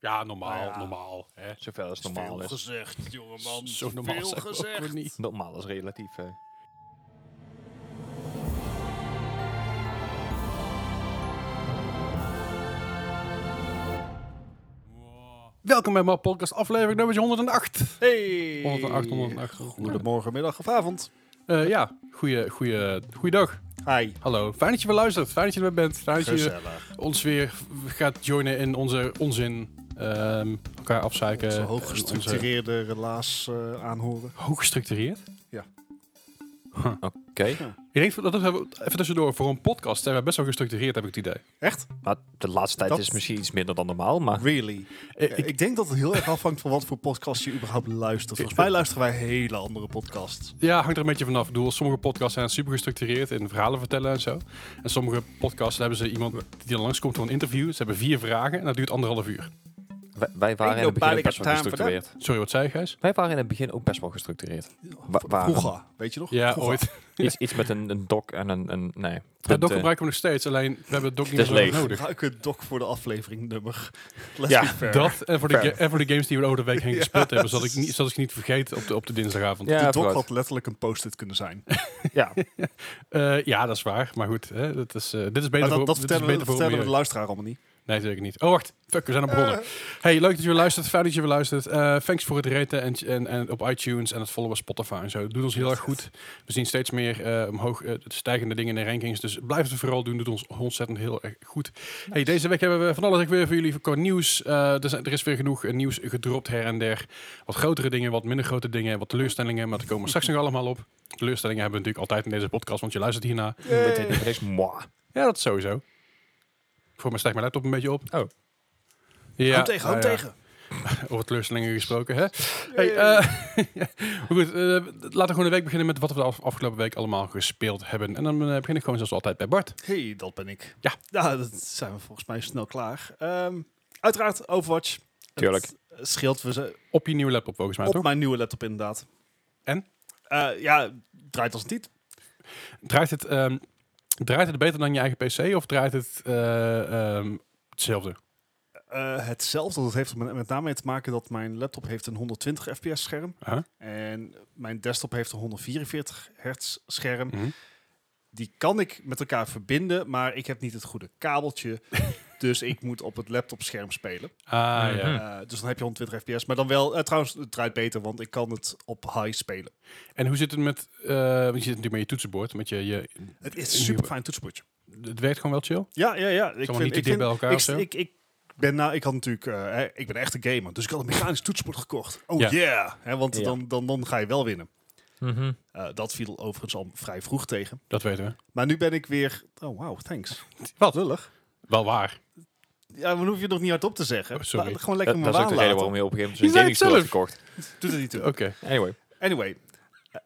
Ja, normaal, Nou ja. normaal. Hè? Zover als normaal Veel is. gezegd, jongeman. Zo normaal Veel zijn we ook weer gezegd. niet. Normaal is relatief. Hè. Welkom bij mijn podcast aflevering nummer 108. Hey. 108, 108. Goedemorgen, middag of avond. Eh, ja, goeie, goeie, goeiedag. Hi. Hallo. Fijn dat je weer luistert. Fijn dat je er weer bent. Fijn dat je Gezellig. ons weer gaat joinen in onze onzin. Ehm, elkaar afzeiken. Onze en onze- hooggestructureerde relaas eh, aanhoren. Hooggestructureerd? Oké. Ik denk, dat dat hebben we- even tussendoor, voor een podcast zijn we best wel gestructureerd, heb ik het idee. Echt? Maar de laatste tijd Dat- is misschien iets minder dan normaal, maar Really? Eh, Ja, ik- Ah. ik, denk dat het heel erg afhangt van wat voor podcast je überhaupt luistert. Volgens mij luisteren wij hele andere podcasts. Ja, hangt er een beetje vanaf. Ik bedoel, sommige podcasts zijn super gestructureerd in verhalen vertellen en zo. En sommige podcasts hebben ze iemand die er langskomt voor een interview. Ze hebben vier vragen en dat duurt anderhalf uur. wij, wij waren in Ain't het begin ook nobody best got wel time for that. gestructureerd. Sorry, wat zei je, Gijs? Wij waren in het begin ook best wel gestructureerd. Wa- Ah. waren. Vroeger, weet je nog? Ja, Vroeger. ooit. Iets, iets met een, een doc en een... een nee. Dat doc punten. gebruiken we nog steeds, alleen we hebben het doc niet eh, is meer zo leeg. nodig. Gebruiken het doc voor de aflevering nummer. Let's Ja, be fair. Dat en voor, de Fair. ga- en voor de games die we over de week heen gespeeld hebben, zodat ik, niet, zodat ik ze niet vergeet op de, op de dinsdagavond. Ja, Die doc vooruit. had letterlijk een post-it kunnen zijn. Ja, Eh, ja dat is waar. Maar goed, hè, dat is, eh, dit is beter Maar dat, voor dat dit is vertellen, we, beter dat voor vertellen we meer. de luisteraar allemaal niet. Nee, zeker niet. Oh, wacht. Fuck, we zijn al begonnen. Hey, leuk dat je weer luistert. Fijn dat je weer luistert. Eh, thanks voor het raten en, en, en op iTunes en het volgen op Spotify en zo. Het doet ons heel erg goed. We zien steeds meer eh, omhoog eh, stijgende dingen in de rankings. Dus blijf het vooral doen. Doet ons ontzettend heel erg goed. Hey, deze week hebben we van alles echt weer voor jullie qua nieuws. Eh, er, zijn- er is weer genoeg eh, nieuws gedropt her en der. Wat grotere dingen, wat minder grote dingen, wat teleurstellingen. Maar daar komen we straks nog allemaal op. Teleurstellingen hebben we natuurlijk altijd in deze podcast, want je luistert hierna. met Eh. een reeks moi. Ja, dat sowieso. Voor mij stijgt mijn laptop een beetje op. Oh. Ja, hou tegen, hou nou ja. tegen. Over teleurstellingen gesproken, hè? Hey, eh, maar goed, eh, laten we gewoon de week beginnen met wat we de af- afgelopen week allemaal gespeeld hebben. En dan eh, begin ik gewoon zoals altijd bij Bart. Hey, dat ben ik. Ja. Nou, dat zijn we volgens mij snel klaar. Ehm, uiteraard Overwatch. Tuurlijk. Het scheelt we ze Op je nieuwe laptop, volgens mij, op toch? mijn nieuwe laptop inderdaad. En? Eh, ja, draait als een tiet. Draait het, ehm, draait het beter dan je eigen PC of draait het eh, ehm, hetzelfde? Eh, hetzelfde, dat heeft er met, met name mee te maken dat mijn laptop heeft een 120 fps scherm. Huh? En mijn desktop heeft een 144 hertz scherm. Mhm. Die kan ik met elkaar verbinden, maar ik heb niet het goede kabeltje. dus ik moet op het laptopscherm spelen. Ah, Mhm. ja. Eh, dus dan heb je 120 fps. Maar dan wel, eh, trouwens, het draait beter, want ik kan het op high spelen. En hoe zit het met... eh, want je zit natuurlijk met je toetsenbord, met je, je... Het is een super fijn toetsenbordje. Het werkt gewoon wel chill? Ja, ja, ja. Ik Zeg maar niet te ik dicht bij elkaar ik, of zo? ik, ik ben nou, ik had natuurlijk, eh, hè, ik ben echt een gamer, dus ik had een mechanisch toetsenbord gekocht. Oh Ja. yeah! Hè, want Ja. Dan, dan, dan ga je wel winnen. Mhm. Eh, dat viel overigens al vrij vroeg tegen. Dat weten we. Maar nu ben ik weer, oh wow, thanks. Wat? Lullig. Wel waar. Ja, dan hoef je het nog niet hardop te zeggen. Oh, sorry. Laat- gewoon Dat, lekker dat mijn is ook de waan reden laten. waarom je op een gegeven Je moment zei een het gaming hebt gekocht. Doet er niet toe. Oké. Anyway. Anyway. Eh,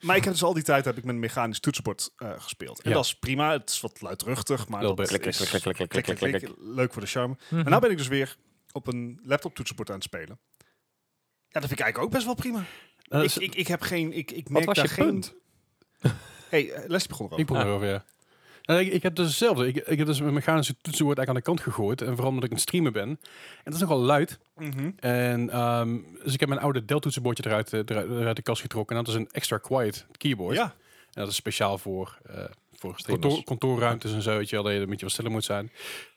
maar ik heb dus al die tijd heb ik met een mechanisch toetsenbord eh, gespeeld. En Ja. dat is prima. Het is wat luidruchtig, maar Wel dat best. Klik, klik, is klik, klik, klik, klik, klik, klik, klik. klik. leuk voor de charme. Mhm. En nou ben ik dus weer op een laptop toetsenbord aan het spelen. Ja, dat vind ik eigenlijk ook best wel prima. Eh, ik, s- ik, ik heb geen... Ik, ik Wat merk was daar je geen... punt? hey, eh, Leslie begon erover. Ik begon Ah. erover, ja. Nou, ik, ik heb dus hetzelfde. Ik, ik heb dus mijn mechanische toetsenbord eigenlijk aan de kant gegooid. En vooral omdat ik een streamer ben. En dat is nogal luid. Mhm. En, ehm, dus ik heb mijn oude Dell toetsenbordje eruit, eh, eruit, eruit de kast getrokken. En dat is een extra quiet keyboard. Ja. En dat is speciaal voor, eh, voor Streamers. kantoor, kantoorruimtes en zo. Weet je wel, dat je een beetje wat stiller moet zijn.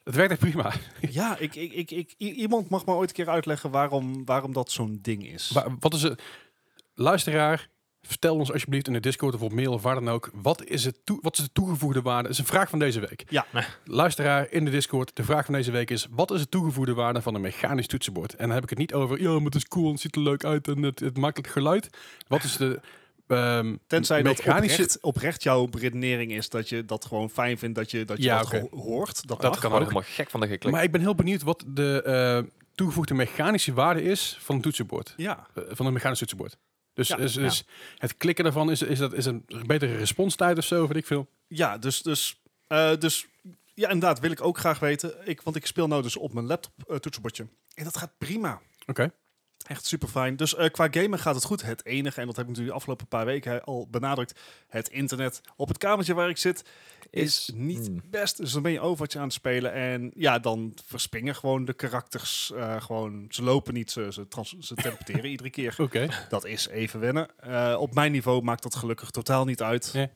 Het werkt echt prima. Ja, ik, ik, ik, ik, i- iemand mag me ooit een keer uitleggen waarom, waarom dat zo'n ding is. Maar wat is het? Luisteraar, vertel ons alsjeblieft in de Discord of op mail of waar dan ook. Wat is, het toe- wat is de toegevoegde waarde? Dat is een vraag van deze week. Ja. Luisteraar in de Discord, de vraag van deze week is: wat is de toegevoegde waarde van een mechanisch toetsenbord? En dan heb ik het niet over, ja, maar het is cool, het ziet er leuk uit en het, het maakt het geluid. Wat is de ehm, Tenzij dat mechanische- oprecht, oprecht jouw redenering is dat je dat gewoon fijn vindt dat je dat, je Ja, dat oké. geho- hoort. Dat, Dat kan mag. Ik ook. word helemaal gek van de geklik. Maar ik ben heel benieuwd wat de eh, toegevoegde mechanische waarde is van een toetsenbord. Ja. Eh, van een mechanisch toetsenbord. Dus, Ja. dus, dus het klikken daarvan is, is, dat, is een betere responstijd of zo, weet ik veel. Ja, dus, dus, eh, dus ja, inderdaad wil ik ook graag weten. Ik, want ik speel nou dus op mijn laptop eh, toetsenbordje. En dat gaat prima. Oké. Echt super fijn. Dus eh, qua gamen gaat het goed. Het enige, en dat heb ik natuurlijk de afgelopen paar weken al benadrukt, het internet op het kamertje waar ik zit is niet Mm. best. Dus dan ben je Overwatch aan het spelen en ja, dan verspringen gewoon de karakters. eh, gewoon, ze lopen niet, ze, ze, trans- ze teleporteren iedere keer. Oké. Dat is even wennen. Eh, op mijn niveau maakt dat gelukkig totaal niet uit. Ja.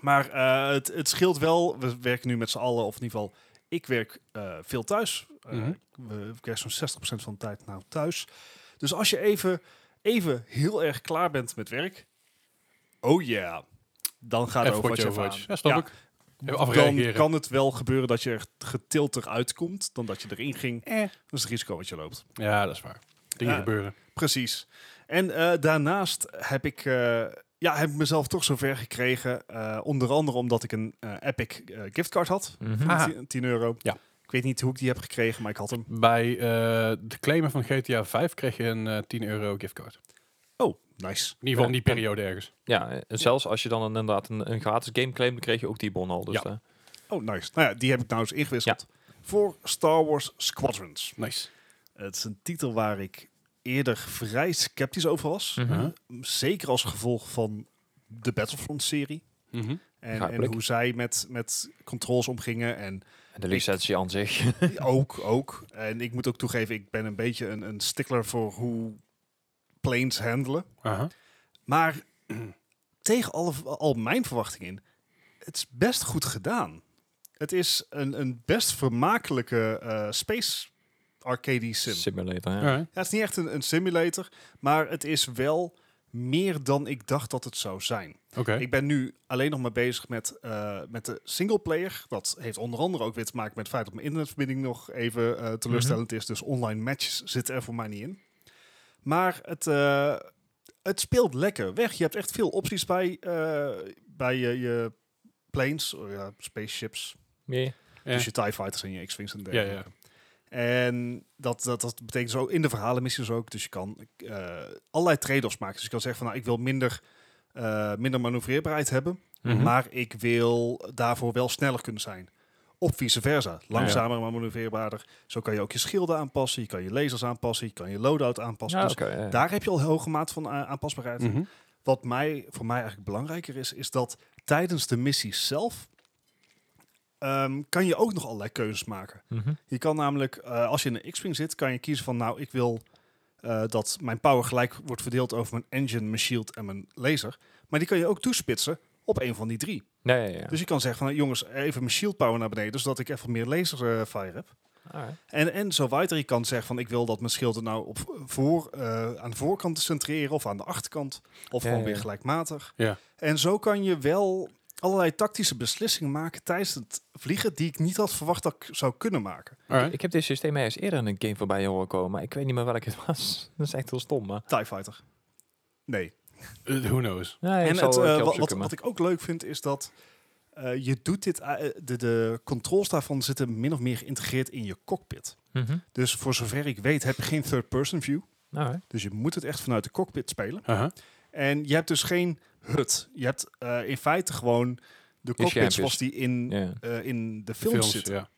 Maar eh, het, het scheelt wel. We werken nu met z'n allen, of in ieder geval, ik werk eh, veel thuis. Eh, Mhm. we- Ik werk zo'n 60% van de tijd nou thuis. Dus als je even, even heel erg klaar bent met werk, oh ja, dan gaat Even potje Overwatch even Overwatch. aan. Ja, snap Ja, ik. Even Dan afreageren. kan het wel gebeuren dat je er getild eruit komt dan dat je erin ging. Eh. Dat is het risico wat je loopt. Ja, dat is waar. Dingen Ja. gebeuren. Precies. En eh, daarnaast heb ik, eh, ja, heb ik mezelf toch zover gekregen. eh, onder andere omdat ik een eh, Epic eh, giftcard had. Mhm. Ah. 10, 10 euro. Ja. Ik weet niet hoe ik die heb gekregen, maar ik had hem. Bij eh de claimen van GTA 5 kreeg je een eh, 10 euro giftcard. In Oh, nice. ieder geval in die periode ergens. Ja, eh, zelfs als je dan inderdaad een, een gratis game claimde, kreeg je ook die bon al. Dus Ja. eh, Oh, nice. Nou ja, die heb ik nou eens ingewisseld. Voor Star Wars Squadrons. Nice. Het is een titel waar ik eerder vrij sceptisch over was. mhm. Huh? Zeker als gevolg van de Battlefront-serie. Mhm. En, en Begrijpelijk. hoe zij met, met controls omgingen. En En de licentie aan zich. ook, ook. En ik moet ook toegeven, ik ben een beetje een, een stickler voor hoe planes handelen. Aha. Maar tegen al, al mijn verwachtingen in, het is best goed gedaan. Het is een, een best vermakelijke eh, space arcade sim. Simulator, ja. Alright. Ja, het is niet echt een, een simulator, maar het is wel meer dan ik dacht dat het zou zijn. Oké. Ik ben nu alleen nog maar bezig met, eh met de singleplayer. Dat heeft onder andere ook weer te maken met het feit dat mijn internetverbinding nog even eh, teleurstellend Mhm. is. Dus online matches zitten er voor mij niet in. Maar het, eh, het speelt lekker weg. Je hebt echt veel opties bij, eh, bij je, je planes, oh ja, spaceships. Nee. Ja. Dus je TIE Fighters en je X-Wings en ja, dergelijke. ja. En dat, dat, dat betekent zo in de verhalen missies ook. Dus je kan eh, allerlei trade-offs maken. Dus je kan zeggen van nou, ik wil minder, eh, minder manoeuvreerbaarheid hebben. Mhm. Maar ik wil daarvoor wel sneller kunnen zijn. Of vice versa. Langzamer, maar manoeuvreerbaarder. Zo kan je ook je schilden aanpassen. Je kan je lasers aanpassen. Je kan je loadout aanpassen. Ja, dus oké, ja. daar heb je al een hoge maat van eh, aanpasbaarheid. Mhm. Wat mij, voor mij eigenlijk belangrijker is, is dat tijdens de missies zelf... ehm, kan je ook nog allerlei keuzes maken. Mhm. Je kan namelijk, eh, als je in een X-Wing zit, kan je kiezen van nou, ik wil eh, dat mijn power gelijk wordt verdeeld over mijn engine, mijn shield en mijn laser. Maar die kan je ook toespitsen op een van die drie. Nee, ja, ja. Dus je kan zeggen van nou, jongens, even mijn shield power naar beneden, zodat ik even meer laser eh, fire heb. Alright. En, en zo verder. Je kan zeggen van ik wil dat mijn schild er nou op voor, eh, aan de voorkant centreren of aan de achterkant. Of Ja, gewoon ja, weer ja. gelijkmatig. Ja. En zo kan je wel allerlei tactische beslissingen maken tijdens het vliegen die ik niet had verwacht dat ik zou kunnen maken. Alright. Ik heb dit systeem eens eerder in een game voorbij horen komen, maar ik weet niet meer welke het was. Dat is echt heel stom, maar... TIE Fighter. Nee. Eh, who knows? Ja, ik en zal het, wel een eh, keer wat, wat, opzoeken, wat ik ook leuk vind is dat eh, je doet dit, eh, de, de controls daarvan zitten min of meer geïntegreerd in je cockpit. maar- Mhm. Dus voor zover ik weet heb je geen third-person view. Alright. Dus je moet het echt vanuit de cockpit spelen. Aha. En je hebt dus geen HUD. Je hebt eh, in feite gewoon de cockpit schermpjes. zoals die in, Ja. eh, in de films, Films, zit. ja.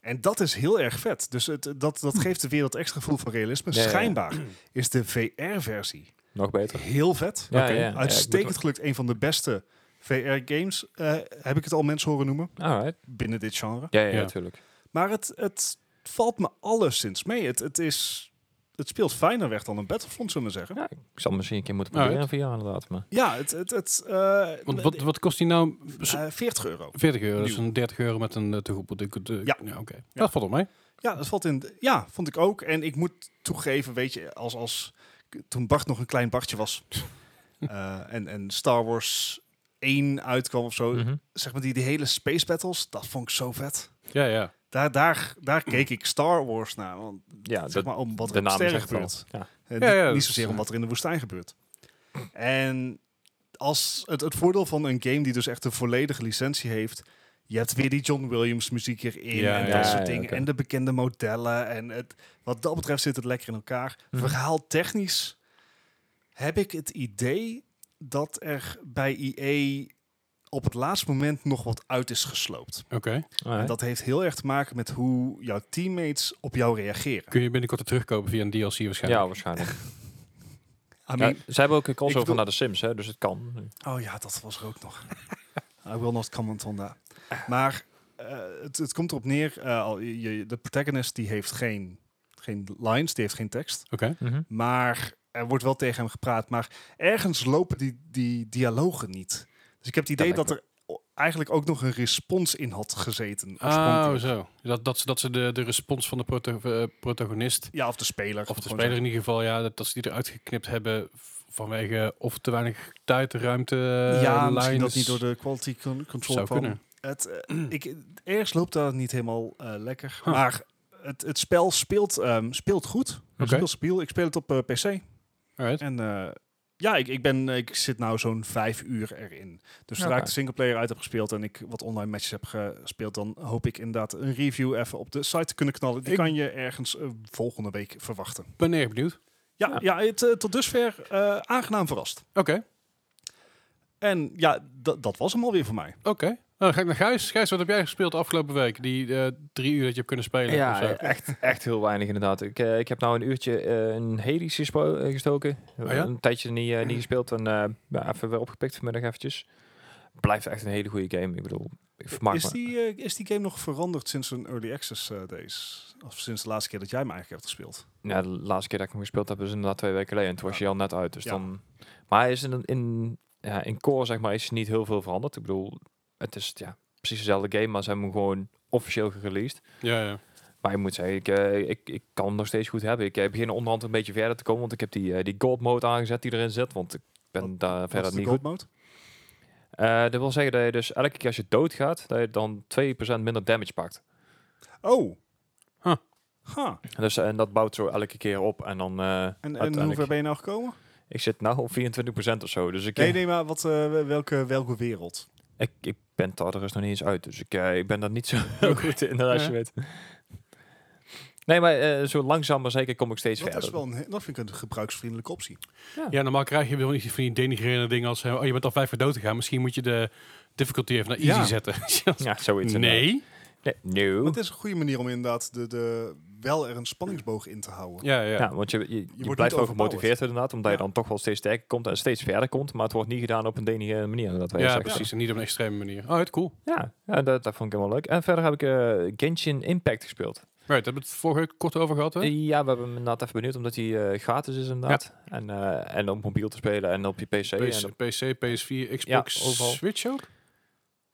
En dat is heel erg vet. Dus het, dat, dat geeft er weer dat extra gevoel van realisme. Ja, ja, ja. Schijnbaar is de VR-versie Nog beter. heel vet. Ja, ja, ja. Ja, ik Uitstekend moet- gelukt. Een van de beste VR-games. Eh, heb ik het al mensen horen noemen. Alright. Binnen dit genre. Ja, ja, Ja. natuurlijk. Maar het, het valt me alleszins mee. Het, het, is, het speelt fijner weg dan een Battlefront, zullen we zeggen. Ja, ik zal misschien een keer moeten Alright. proberen via inderdaad, maar... Ja, het... het, het eh, Want wat, wat kost die nou? S- eh, 40 euro. 40 euro. Dat is nieuw. een 30 euro met een uh, toegevoegde... eh, Ja. Oké. Dat valt op mij. Ja, dat valt in. de- Ja, vond ik ook. En ik moet toegeven, weet je, als, als toen Bart nog een klein Bartje was eh, en, en Star Wars 1 uitkwam of zo, Mm. Mhm. zeg maar die, die hele space battles, dat vond ik zo vet. Ja, ja. Daar, daar, daar keek ik Star Wars naar. Want Ja, Nou, zeg dat- maar om wat er de in de naam sterren zegt het al. gebeurt. Ja. En Ja, niet- ja, dat niet is, zozeer om eh, wat er in de woestijn gebeurt. En als het, het voordeel van een game die dus echt een volledige licentie heeft. Je hebt weer die John Williams muziek erin Ja, en ja, dat ja, soort dingen. oké. En de bekende modellen. En het, wat dat betreft zit het lekker in elkaar. Mhm. Verhaal technisch heb ik het idee dat er bij EA E op het laatste moment nog wat uit is gesloopt. Oké. En dat heeft heel erg te maken met hoe jouw teammates op jou reageren. Kun je binnenkort het terugkopen via een DLC waarschijnlijk? ja, waarschijnlijk. I Ja, mean, ze hebben ook een crossover bedoel- naar de Sims, hè, dus het kan. Oh ja, dat was er ook nog. I will not comment on that. Maar eh, het, het komt erop neer, eh, al- je, je- de protagonist die heeft geen, geen lines, die heeft geen tekst. Oké. Mhm. Maar er wordt wel tegen hem gepraat. Maar ergens lopen die, die dialogen niet. Dus ik heb het idee lijkt dat er o- eigenlijk ook nog een respons in had gezeten. Oh, oorspronkelijk. zo. Dat, dat, ze- dat ze de, de respons van de proto- eh, protagonist, Ja, of de speler. of de Gewoon speler in ieder geval, ja, dat, dat ze die eruit geknipt hebben vanwege of te weinig tijd, ruimte, eh, zo. Ja, misschien lines. dat niet door de quality con- control Zou kwam. kunnen. Het, eh, ik, ergens loopt dat niet helemaal eh, lekker. Huh. Maar het, het spel speelt, ehm, speelt goed. Het Oké. speelt stabiel. Ik speel het op eh, PC. Alright. En eh, ja, ik, ik, ben, ik zit nou zo'n vijf uur erin. Dus zodra ik Oké. de singleplayer uit heb gespeeld en ik wat online matches heb gespeeld, dan hoop ik inderdaad een review even op de site te kunnen knallen. Die Ik- kan je ergens eh, volgende week verwachten. Ik ben erg benieuwd. Ja, Ja. ja. het, eh, tot dusver eh, aangenaam verrast. Oké, Nou, En ja, dat- dat was hem alweer voor mij. oké. Nou, dan ga ik naar Gijs. Gijs, wat heb jij gespeeld de afgelopen week? Die eh, drie uur dat je hebt kunnen spelen. of Ja, zo. echt, echt heel weinig inderdaad. Ik, eh, ik heb nou een uurtje eh, in Hades gespo- eh, gestoken. ja? Een tijdje niet, eh, niet gespeeld en eh, ja, even weer opgepikt vanmiddag eventjes. Blijft echt een hele goede game. Ik bedoel, ik vermaak Is me. die, eh, is die game nog veranderd sinds een early access eh days? Of sinds de laatste keer dat jij hem eigenlijk hebt gespeeld? Ja, de laatste keer dat ik hem gespeeld heb is inderdaad twee weken geleden. En toen was je al net uit. Dus Ja. dan... Maar hij is in, in, ja, in core zeg maar, is niet heel veel veranderd. Ik bedoel, het is ja, precies dezelfde game, maar ze hebben hem gewoon officieel gereleased. ja, ja. Maar ik moet zeggen, ik, eh, ik, ik kan hem nog steeds goed hebben. Ik eh, begin onderhand een beetje verder te komen, want ik heb die, eh, die gold mode aangezet die erin zit. Want ik ben Wat- daar Wat is verder de niet gold goed. mode? Eh, dat wil zeggen dat je dus elke keer als je doodgaat, dat je dan 2% minder damage pakt. Oh. Huh. Huh. Dus, eh, en dat bouwt zo elke keer op. En dan eh, En, en hoe uiteindelijk- ver ben je nou gekomen? Ik zit nu op 24% of zo. Dus ik, Nee, eh, nee, maar wat, eh, welke, welke wereld? Ik, ik ben daar er is nog niet eens uit, dus ik, eh, ik ben daar niet zo heel goed in, als je Ja. weet. Nee, maar eh, zo langzaam maar zeker kom ik steeds Dat, verder. is wel een, he- dat vind ik een gebruiksvriendelijke optie. Ja, normaal krijg je wel niet van die denigrerende dingen als... eh, Oh, je bent al vijf keer dood gegaan. Misschien moet je de difficulty even naar easy Ja. zetten. Ja, zoiets. inderdaad. nee. Nee, no. Maar het is een goede manier om inderdaad de, de, wel er een spanningsboog in te houden. Ja, ja. Ja, want je, je, je niet blijft wel overpowered. gemotiveerd inderdaad, omdat je Ja. dan toch wel steeds sterker komt en steeds verder komt, maar het wordt niet gedaan op een denigrerende manier. Dat wij Ja, zeggen. precies. En niet op een extreme manier. Oh, het cool. Ja, ja, dat, dat vond ik helemaal leuk. En verder heb ik eh, Genshin Impact gespeeld. Right, hebben we het vorige week kort over gehad, hè? Ja, we hebben hem inderdaad even benieuwd, omdat hij eh, gratis is inderdaad. En, eh, en op mobiel te spelen en op je PC. en PC, op- PC, PS4, Xbox, overal. Switch ook?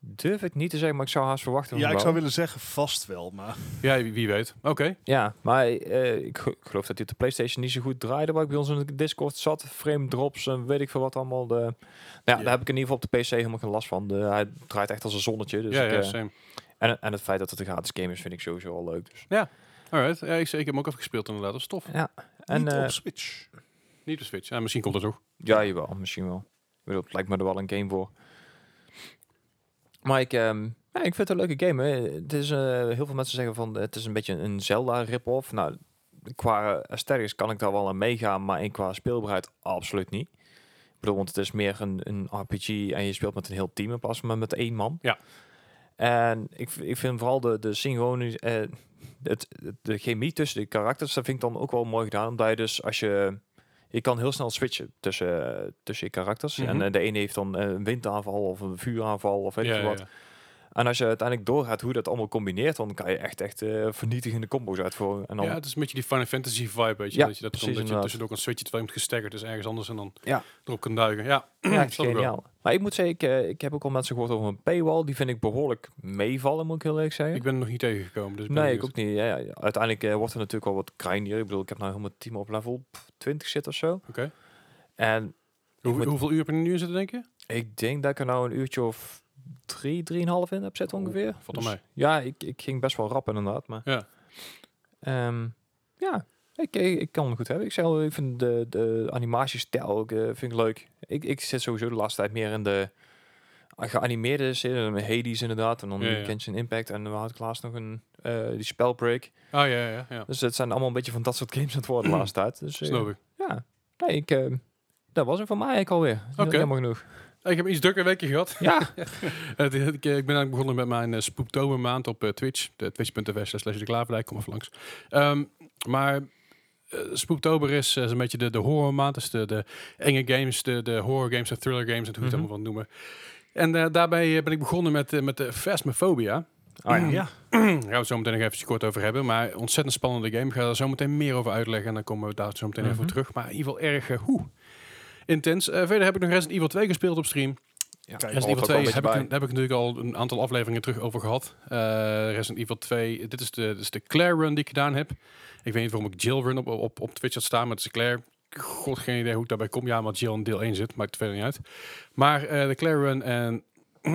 durf ik niet te zeggen, maar ik zou haast verwachten. Ja, van ik wel. zou willen zeggen vast wel, maar Ja, wie, wie weet. Oké. Ja, maar eh, ik ge- ik geloof dat dit de PlayStation niet zo goed draaide. Waar ik bij ons in de Discord zat. Frame drops en weet ik veel wat allemaal. De... Nou, ja, Ja. daar heb ik in ieder geval op de PC helemaal geen last van. De, hij draait echt als een zonnetje. Dus ja, ik, ja, eh, same. en, en het feit dat het een gratis game is, vind ik sowieso al leuk. Dus. Alright. Ja, ik, ik heb hem ook even gespeeld inderdaad. Dat is tof. Ja, en niet eh, op Switch. Niet de Switch. Ja, misschien komt dat toch. ja, jawel, misschien wel. Ik bedoel, het lijkt me er wel een game voor. Maar ik, ehm, ja, ik vind het een leuke game. Hè. Het is, eh, heel veel mensen zeggen van eh, het is een beetje een Zelda rip-off. Nou, qua eh, aesthetics kan ik daar wel aan meegaan, maar in qua speelbaarheid absoluut niet. Ik bedoel, want het is meer een, een RPG en je speelt met een heel team in plaats van met één man. Ja. En ik, v- ik vind vooral de, de synchronie, eh, het, het- de chemie tussen de karakters, dat vind ik dan ook wel mooi gedaan. Omdat je dus als je, je kan heel snel switchen tussen, eh, tussen je karakters. En Mhm. eh, de ene heeft dan eh, een windaanval of een vuuraanval of weet ik ja, veel wat. ja. En als je uiteindelijk doorgaat hoe dat allemaal combineert, dan kan je echt, echt eh, vernietigende combo's uitvoeren. En dan, Ja, het is een beetje die Final Fantasy vibe, weet je. Ja, dat je dat, kan, precies, dat je inderdaad. tussendoor kan switchen terwijl je hem gestaggerd is ergens anders en dan Ja. erop kan duiken. Ja, Ja, echt snap ik wel. geniaal. Maar ik moet zeggen, ik, eh, ik heb ook al mensen gehoord over een paywall. Die vind ik behoorlijk meevallen, moet ik heel eerlijk zeggen. Ik ben er nog niet tegengekomen. Dus ik ben nee, ik benieuwd. ook niet. Ja, ja. Uiteindelijk eh, wordt er natuurlijk wel wat grindier. Ik bedoel, ik heb nou helemaal team op level 20 zit of zo. Oké. En Hoe- Ik moet- Hoeveel uur heb je er nu in zitten, denk je? ik denk dat ik er nou een uurtje of drie, drieënhalf in heb zitten Oeh, ongeveer. Dus valt wel mee. Ja, ik, ik ging best wel rap inderdaad. Maar Ja. Ehm, ja, ik, ik, ik kan hem goed hebben. Ik, zeg, al, ik vind de, de animatiestijl ook, eh, vind ik leuk. Ik, ik zit sowieso de laatste tijd meer in de geanimeerde zin. eh, Hades inderdaad. En dan Ja, ja. Genshin Impact. En we hadden laatst nog een, eh, die spellbreak. Ah, ja, ja, ja. Dus het zijn allemaal een beetje van dat soort games aan het worden de laatste tijd. Dus eh, Snap ik. ja, nee, ik, eh, dat ehm, was hem van mij eigenlijk alweer. Oké. Helemaal genoeg. Ik heb iets drukker weekje gehad. Ja. Het- het- ik, eh, ik ben eigenlijk begonnen met mijn eh, Spooktober maand op eh, Twitch. De Twitch.tv slash de Klaverdijk, kom even langs. Ehm, maar eh, Spooktober is, eh, is een beetje de, de horror maand. Dus de, de enge games, de, de horror games, de thriller games, en hoe je het Mhm. allemaal wilt noemen. En eh, daarbij eh, ben ik begonnen met, eh, met de Phasmophobia. Hm, Oh, ja. Ja. Daar gaan we het zo meteen nog even kort over hebben. Maar ontzettend spannende game. Ik ga daar zo meteen meer over uitleggen. En dan komen we daar zo meteen even Mhm. op terug. Maar in ieder geval erg eh, hoe, intens. Eh, verder heb ik nog Resident Evil 2 gespeeld op stream. ja. Kijk, Resident Evil hoort er ook 2 een heb ik, beetje bij. heb ik natuurlijk al een aantal afleveringen terug over gehad. Eh, Resident Evil 2, dit is de, dit is de Claire run die ik gedaan heb. Ik weet niet waarom ik Jill run op, op, op Twitch had staan, maar het is Claire. God, geen idee hoe ik daarbij kom. Ja, maar Jill in deel 1 zit, maakt het verder niet uit. Maar eh, de Claire run en...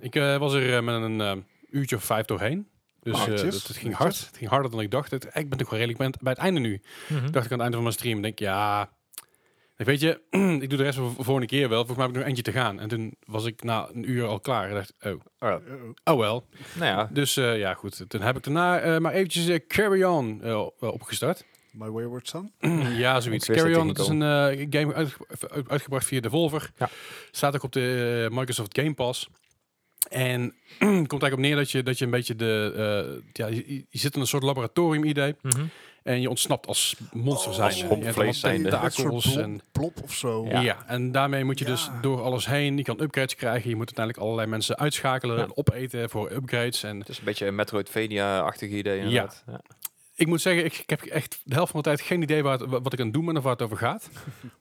ik eh, was er eh, met een eh, uurtje of vijf doorheen. Dus eh, Netjes, het, het ging netjes. hard. Het ging harder dan ik dacht. Het, ik ben toch wel redelijk bij het- bij het einde nu Mhm. dacht ik aan het einde van mijn stream, denk ja, ik weet je, ik doe de rest voor voor volgende keer wel. Volgens mij heb ik nog eentje te gaan. En toen was ik na een uur al klaar. En dacht, oh, Oh, Uh-oh. oh wel. nou ja. Dus eh, ja, goed. Toen heb ik daarna eh, maar eventjes eh, Carry On eh, op- eh, opgestart. My Wayward Son. ja, Ik zoiets. wist dat Carry die On, ging dat is een eh, game uitge- uit- uitgebracht via Devolver. Ja. Staat ook op de eh, Microsoft Game Pass. En komt eigenlijk op neer dat je, dat je een beetje de... eh, ja, je, je zit in een soort laboratorium-idee. Mhm. En je ontsnapt als monster Oh, zijn. als Je rompvlees hebt allemaal zijnde. Een soort Tentakels blob, en... blob of zo. Ja. Ja. en daarmee moet je dus Ja. door alles heen. Je kan upgrades krijgen. Je moet uiteindelijk allerlei mensen uitschakelen, Ja. opeten voor upgrades. En Het is een beetje een Metroidvania-achtig idee inderdaad. Ja. ik moet zeggen, ik, ik heb echt de helft van de tijd geen idee waar het- wa- wat ik aan het doen ben of waar het over gaat.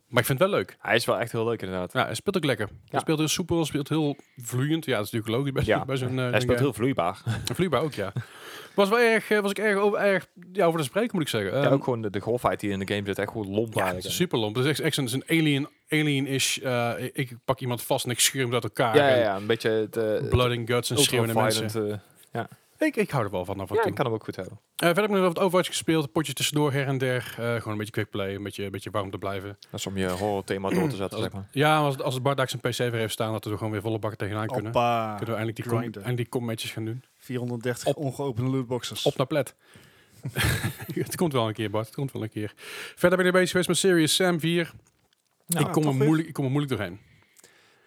maar ik vind het wel leuk. Hij is wel echt heel leuk inderdaad. Ja, hij speelt ook lekker. Hij Ja. speelt heel soepel, speelt heel vloeiend. Ja, dat is natuurlijk logisch bij, Ja. bij zo'n... eh, Hij zo'n speelt game. heel vloeibaar. Vloeibaar ook, ja. Was, wel erg, eh, was ik erg over, erg, ja, over te spreken, moet ik zeggen. Ja, Ehm, ook gewoon de, de golfheid die in de game zit, echt gewoon lomp Ja, het eigenlijk. is super lomp. Het is echt, echt zo'n- zo'n alien, alien-ish. eh, ik ik pak iemand vast en ik schuur hem uit elkaar. ja, ja, En ja, een beetje het eh, Blood and guts en ultra schreeuwende mensen. violent, eh, Ik, ik hou er wel van af en ja, toe. ik kan hem ook goed hebben. Eh, verder heb ik nog wat Overwatch gespeeld. Potjes tussendoor her en der. Eh, gewoon een beetje quickplay. Een beetje, een beetje warm te blijven. Dat is om je horror thema door te zetten, Als- zeg maar. Ja, als, als het Bardax zijn PC weer heeft staan, dat we er gewoon weer volle bakken tegenaan kunnen. Oppa. Kunnen we eindelijk die, com, grinden. eindelijk die commatches gaan doen. 430 Op- ongeopende lootboxes. Op naar plet. het komt wel een keer, Bart. Het komt wel een keer. Verder ben ik bezig geweest met Serious Sam 4. Nou, ik, kom toch er weer. moeilijk, ik kom er moeilijk doorheen.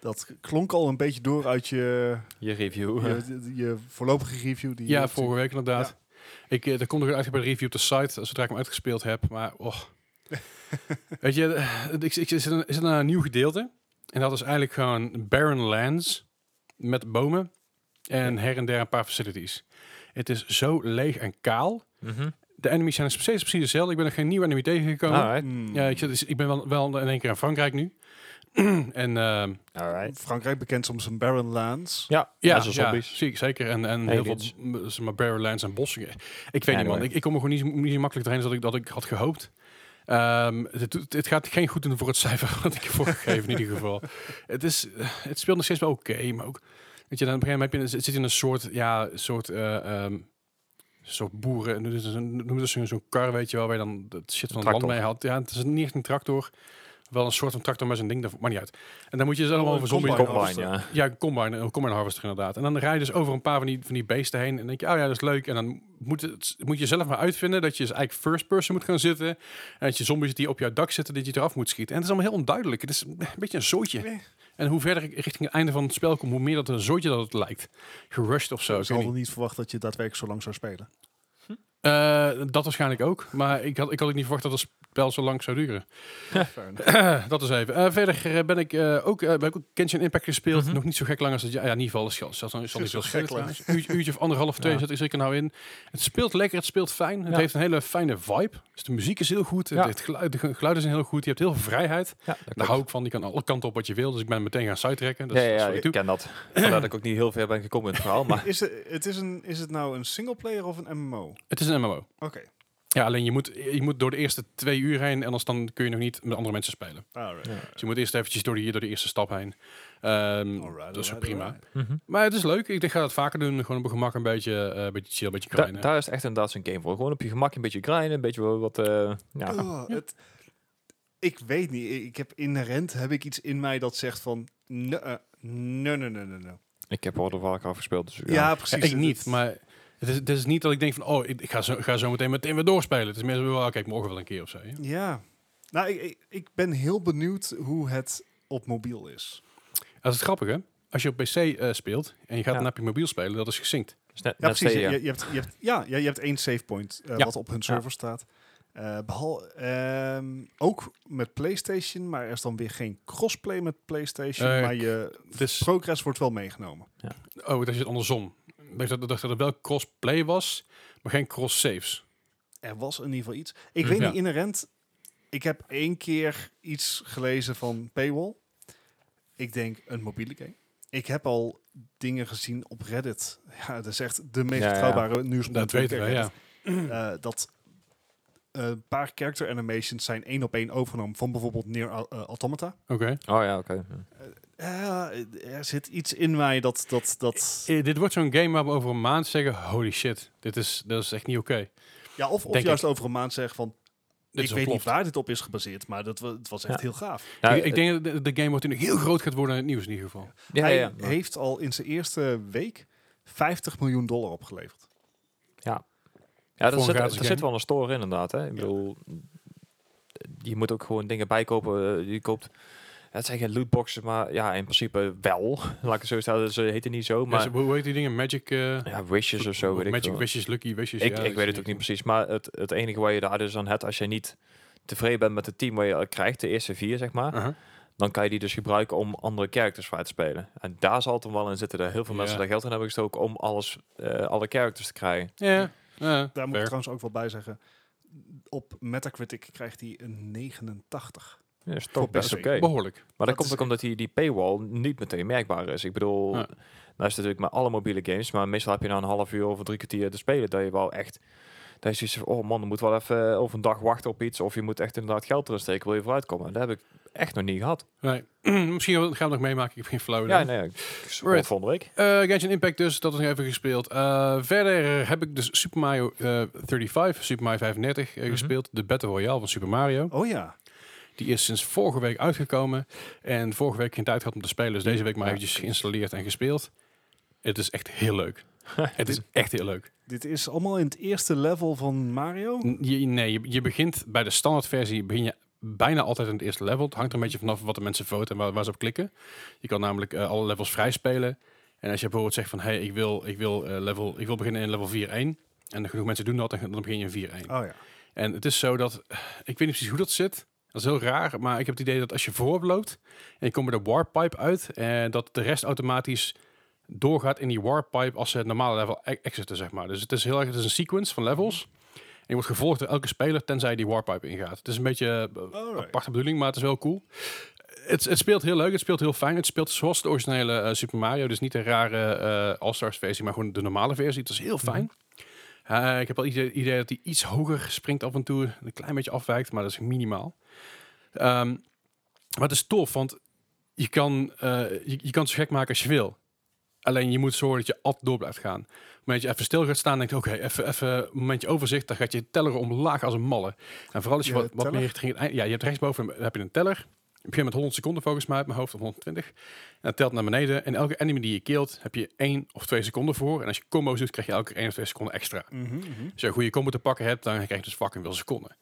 Dat klonk al een beetje door uit je, Je review. eh. je, je voorlopige review. Die Ja, vorige week inderdaad. Ik, eh, er komt nog een uitgebreide review op de site, eh, zodra ik hem uitgespeeld heb. Maar, oh. Weet je, eh, ik, ik zit, in- ik zit naar een nieuw gedeelte. En dat is eigenlijk gewoon barren lands met bomen. En her en der een paar facilities. Het is zo leeg en kaal. Mhm. De enemies zijn nog steeds precies hetzelfde. Ik ben nog geen nieuwe enemy tegengekomen. Alright. Hmm. Ja, ik, zit, ik ben wel, wel in één keer in Frankrijk nu. en ehm, Alright. Frankrijk bekend om zijn barren lands. Ja, Ja, net zoals ja zombies. zie ik zeker. En, en heel veel Aliens. m- zeg maar, barren lands en bossen. Ik weet niet, man. Anyway. Ik, ik kom er gewoon niet, zo- niet zo makkelijk doorheen als dat ik, dat ik had gehoopt. Ehm, het, doet- het gaat geen goed doen voor het cijfer wat ik ervoor gegeven in ieder geval. Het, is, het speelt nog steeds wel oké, maar ook... Weet je, dan op een gegeven moment heb je, een- het zit in een soort, ja, soort, eh, ehm, soort boeren... Noemen ze een- noemen ze zo'n kar, weet je wel, waar je dan dat shit van het land Tractor. mee had. Ja, het is niet echt een tractor. Wel een soort van tractor, maar zo'n ding, dat maakt niet uit. En dan moet je ze allemaal een over zombie... combine. Combine, ja. Ja, een combine, een combine harvester inderdaad. En dan rij je dus over een paar van die, van die beesten heen. En denk je, oh ja, dat is leuk. En dan moet, het, moet je zelf maar uitvinden dat je dus eigenlijk first person moet gaan zitten. En dat je zombies die op jouw dak zitten, dat je eraf moet schieten. En het is allemaal heel onduidelijk. Het is een beetje een zootje. Eh. En hoe verder ik richting het einde van het spel kom, hoe meer dat een zootje dat het lijkt. Gerushed of zo. Ik ik weet had niet. wel niet verwacht dat je daadwerkelijk zo lang zou spelen. Eh, dat waarschijnlijk ook. Maar ik had, ik had ook niet verwacht dat het spel zo lang zou duren. Fair enough. dat is even. Eh, verder eh, ben ik eh, ook, eh, ben ik ook Genshin Impact gespeeld. Mhm. Nog niet zo gek lang als dat. ah Ja, ja in ieder geval is zal, zal, zal niet Zo veel gek schelen. lang. trouwens. Uurtje, uurtje of anderhalf, twee Ja. zit ik zeker nou in. Het speelt lekker, het speelt fijn. Het Ja. heeft een hele fijne vibe. Dus de muziek is heel goed. Ja. Het geluid, de ge- geluiden zijn heel goed. Je hebt heel veel vrijheid. Ja, Daar hou ik van. Je kan alle kanten op wat je wil. Dus ik ben meteen gaan sidetracken. Dat Ja, is- ja, dat is wat ik ik doe. ken dat. Vandaar dat ik ook niet heel ver ben gekomen in het verhaal, maar... Is het, het is, een, is het nou een singleplayer of een MMO? Oké. Het is een MMO. Ja, alleen je moet, je moet door de eerste twee uur heen. En anders dan kun je nog niet met andere mensen spelen. Alright. Ja. Dus je moet eerst eventjes door, die, door de eerste stap heen. Ehm, Alright, dat is alright, prima. alright. Mhm. Maar het is leuk. Ik denk, ga dat vaker doen. Gewoon op mijn gemak een beetje, eh, een beetje chill, een beetje Da- kwijnen. daar is echt inderdaad zo'n game voor. Gewoon op je gemak een beetje grinden, een beetje wel wat... eh, ja. Oh, het- ik weet niet. Ik heb inherent heb ik iets in mij dat zegt van... eh, Nee, nee, nee, nee, nee. Ik heb World of Warcraft gespeeld, dus Ja, Ja, precies. ik Het- niet, het- maar het is, het is niet dat ik denk van, oh, ik ik ga zo, ga zo meteen meteen weer doorspelen. Het is meer zo, oh, kijk, morgen wel een keer of zo. ja. Ja. Nou, ik, ik, ik ben heel benieuwd hoe het op mobiel is. Dat is het grappige. Als je op PC eh, speelt en je gaat Ja. dan op je mobiel spelen, dat is gesynct. Is net, Ja, net precies. Je, Stadia. je- je hebt, je hebt, ja, ja, je hebt één save point eh, Ja. wat op hun server staat. Eh, behal, ehm, ook met PlayStation, maar er is dan weer geen crossplay met PlayStation. Eh, maar je Dus, progress wordt wel meegenomen. oh, dat is het andersom. Ik dacht dat, dacht dat het wel crossplay was, maar geen cross-saves. Er was in ieder geval iets. Ik Hm. weet Ja. niet inherent. Ik heb één keer iets gelezen van Paywall. Ik denk een mobiele game. Ik heb al dingen gezien op Reddit. Ja, dat is echt de meest Ja, ja. betrouwbare nieuwsbron. Dat weten we, Reddit. ja. eh, dat eh, een paar character animations zijn één op één overgenomen van bijvoorbeeld Near Au- eh, Automata. Oké. Oh ja, oké. Hm. Eh, er zit iets in mij dat... dat, dat Eh, dit wordt zo'n game waar we over een maand zeggen, holy shit, dit is, dat is echt niet oké. ja, of of denk juist over een maand zeggen van... Dit ik is weet niet ontploft. waar dit op is gebaseerd, maar dat, wa- het was echt Ja. heel gaaf. Nou, ik, ik denk dat de, de game wordt nu heel groot gaat worden in het nieuws in ieder geval. ja, Hij ja, ja. heeft al in zijn eerste week 50 miljoen dollar opgeleverd. Ja, Voor daar een zit, daar gratis game. zit wel een store in, inderdaad. Hè. Ik bedoel, je moet ook gewoon dingen bijkopen. eh, Je koopt, het zijn geen lootboxen, maar ja, in principe wel. Laat ik het zo stellen, ze heten niet zo, Maar, maar hoe heet die dingen? Magic... eh, ja, wishes of zo, weet ik Magic veel. Wishes, Lucky Wishes. Ik, ja, ik weet het ook niet precies, maar het, het enige waar je daar dus aan hebt, als je niet tevreden bent met het team waar je al krijgt, de eerste vier zeg maar, Aha. dan kan je die dus gebruiken om andere characters vrij te spelen. En daar zal het hem wel in zitten, dat heel veel mensen Ja. daar geld in hebben gestoken om alles, eh, alle characters te krijgen. Ja, ja, Daar moet fair. ik trouwens ook wel bij zeggen. Op Metacritic krijgt hij een 89. Ja, is Voor toch best PC. oké. Behoorlijk. Maar dat, Dat komt is ook omdat die, die paywall niet meteen merkbaar is. Ik bedoel, Ja. nou is het natuurlijk met alle mobiele games, maar meestal heb je na een half uur of drie kwartier te spelen dat je wel echt, dat je zoiets van, oh man, dan moet wel even eh, of een dag wachten op iets, of je moet echt inderdaad geld erin steken, wil je vooruit komen. En Dat heb ik echt nog niet gehad. Nee. Misschien gaan we het nog meemaken. Ik heb geen flauw idee. Ja, nee, ik speel Right. het volgende week. Eh, Genshin Impact dus, dat is nog even gespeeld. Eh, verder heb ik dus Super Mario eh, 35, Super Mario 35 eh, Mhm. gespeeld. De Battle Royale van Super Mario. Oh ja. Die is sinds vorige week uitgekomen. En vorige week geen tijd gehad om te spelen. Dus deze week maar Ja. eventjes geïnstalleerd en gespeeld. Het is echt heel leuk. het is echt heel leuk. Dit is allemaal in het eerste level van Mario. N- je- nee, je, je begint bij de standaardversie begin je bijna altijd in het eerste level. Het hangt er een beetje vanaf wat de mensen voten en waar, waar ze op klikken. Je kan namelijk eh, alle levels vrij spelen. En als je bijvoorbeeld zegt van, hé, hey, ik, wil, ik, wil, eh, level- ik wil beginnen in level 4-1. En genoeg mensen doen dat, dan, dan begin je in 4-1. Oh ja. En het is zo dat, ik weet niet precies hoe dat zit. Dat is heel raar, maar ik heb het idee dat als je voorop loopt en je komt bij de warp pipe uit, en dat de rest automatisch doorgaat in die warp pipe als ze het normale level e- exiten, zeg maar. Dus het is heel erg, het is een sequence van levels. En je wordt gevolgd door elke speler, tenzij je die warp pipe ingaat. Het is een beetje eh, Alright. aparte bedoeling, maar het is wel cool. Het, het speelt heel leuk, het speelt heel fijn. Het speelt zoals het originele eh, Super Mario. Dus niet de rare eh All-Stars versie, maar gewoon de normale versie. Het is heel fijn. Eh, ik heb wel het idee, idee dat hij iets hoger springt af en toe. Een klein beetje afwijkt, maar dat is minimaal. Ehm, maar het is tof, want je kan, eh, je, je kan het zo gek maken als je wil. Alleen je moet zorgen dat je altijd door blijft gaan. Op het moment dat je even stil gaat staan, denk je... oké, even, even een momentje overzicht. Dan gaat je teller omlaag als een malle. En vooral als je Je wat, wat teller? meer richting... het eind- Ja, je hebt rechtsboven dan heb je een teller. Je begint met 100 seconden volgens mij uit mijn hoofd, of 120. En dat telt naar beneden. En elke enemy die je keelt, heb je 1 of 2 seconden voor. En als je combo's doet, krijg je elke 1 of 2 seconden extra. Mhm, mhm. Als je een goede combo te pakken hebt, dan krijg je dus fucking veel seconden.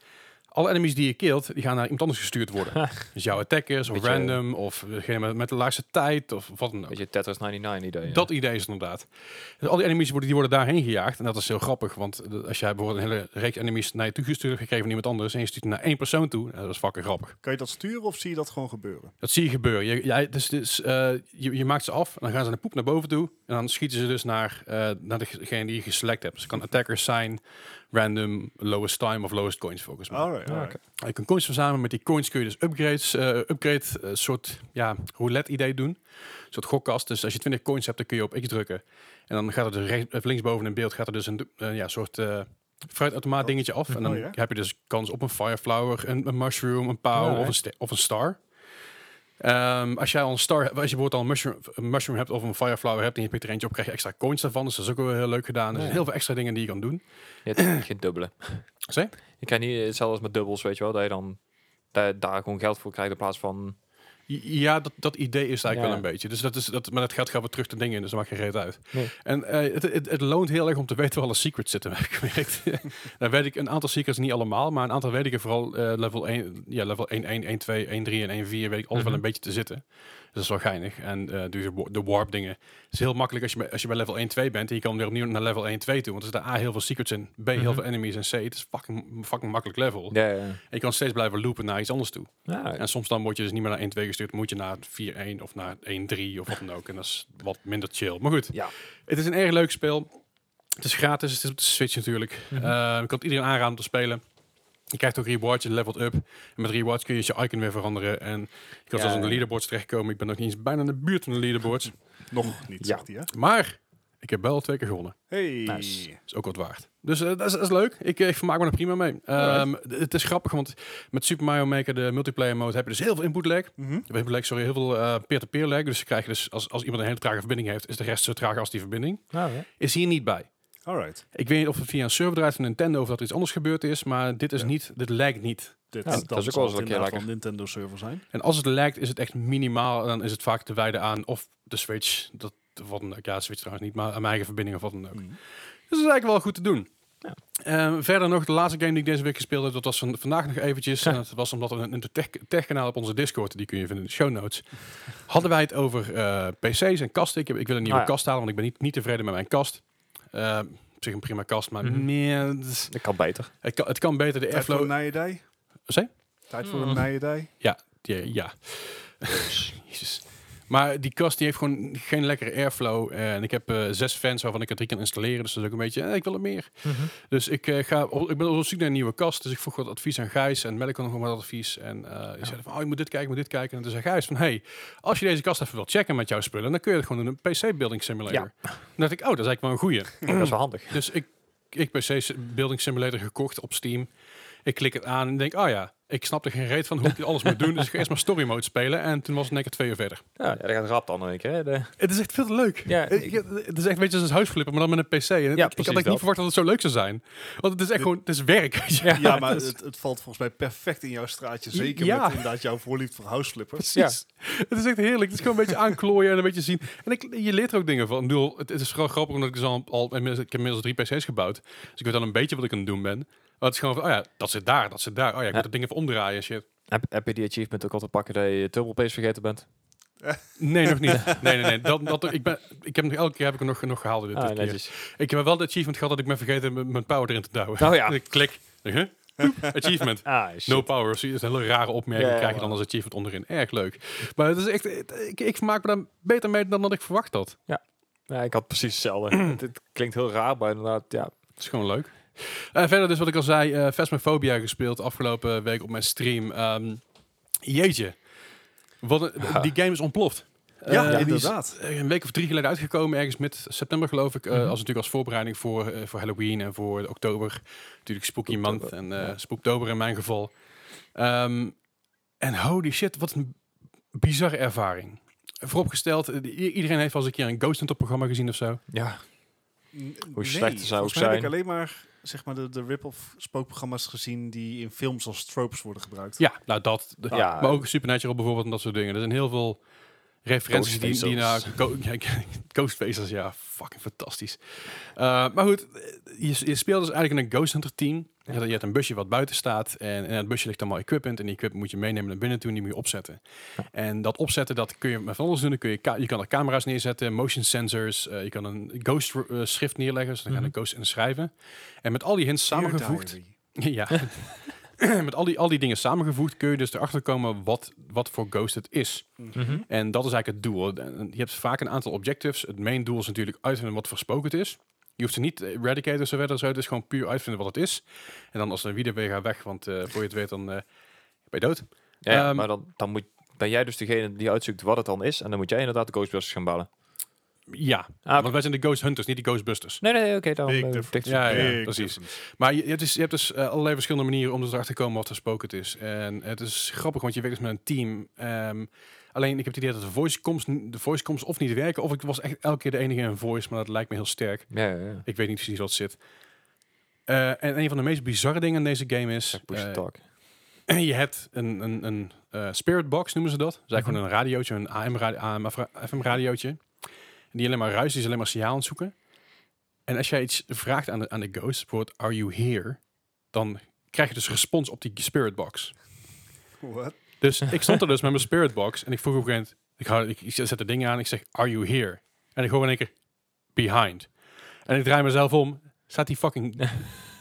Alle enemies die je keelt, die gaan naar iemand anders gestuurd worden. dus jouw attackers, of Beetje- random, of degene met, met de laagste tijd, of wat dan ook. Beetje Tetris 99 idee. ja. Dat idee is het inderdaad. Dus al die enemies worden, die worden daarheen gejaagd. En dat is heel grappig, want eh, als jij bijvoorbeeld een hele reeks enemies naar je toe gestuurd hebt gekregen van iemand anders, en je stuurt naar één persoon toe, nou, dat is fucking grappig. Kan je dat sturen of zie je dat gewoon gebeuren? Dat zie je gebeuren. Je, jij- dus, dus, eh, je, je maakt ze af, en dan gaan ze naar poep naar boven toe. En dan schieten ze dus naar, eh, naar degene die je geselect hebt. Dus het kan attackers zijn, random, lowest time of lowest coins volgens mij. Alright, Ja, alright. oké. Je Eh, kan coins verzamelen. Met die coins kun je dus upgrades, eh, upgrade, eh, soort ja, roulette idee doen. Een soort gokkast. Dus als je 20 coins hebt, dan kun je op X drukken. En dan gaat er dus rechts, of linksboven in beeld gaat er dus een eh, ja, soort eh fruitautomaat dingetje af. En dan Oh, ja? heb je dus kans op een fireflower, een, een mushroom, een pauw Ja, of, hè? een ster- of een star. Ehm, als jij al een star, hebt- als je bijvoorbeeld al een mushroom, een mushroom hebt of een fireflower hebt en je pikt er eentje op, krijg je extra coins daarvan. Dus dat is ook wel heel leuk gedaan. Er zijn Ja. heel veel extra dingen die je kan doen. Je hebt geen dubbele. Zeg? Je kan niet hetzelfde als met dubbels, weet je wel, dat je dan daar, daar gewoon geld voor krijgt in plaats van... Ja, dat, dat idee is eigenlijk Ja. wel een beetje. Dus dat is, dat, maar dat gaat gaan we terug te dingen in, dus dat maakt geen reet uit. Nee. En eh, het, het, het loont heel erg om te weten waar alle secrets zitten, heb ik gemerkt. nou weet ik een aantal secrets niet allemaal, maar een aantal weet ik er vooral eh, level 1, ja, level 1, 1, 1, 2, 1, 3 en 1, 4 weet ik alles wel Mhm. een beetje te zitten. dat is wel geinig. En eh, dus de wa- de warp dingen. Het is heel makkelijk als je, bij- als je bij level 1, 2 bent en je kan weer opnieuw naar level 1, 2 toe. Want er zitten A heel veel secrets in, B heel Mhm. veel enemies en C. Het is fucking, fucking makkelijk level. Ja, ja. En je kan steeds blijven loopen naar iets anders toe. Ja, En soms dan word je dus niet meer naar 1-2 gestuurd, moet je naar 4-1 of naar 1-3 of wat dan ook. En dat is wat minder chill. Maar goed, Ja. het is een erg leuk spel. Het is gratis, het is op de Switch natuurlijk. Mhm. Eh, ik kan het iedereen aanraden om te spelen. Je krijgt ook rewards, je levelt up. En met rewards kun je dus je icon weer veranderen. En je kan Ja. zelfs aan de leaderboards terechtkomen. Ik ben nog niet eens bijna in de buurt van de leaderboards. Nog niet, Ja. zegt hij, hè? Maar ik heb wel twee keer gewonnen. Hey. Nice. Is ook wat waard. Dus eh, dat, is, dat is leuk. Ik, eh, ik vermaak me er prima mee. Ehm, d- het is grappig, want met Super Mario Maker, de multiplayer mode, heb je dus heel veel input lag. Mhm. We hebben, like, sorry, heel veel eh, peer-to-peer lag. Dus, ze krijgen dus als, als iemand een hele trage verbinding heeft, is de rest zo traag als die Oh, verbinding. Ah, ja. Is hier niet bij. Alright. Ik weet niet of het via een server draait van Nintendo of dat er iets anders gebeurd is, maar dit is Ja. niet, dit lijkt niet. Dit, Ja, dat is ook wel eens een keer lekker. van Nintendo server zijn. En als het lijkt, is het echt minimaal. En dan is het vaak te wijden aan of de Switch, dat, wat dan ook. Ja, Switch trouwens niet, maar aan mijn eigen verbinding of wat dan ook. Mhm. Dus dat is eigenlijk wel goed te doen. Ja. Ehm, verder nog, de laatste game die ik deze week gespeeld heb, dat was van, vandaag nog eventjes. En dat was omdat we een een tech- tech-kanaal op onze Discord, die kun je vinden in de show notes. Hadden wij het over eh, PC's en kasten. Ik, heb, ik wil een nieuwe Ah, ja. kast halen, want ik ben niet, niet tevreden met mijn kast. Ehm, op zich een prima kast, maar Mhm. meer, het is- Dat kan beter. het, kan, het kan beter. De Tijd voor een Airflow... nijedij. Zeg? Tijd voor Mm. een nijedij. Ja. ja. Jezus. Maar die kast die heeft gewoon geen lekkere airflow. En ik heb eh, zes fans waarvan ik er drie kan installeren. Dus dat is ook een beetje, eh, ik wil er meer. Mhm. Dus ik, eh, ga, op- ik ben op zoek naar een nieuwe kast. Dus ik vroeg wat advies aan Gijs. En Melk had nog wat advies. En eh die zei van, oh, je moet dit kijken, je moet dit kijken. En toen zei Gijs van, hey, als je deze kast even wilt checken met jouw spullen... dan kun je het gewoon doen in een PC-building simulator. Toen dacht ik, oh, dat is eigenlijk wel een goeie. Dat is wel handig. Dus ik, ik PC-building simulator gekocht op Steam. Ik klik het aan en denk, ah ja, ik snap er geen reet van hoe ik dit alles moet doen. Dus ik ga eerst maar story mode spelen. En toen was het in één keer twee uur verder. Ja, ja, dat gaat rap dan in één keer. hè. De- Het is echt veel te leuk. Ja, Ik- ik- Het is echt een beetje als een huisflipper, maar dan met een PC. En ik- ik, had precies eigenlijk dat. niet verwacht dat het zo leuk zou zijn. Want het is echt gewoon, het is werk. weet je. Ja, maar het, het valt volgens mij perfect in jouw straatje. Zeker dus- Ja. met inderdaad jouw voorliefde voor houseflippers. Precies. Het is echt heerlijk. Het is gewoon een beetje aanklooien en een beetje zien. En ik, je leert er ook dingen van. Ik bedoel, het, het is gewoon grappig omdat ik dus al, al inmiddels- ik heb inmiddels drie PC's gebouwd. Dus ik weet al een beetje wat ik aan het doen ben. Maar het is gewoon van, oh ja, dat zit daar, dat zit daar. Oh ja, ik Ja. moet dat ding even omdraaien. Shit. Heb, heb je die achievement ook al te pakken dat je turbo pace vergeten bent? Nee, nog niet. Nee, nee, nee. Dat, dat, ik ben, ik heb, nog- elke keer heb ik er nog, nog gehaald. Dit, dit Ah, keer. netjes. Ik heb wel de achievement gehad dat ik ben vergeten m- mijn power erin te duwen. Oh ja. Dus ik klik. Huh? Oep, Achievement. Ah, shit. No power. Dat is een hele rare opmerking. Ja, ja, krijg je dan als achievement onderin. Erg leuk. Maar het is echt, ik, ik vermaak me daar beter mee dan dat ik verwacht had. Ja, ik had precies hetzelfde. het, het klinkt heel raar, maar inderdaad, ja. Het is gewoon leuk. Eh, verder dus wat ik al zei, eh Phasmophobia gespeeld afgelopen week op mijn stream. Ehm, jeetje, wat een- Ja. die game is ontploft. Eh, Ja, die is, inderdaad. eh, Een week of drie geleden uitgekomen, ergens mid september geloof ik. eh, Mhm. Als natuurlijk als voorbereiding voor, eh, voor Halloween en voor oktober. Natuurlijk spooky Spooktober, month en eh ja. spooktober in mijn geval. Ehm, en holy shit, wat een bizarre ervaring. Vooropgesteld, eh, i- iedereen heeft wel eens een keer een Ghost Hunter programma gezien of zo. Ja, N- Hoe slecht het zou volgens ook mij heb zijn. ik alleen maar zeg maar, de, de rip-off spookprogramma's gezien die in films als tropes worden gebruikt. Ja, nou dat. De- Ja. Maar ook Supernatural bijvoorbeeld en dat soort dingen. Er zijn heel veel referenties die, die naar Ghostfacers. go- ja, Ghostfacers, ja, fucking fantastisch. Eh, maar goed, je, je speelt dus eigenlijk in een Ghost Hunter team. Je, hebt, je hebt een busje wat buiten staat en in het busje ligt allemaal equipment. En die equipment moet je meenemen naar binnen toe en die moet je opzetten. En dat opzetten, dat kun je met van alles doen. Dan kun je, ka- je kan er camera's neerzetten, motion sensors. eh, je kan een ghost eh, schrift neerleggen, dus dan gaan Mhm. er ghosts in schrijven. En met al die hints Dear samengevoegd... Diary. Ja. Met al die, al die dingen samengevoegd kun je dus erachter komen wat, wat voor Ghost het is. Mhm. En dat is eigenlijk het doel. En- en Je hebt vaak een aantal objectives. Het main doel is natuurlijk uitvinden wat voor spook het is. Je hoeft ze niet te eradicaten of zo verder. of zo. Het is gewoon puur uitvinden wat het is. En dan als er weer weer gaat weg, want eh, voor je het weet dan eh, ben je dood. ja, ja, Ehm, maar dan, dan moet, ben jij dus degene die uitzoekt wat het dan is. En dan moet jij inderdaad de Ghostbusters gaan bellen. Ja, Ah, want wij zijn de Ghost Hunters, niet de Ghostbusters. Nee, nee, oké. dan Big eh, difference. dicht- Ja, ja, Big precies. difference. Maar je, je hebt dus, je hebt dus eh, allerlei verschillende manieren om dus erachter te komen wat voor spook het is. En het is grappig, want je werkt dus met een team. Ehm, alleen ik heb het idee dat de voice, comms, n- de voice comms of niet werken, of ik was echt elke keer de enige in voice, maar dat lijkt me heel sterk. ja, ja, ja. Ik weet niet precies wat het zit. Eh, en een van de meest bizarre dingen in deze game is... Zeg push to eh, talk. je hebt een, een, een eh, spirit box, noemen ze dat. Dat is Mhm. eigenlijk gewoon een radiootje, een AM, radio, AM ra- FM radiootje. Die alleen maar ruis, die is alleen maar signaal aan het zoeken. En als jij iets vraagt aan de, aan de ghost, bijvoorbeeld are you here? Dan krijg je dus respons op die spirit box. What? Dus ik stond er dus met mijn spirit box en ik vroeg op een gegeven moment, Ik, hou, ik, ik zet de ding aan, ik zeg, are you here? En ik hoor in één keer, behind. En ik draai mezelf om, staat die fucking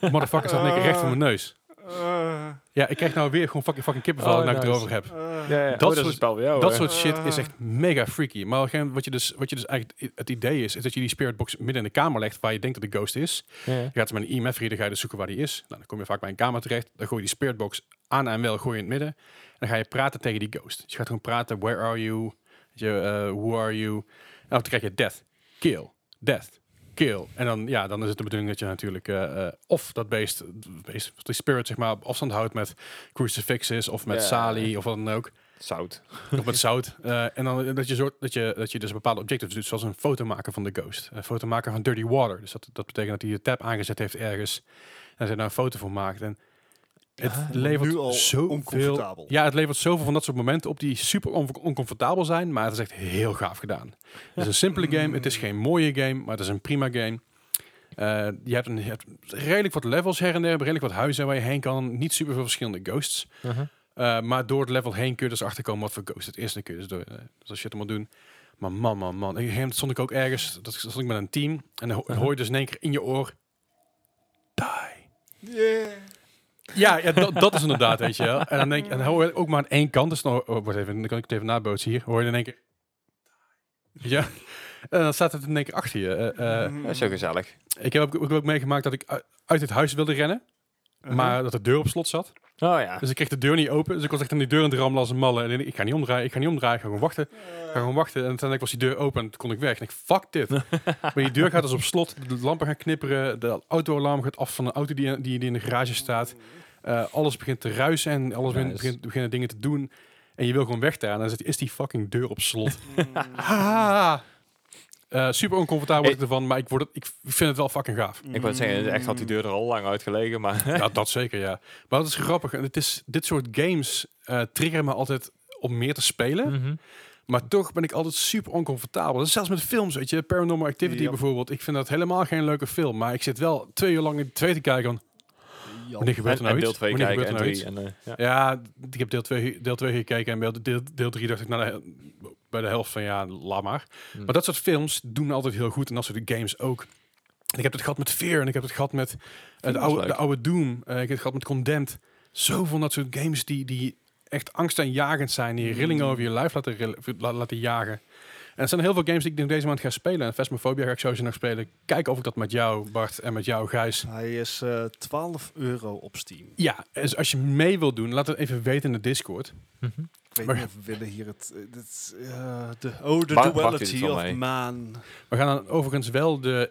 motherfucker staat in één keer recht voor mijn neus. Eh, Ja, ik krijg nou weer gewoon fucking, fucking kippenvel Oh, nou ik het nice. erover heb. eh, Ja, ja. Dat Oh, dat is soort- een spel bij jou. Dat hè? soort shit is Ah. echt mega freaky. Maar op een gegeven moment wat je dus, wat je dus eigenlijk, het idee is, is dat je die spiritbox midden in de kamer legt waar je denkt dat de ghost is. Ja. Je gaat met een IMF-reader ga je dus zoeken waar die is. Nou, dan kom je vaak bij een kamer terecht. Dan gooi je die spiritbox aan en wel, gooi je in het midden. En dan ga je praten tegen die ghost. Dus je gaat gewoon praten, where are you? Weet je, eh, who are you? En dan krijg je death, kill, death, kill. En dan, ja, dan is het de bedoeling dat je natuurlijk eh, eh, of dat beest, beest, die spirit zeg maar, op afstand houdt met crucifixes of met Ja. sali of wat dan ook. Zout. Nog met zout. Eh, en dan dat je, soort, dat, je, dat je dus bepaalde objectives doet, zoals een foto maken van de ghost. Een foto maken van dirty water. Dus dat, dat betekent dat hij de tab aangezet heeft ergens. En ze daar een foto van maakt. En het levert nu al zoveel... oncomfortabel. Ja, het levert zoveel van dat soort momenten op die super on- oncomfortabel zijn. Maar het is echt heel gaaf gedaan. Het is een simpele game. Het Mm. is geen mooie game, maar het is een prima game. Eh, je, hebt een, je hebt redelijk wat levels her en der. Redelijk wat huizen waar je heen kan. Niet super veel verschillende ghosts. Uh, maar door het level heen kun je dus achterkomen wat voor ghost het is. Dan kun je dus door, eh, dat shit allemaal doen. Maar man, man, man. Ik, hem stond ik ook ergens, dat stond ik met een team. En dan ho- hoor je dus in één keer in je oor, die. Yeah. Ja, ja dat, dat is inderdaad, weet je wel. En dan, denk, en dan hoor je ook maar aan één kant. Dus dan, oh, wacht even, dan kan ik het even nabootsen hier. Hoor je in één keer, die. Ja. En dan staat het in één keer achter je. Eh, eh, Mm. Dat is zo gezellig. ik heb ook, ik heb ook meegemaakt dat ik u- uit het huis wilde rennen. Uh-huh. Maar dat de deur op slot zat. Oh ja. Dus ik kreeg de deur niet open. Dus ik was echt aan die deur aan het rammelen als een malle. En ik ik ga niet omdraaien, ik ga niet omdraaien, ik ga gewoon wachten. Ik ga gewoon wachten. En uiteindelijk was die deur open en toen kon ik weg. En ik, fuck dit. maar die deur gaat dus op slot. De lampen gaan knipperen. De autoalarm gaat af van de auto die, die, die in de garage staat. Eh, alles begint te ruisen en alles begint- Nice. begint, beginnen dingen te doen. En je wil gewoon weg daar. En dan zit- is die fucking deur op slot. Ah. Eh, super oncomfortabel word ik ervan, maar ik, word het, ik vind het wel fucking gaaf. Ik wou het zeggen, echt had die deur er al lang uitgelegen, maar... Ja, dat zeker, ja. Maar dat is grappig. En het is, dit soort games eh triggeren me altijd om meer te Mm. spelen. Maar toch ben ik altijd super oncomfortabel. Dus zelfs met films, weet je. Paranormal Activity Ja. bijvoorbeeld. Ik vind dat helemaal geen leuke film. Maar ik zit wel twee uur lang in de twee te kijken. Van, wanneer gebeurt er En, nou en deel iets? 2 Wanneer kijken en gebeurt er nou 3. iets? En, eh, ja. Ja, d- ik heb deel 2 deel twee gekeken. En bij deel, deel 3 dacht ik nou, eh, bij de helft van ja, laat maar. Hmm. Maar dat soort films doen altijd heel goed. En dat soort games ook. En Ik heb het gehad met Fear. En ik heb het gehad met eh, de, was oude, leuk. de oude Doom. Eh, ik heb het gehad met Condemned. Zoveel van dat soort games die, die echt angstaanjagend zijn. Die rillingen Hmm. over je lijf laten, rillen- la- laten jagen. En er zijn heel veel games die ik denk deze maand ga spelen. En Phasmophobia ga ik sowieso nog spelen. Kijk of ik dat met jou, Bart, en met jou, Gijs, Hij is eh 12 euro op Steam. ja, dus als je mee wilt doen, laat het even weten in de Discord. Ik weet Maar- niet of we willen hier het... eh, dit, eh, de, oh, de Waar- wacht duality jullie van of mij? man. We gaan dan overigens wel de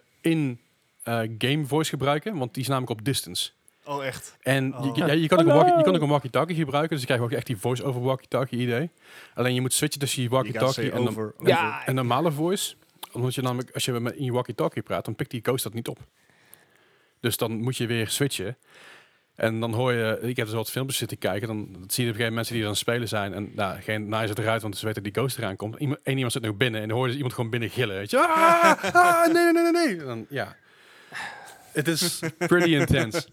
in-game voice gebruiken, want die is namelijk op distance. Oh, echt. En je- Oh. je, ja, je, kan ook een walkie, je kan ook een walkie-talkie gebruiken, dus je krijgt ook echt die voice-over walkie-talkie idee. Alleen je moet switchen tussen je You gotta say walkie-talkie en, de- over, over. Ja. en normale voice. Omdat je namelijk, als je met in je walkie-talkie praat, dan pikt die ghost dat niet op. Dus dan moet je weer switchen. En dan hoor je, ik heb dus wat filmpjes zitten kijken, dan zie je op een gegeven moment mensen die er aan het spelen zijn. En nou, geen naai zit eruit, want ze weten dat die ghost eraan komt. Eén iemand zit nog binnen en dan hoor je dus iemand gewoon binnen gillen. Weet je, ah, ah, nee, nee, nee, nee, nee. En Dan, ja. Het is pretty intense.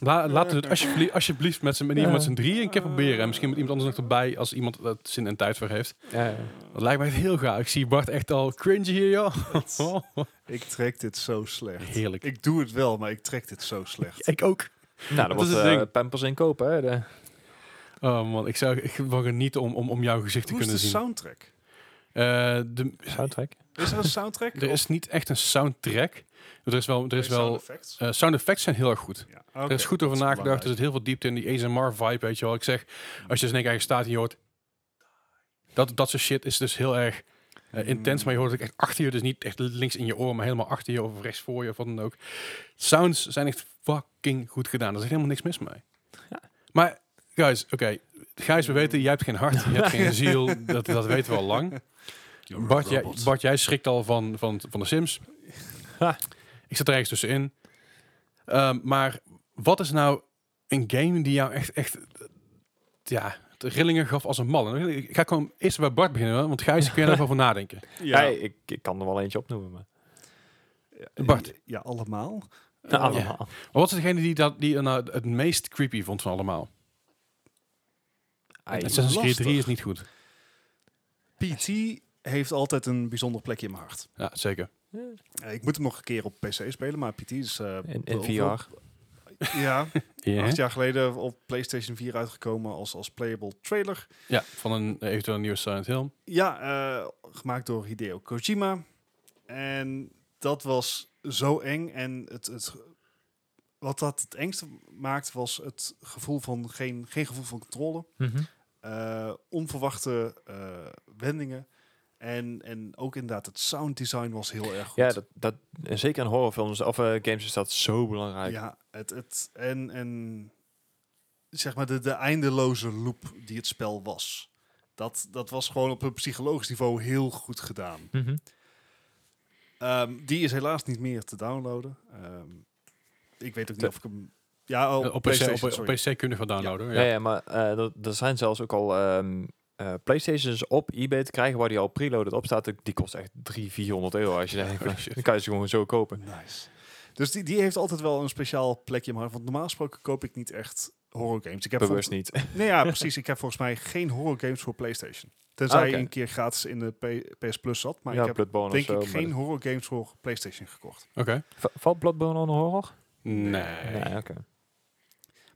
La, laten we het alsjeblieft, alsjeblieft met z'n in ieder geval met z'n drieën een keer proberen. En misschien met iemand anders nog erbij, als iemand er zin en tijd voor heeft. Ja, ja. Dat lijkt mij echt heel gaaf. Ik zie Bart echt al cringe hier, joh. Ik trek dit zo slecht. Heerlijk. Ik doe het wel, maar ik trek dit zo slecht. Ik ook. Dat Nou, dan is wordt het eh ding. Pampers in kopen, hè. De, Oh man, ik zou echt wel genieten om, om, om jouw gezicht te Hoe is de kunnen zien. soundtrack? Eh, de, soundtrack. Is er een soundtrack? er is niet echt een soundtrack. Er is wel... Er is wel Sound effects? eh, sound effects zijn heel erg goed. Ja, Er is goed over dat is nagedacht. Er zit heel veel diepte in die ASMR-vibe, weet je wel. Ik zeg, als je dus in één keer ergens staat en je hoort... Dat, dat soort shit is dus heel erg Hmm. eh, intens. Maar je hoort het ook echt achter je. Dus niet echt links in je oor, maar helemaal achter je of rechts voor je of wat dan ook. Sounds zijn echt fucking goed gedaan. Er is echt helemaal niks mis mee. Maar, guys, oké. Gijs, we weten, jij hebt geen hart, je hebt geen ziel. Dat, dat weten we al lang. a Bart, jij, robot. Bart, jij schrikt al van, van, van de Sims. Ha. Ik zat er ergens tussenin. Ehm, maar wat is nou een game die jou echt, echt eh, ja, de rillingen gaf als een mal? En Ik ga gewoon eerst bij Bart beginnen, want Gijs, kun je daarvan nadenken? Ja, Ja, ik, ik kan er wel eentje opnoemen, maar... ja, Bart. eh, Ja, allemaal. Ja, Eh, allemaal. Maar wat is degene die, dat, die er nou het meest creepy vond van allemaal? Ai. Ah, Assassin's Creed lastig. 3 is niet goed. PT heeft altijd een bijzonder plekje in mijn hart. Ja, zeker. Eh, Ik moet hem nog een keer op PC spelen, maar PT is... eh, In, in op- VR. Ja, Ja. acht jaar geleden op PlayStation 4 uitgekomen als, als playable trailer. Ja, van een eh, eventueel nieuwe Silent Hill. Ja, eh, gemaakt door Hideo Kojima. En dat was zo eng. En het, het, wat dat het engste maakt, was het gevoel van geen, geen gevoel van controle. Eh, onverwachte eh, wendingen. En, en ook inderdaad, het sound design was heel erg goed. Ja, dat, dat, en zeker in horrorfilms of eh, games is dat zo belangrijk. Ja, het, het, en, en zeg maar de, de eindeloze loop die het spel was. Dat, dat was gewoon op een psychologisch niveau heel goed gedaan. Mhm. Ehm, die is helaas niet meer te downloaden. Ehm, ik weet ook niet Te- of ik hem... Ja, oh, Eh, op, PC, PlayStation, op, op sorry. PC kun je wel downloaden. Ja, Ja. ja. maar eh, dat, er zijn zelfs ook al ehm, eh, Playstations op eBay te krijgen waar die al preloaded op staat. Die kost echt 300, 400 euro als je denkt. Holy shit. Dan kan je ze gewoon zo kopen. Nice. Dus die, die heeft altijd wel een speciaal plekje in mijn hart. Want normaal gesproken koop ik niet echt horror games. Ik heb Bewust niet. vol- nee, ja, precies. Ik heb volgens mij geen horror games voor PlayStation. Tenzij Ah, oké. een keer gratis in de P- PS Plus zat. Maar ja, ik heb Bloodborne denk of zo. ik maar geen horror games voor PlayStation gekocht. Oké. dat- Va- Valt Bloodborne onder horror? Nee. Nee, oké.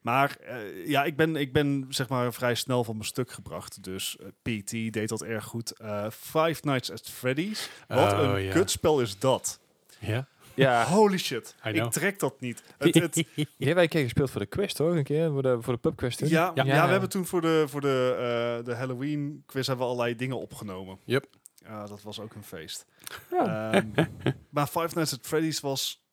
Maar eh, ja, ik ben, ik ben zeg maar vrij snel van mijn stuk gebracht. Dus eh, PT deed dat erg goed. Eh, Five Nights at Freddy's. Wat Oh, een ja. kutspel is dat. Ja? Ja, Holy shit. I Ik know. trek dat niet. Het, het, die hebben wij een keer gespeeld voor de quiz, toch? Een keer voor de, voor de pubquiz toen. ja, ja. Ja. we hebben toen voor de, voor de, eh, de Halloween quiz hebben we allerlei dingen opgenomen. Yep. Ja, dat was ook een feest. Ja. Ehm, maar Five Nights at Freddy's was...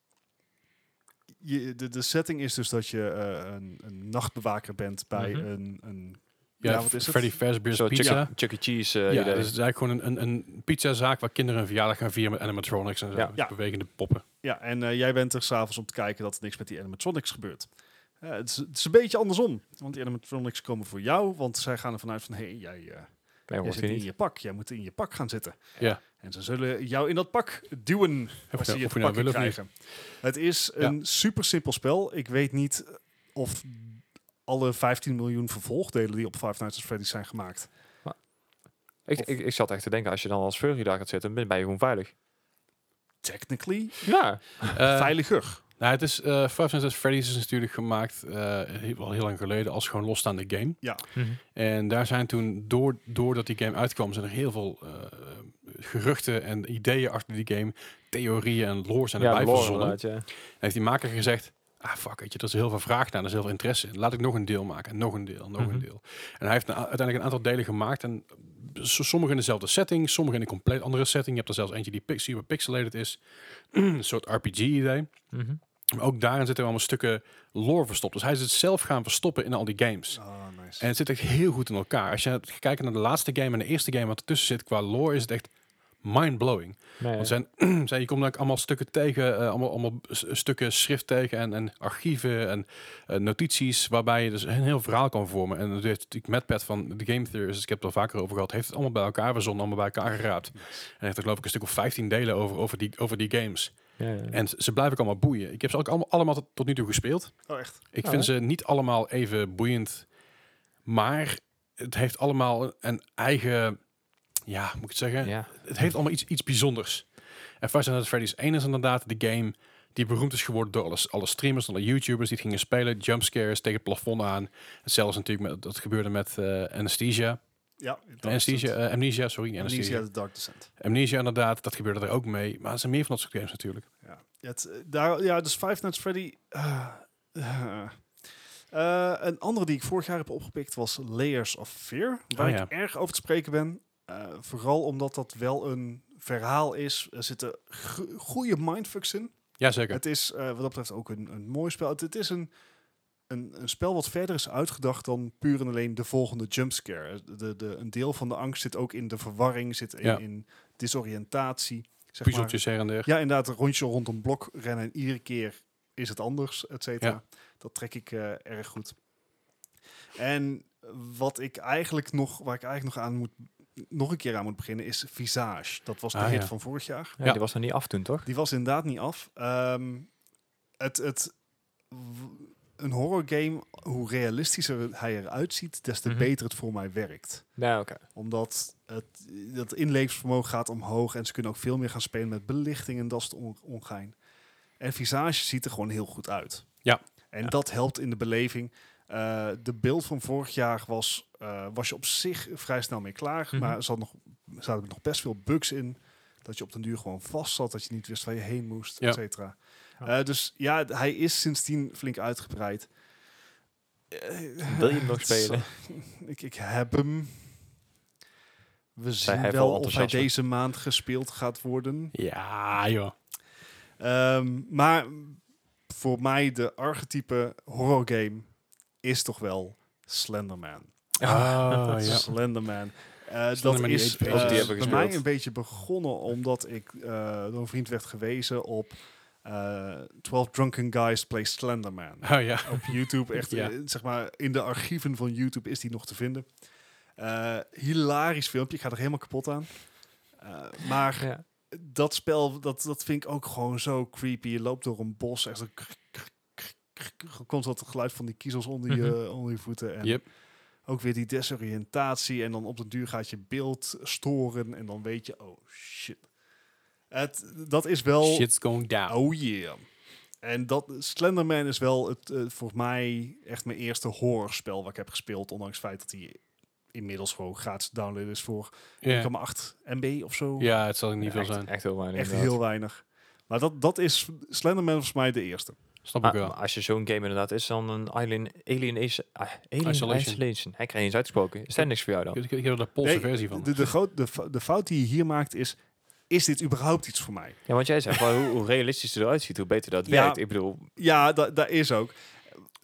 Je, de, de setting is dus dat je eh, een, een nachtbewaker bent bij Mhm. een, een... Ja, Ja, wat is het? Freddy Fazbear's Zo Pizza. Chuck, Chuck E. Cheese eh, ja, idee. dus het is eigenlijk gewoon een, een, een pizzazaak waar kinderen een verjaardag gaan vieren met animatronics en zo. Ja. met Ja. Bewegende poppen. Ja, en eh, jij bent er s'avonds om te kijken dat er niks met die animatronics gebeurt. Eh, het, is, het is een beetje andersom. Want die animatronics komen voor jou, want zij gaan ervan uit van... hé, hey, jij, eh, nee, jij wordt zit hier niet in niet. je pak. Jij moet in je pak gaan zitten. Ja. En ze zullen jou in dat pak duwen als nou- ze je of het je nou pakken wil of niet. krijgen. Het is Ja. een super simpel spel. Ik weet niet of alle 15 miljoen vervolgdelen die op Five Nights at Freddy's zijn gemaakt. Ik, ik, ik zat echt te denken, als je dan als furry daar gaat zitten, ben ben je gewoon veilig. Technically Ja. Eh, veiliger. nou, het is, eh Five Nights at Freddy's is natuurlijk gemaakt eh, heel- wel heel lang geleden als gewoon losstaande game. Mhm. En daar zijn toen, door, doordat die game uitkwam, zijn er heel veel eh, geruchten en ideeën achter die game, theorieën en lore zijn erbij lore verzonnen. inderdaad, ja. En heeft die maker gezegd, ah fuck, weet je, er is heel veel vraag naar, er is heel veel interesse in. Laat ik nog een deel maken, en nog een deel, nog Mhm. een deel. En hij heeft een a- uiteindelijk een aantal delen gemaakt en s- sommige in dezelfde setting, sommige in een compleet andere setting. Je hebt er zelfs eentje die pix- super pixelated is, een soort RPG-idee. Mhm. Maar ook daarin zitten allemaal stukken lore verstopt. Dus hij is het zelf gaan verstoppen in al die games. Ah, nice. En het zit echt heel goed in elkaar. Als je het- gaat kijken naar de laatste game en de eerste game wat ertussen zit qua lore, is het echt mind-blowing. Nee, Want zijn, zijn, je komt ook allemaal stukken tegen, eh, allemaal, allemaal s- stukken schrift tegen en, en archieven en eh, notities, waarbij je dus een heel verhaal kan vormen. En dat heeft natuurlijk Madpad van de Game Theorist, ik heb het al vaker over gehad, heeft het allemaal bij elkaar verzonnen, allemaal bij elkaar geraapt. En heeft er geloof ik een stuk of 15 delen over, over, die, over die games. ja, ja. En ze- ze blijven ook allemaal boeien. Ik heb ze ook allemaal, allemaal tot- tot nu toe gespeeld. oh, echt. Ik Ja, vind ze niet allemaal even boeiend. Maar het heeft allemaal een eigen... Ja, moet ik het zeggen? ja. Het heeft allemaal iets, iets bijzonders. En Five Nights at Freddy's 1 is inderdaad de game die beroemd is geworden door alle, alle streamers, alle YouTubers die het gingen spelen. Jumpscares tegen het plafond aan. Zelfs natuurlijk, met, dat gebeurde met eh, Anesthesia. Ja, Dark Anesthesia, Descent. eh, amnesia, sorry. niet Amnesia Anesthesia. The Dark Descent. Amnesia inderdaad, dat gebeurde er ook mee. Maar er zijn meer van dat soort games natuurlijk. Ja, het, eh, daar, ja dus Five Nights at Freddy. eh, eh. Eh, een andere die ik vorig jaar heb opgepikt was Layers of Fear. Waar Oh, ja. ik erg over te spreken ben. Eh, vooral omdat dat wel een verhaal is. Er zitten go- goede mindfucks in. Jazeker. Het is eh, wat dat betreft ook een, een mooi spel. Het, het is een, een, een spel wat verder is uitgedacht dan puur en alleen de volgende jumpscare. Eh, De, de, een deel van de angst zit ook in de verwarring, zit in, Ja. in disoriëntatie. Zeg maar, Puzzeltjes her en der. ja, inderdaad, een rondje rond een blok rennen en iedere keer is het anders, et cetera. Dat trek ik eh, erg goed. En wat ik eigenlijk nog, waar ik eigenlijk nog aan moet, nog een keer aan moet beginnen, is Visage. Dat was de Ah, hit ja. van vorig jaar. Ja, Ja. Die was nog niet af toen, toch? Die was inderdaad niet af. Ehm, het, het, w- een horror game, hoe realistischer hij eruit ziet, des te Mhm. beter het voor mij werkt. Nou, oké. Omdat het dat inlevingsvermogen gaat omhoog en ze kunnen ook veel meer gaan spelen met belichting en dat soort on- ongein. En Visage ziet er gewoon heel goed uit. Ja. En Ja. dat helpt in de beleving. Eh, de beeld van vorig jaar was, eh, was je op zich vrij snel mee klaar, Mhm. maar er zat nog, er zaten nog best veel bugs in. Dat je op den duur gewoon vast zat, dat je niet wist waar je heen moest, Ja. et cetera. Ja. Eh, dus ja, d- hij is sindsdien flink uitgebreid. Eh, Wil je hem nog het is- spelen? ik, ik heb hem. We zien hij wel vol of hij enthousiasme. deze maand gespeeld gaat worden. Ja, joh. Ehm, maar voor mij de archetype horror game is toch wel Slenderman. Oh, ja. Slenderman. Eh, Slenderman dat die E is eet eh, ook die hebben bij gespeeld. mij een beetje begonnen omdat ik eh, door een vriend werd gewezen op eh 12 Drunken Guys Play Slenderman. Oh, ja. op YouTube. Echt, Ja. eh, zeg maar, in de archieven van YouTube is die nog te vinden. Eh, hilarisch filmpje. Ik ga er helemaal kapot aan. Eh, maar Ja. dat spel, dat, dat vind ik ook gewoon zo creepy. Je loopt door een bos. Echt zo krik, krik, krik, krik, constant het geluid van die kiezels onder je, onder je voeten. En Mhm. Yep. ook weer die desoriëntatie. En dan op den duur gaat je beeld storen. En dan weet je, oh shit. Het, dat is wel... Shit's going down. Oh yeah. En dat Slenderman is wel het, eh, voor mij echt mijn eerste horrorspel wat ik heb gespeeld. Ondanks het feit dat hij inmiddels gewoon gratis te downloaden is voor Ja. 1,8 MB of zo. ja, het zal er niet Ja, veel echt, zijn. Echt heel weinig. Echt inderdaad. heel weinig. Maar dat, dat is Slenderman volgens mij de eerste. Snap ik Ah, Maar- wel. maar als je zo'n game inderdaad is, dan een Alien, alien, is, ah, alien Isolation. Isolation. Hij krijgt eens uitgesproken. Is daar niks voor jou dan? Ik, ik, ik heb er de Poolse Nee, versie van. De, de, groot, de, fou- de fout die je hier maakt is, is dit überhaupt iets voor mij? Ja, want jij zegt, wel, hoe, hoe realistisch het eruit ziet, hoe beter dat Ja. werkt. Ik bedoel, Ja, da- daar is ook.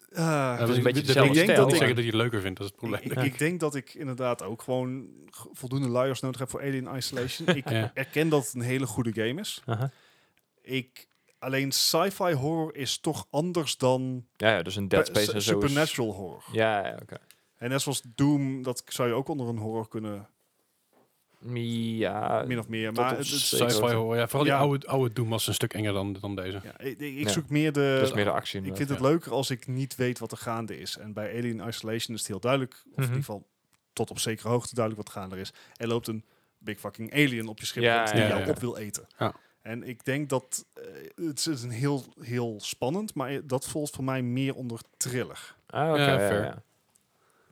Eh, Ja, is een beetje dat ik hetzelfde denk stijl, dat ik maar- zeggen dat hij het leuker vindt, dat is het probleem. Ik, ik denk dat ik inderdaad ook gewoon g- voldoende luiers nodig heb voor Alien Isolation. ik Ja. erken dat het een hele goede game is. aha. Ik, alleen sci-fi horror is toch anders dan ja, ja, dus een Dead pe- Space en su- zo. is- supernatural horror. Ja, ja, oké. En net zoals Doom, dat zou je ook onder een horror kunnen, Ja, min of meer. tot Maar op het, het- zekere- Sci-fi hoor. Ja, vooral die Ja. oude, oude Doom was een stuk enger dan, dan deze. ja, ik, ik Ja. zoek meer de... dat is meer de actie. ik inderdaad, vind het ja. leuker als ik niet weet wat er gaande is. En bij Alien Isolation is het heel duidelijk, of in Mhm. ieder geval tot op zekere hoogte duidelijk wat gaande is. Er loopt een big fucking alien op je schip Ja, rond die ja, jou ja. op wil eten. Ja. En ik denk dat eh, het is een heel, heel spannend, maar dat volgt voor mij meer onder thriller. ja. Ah, oké, Ja, ja, fair. ja.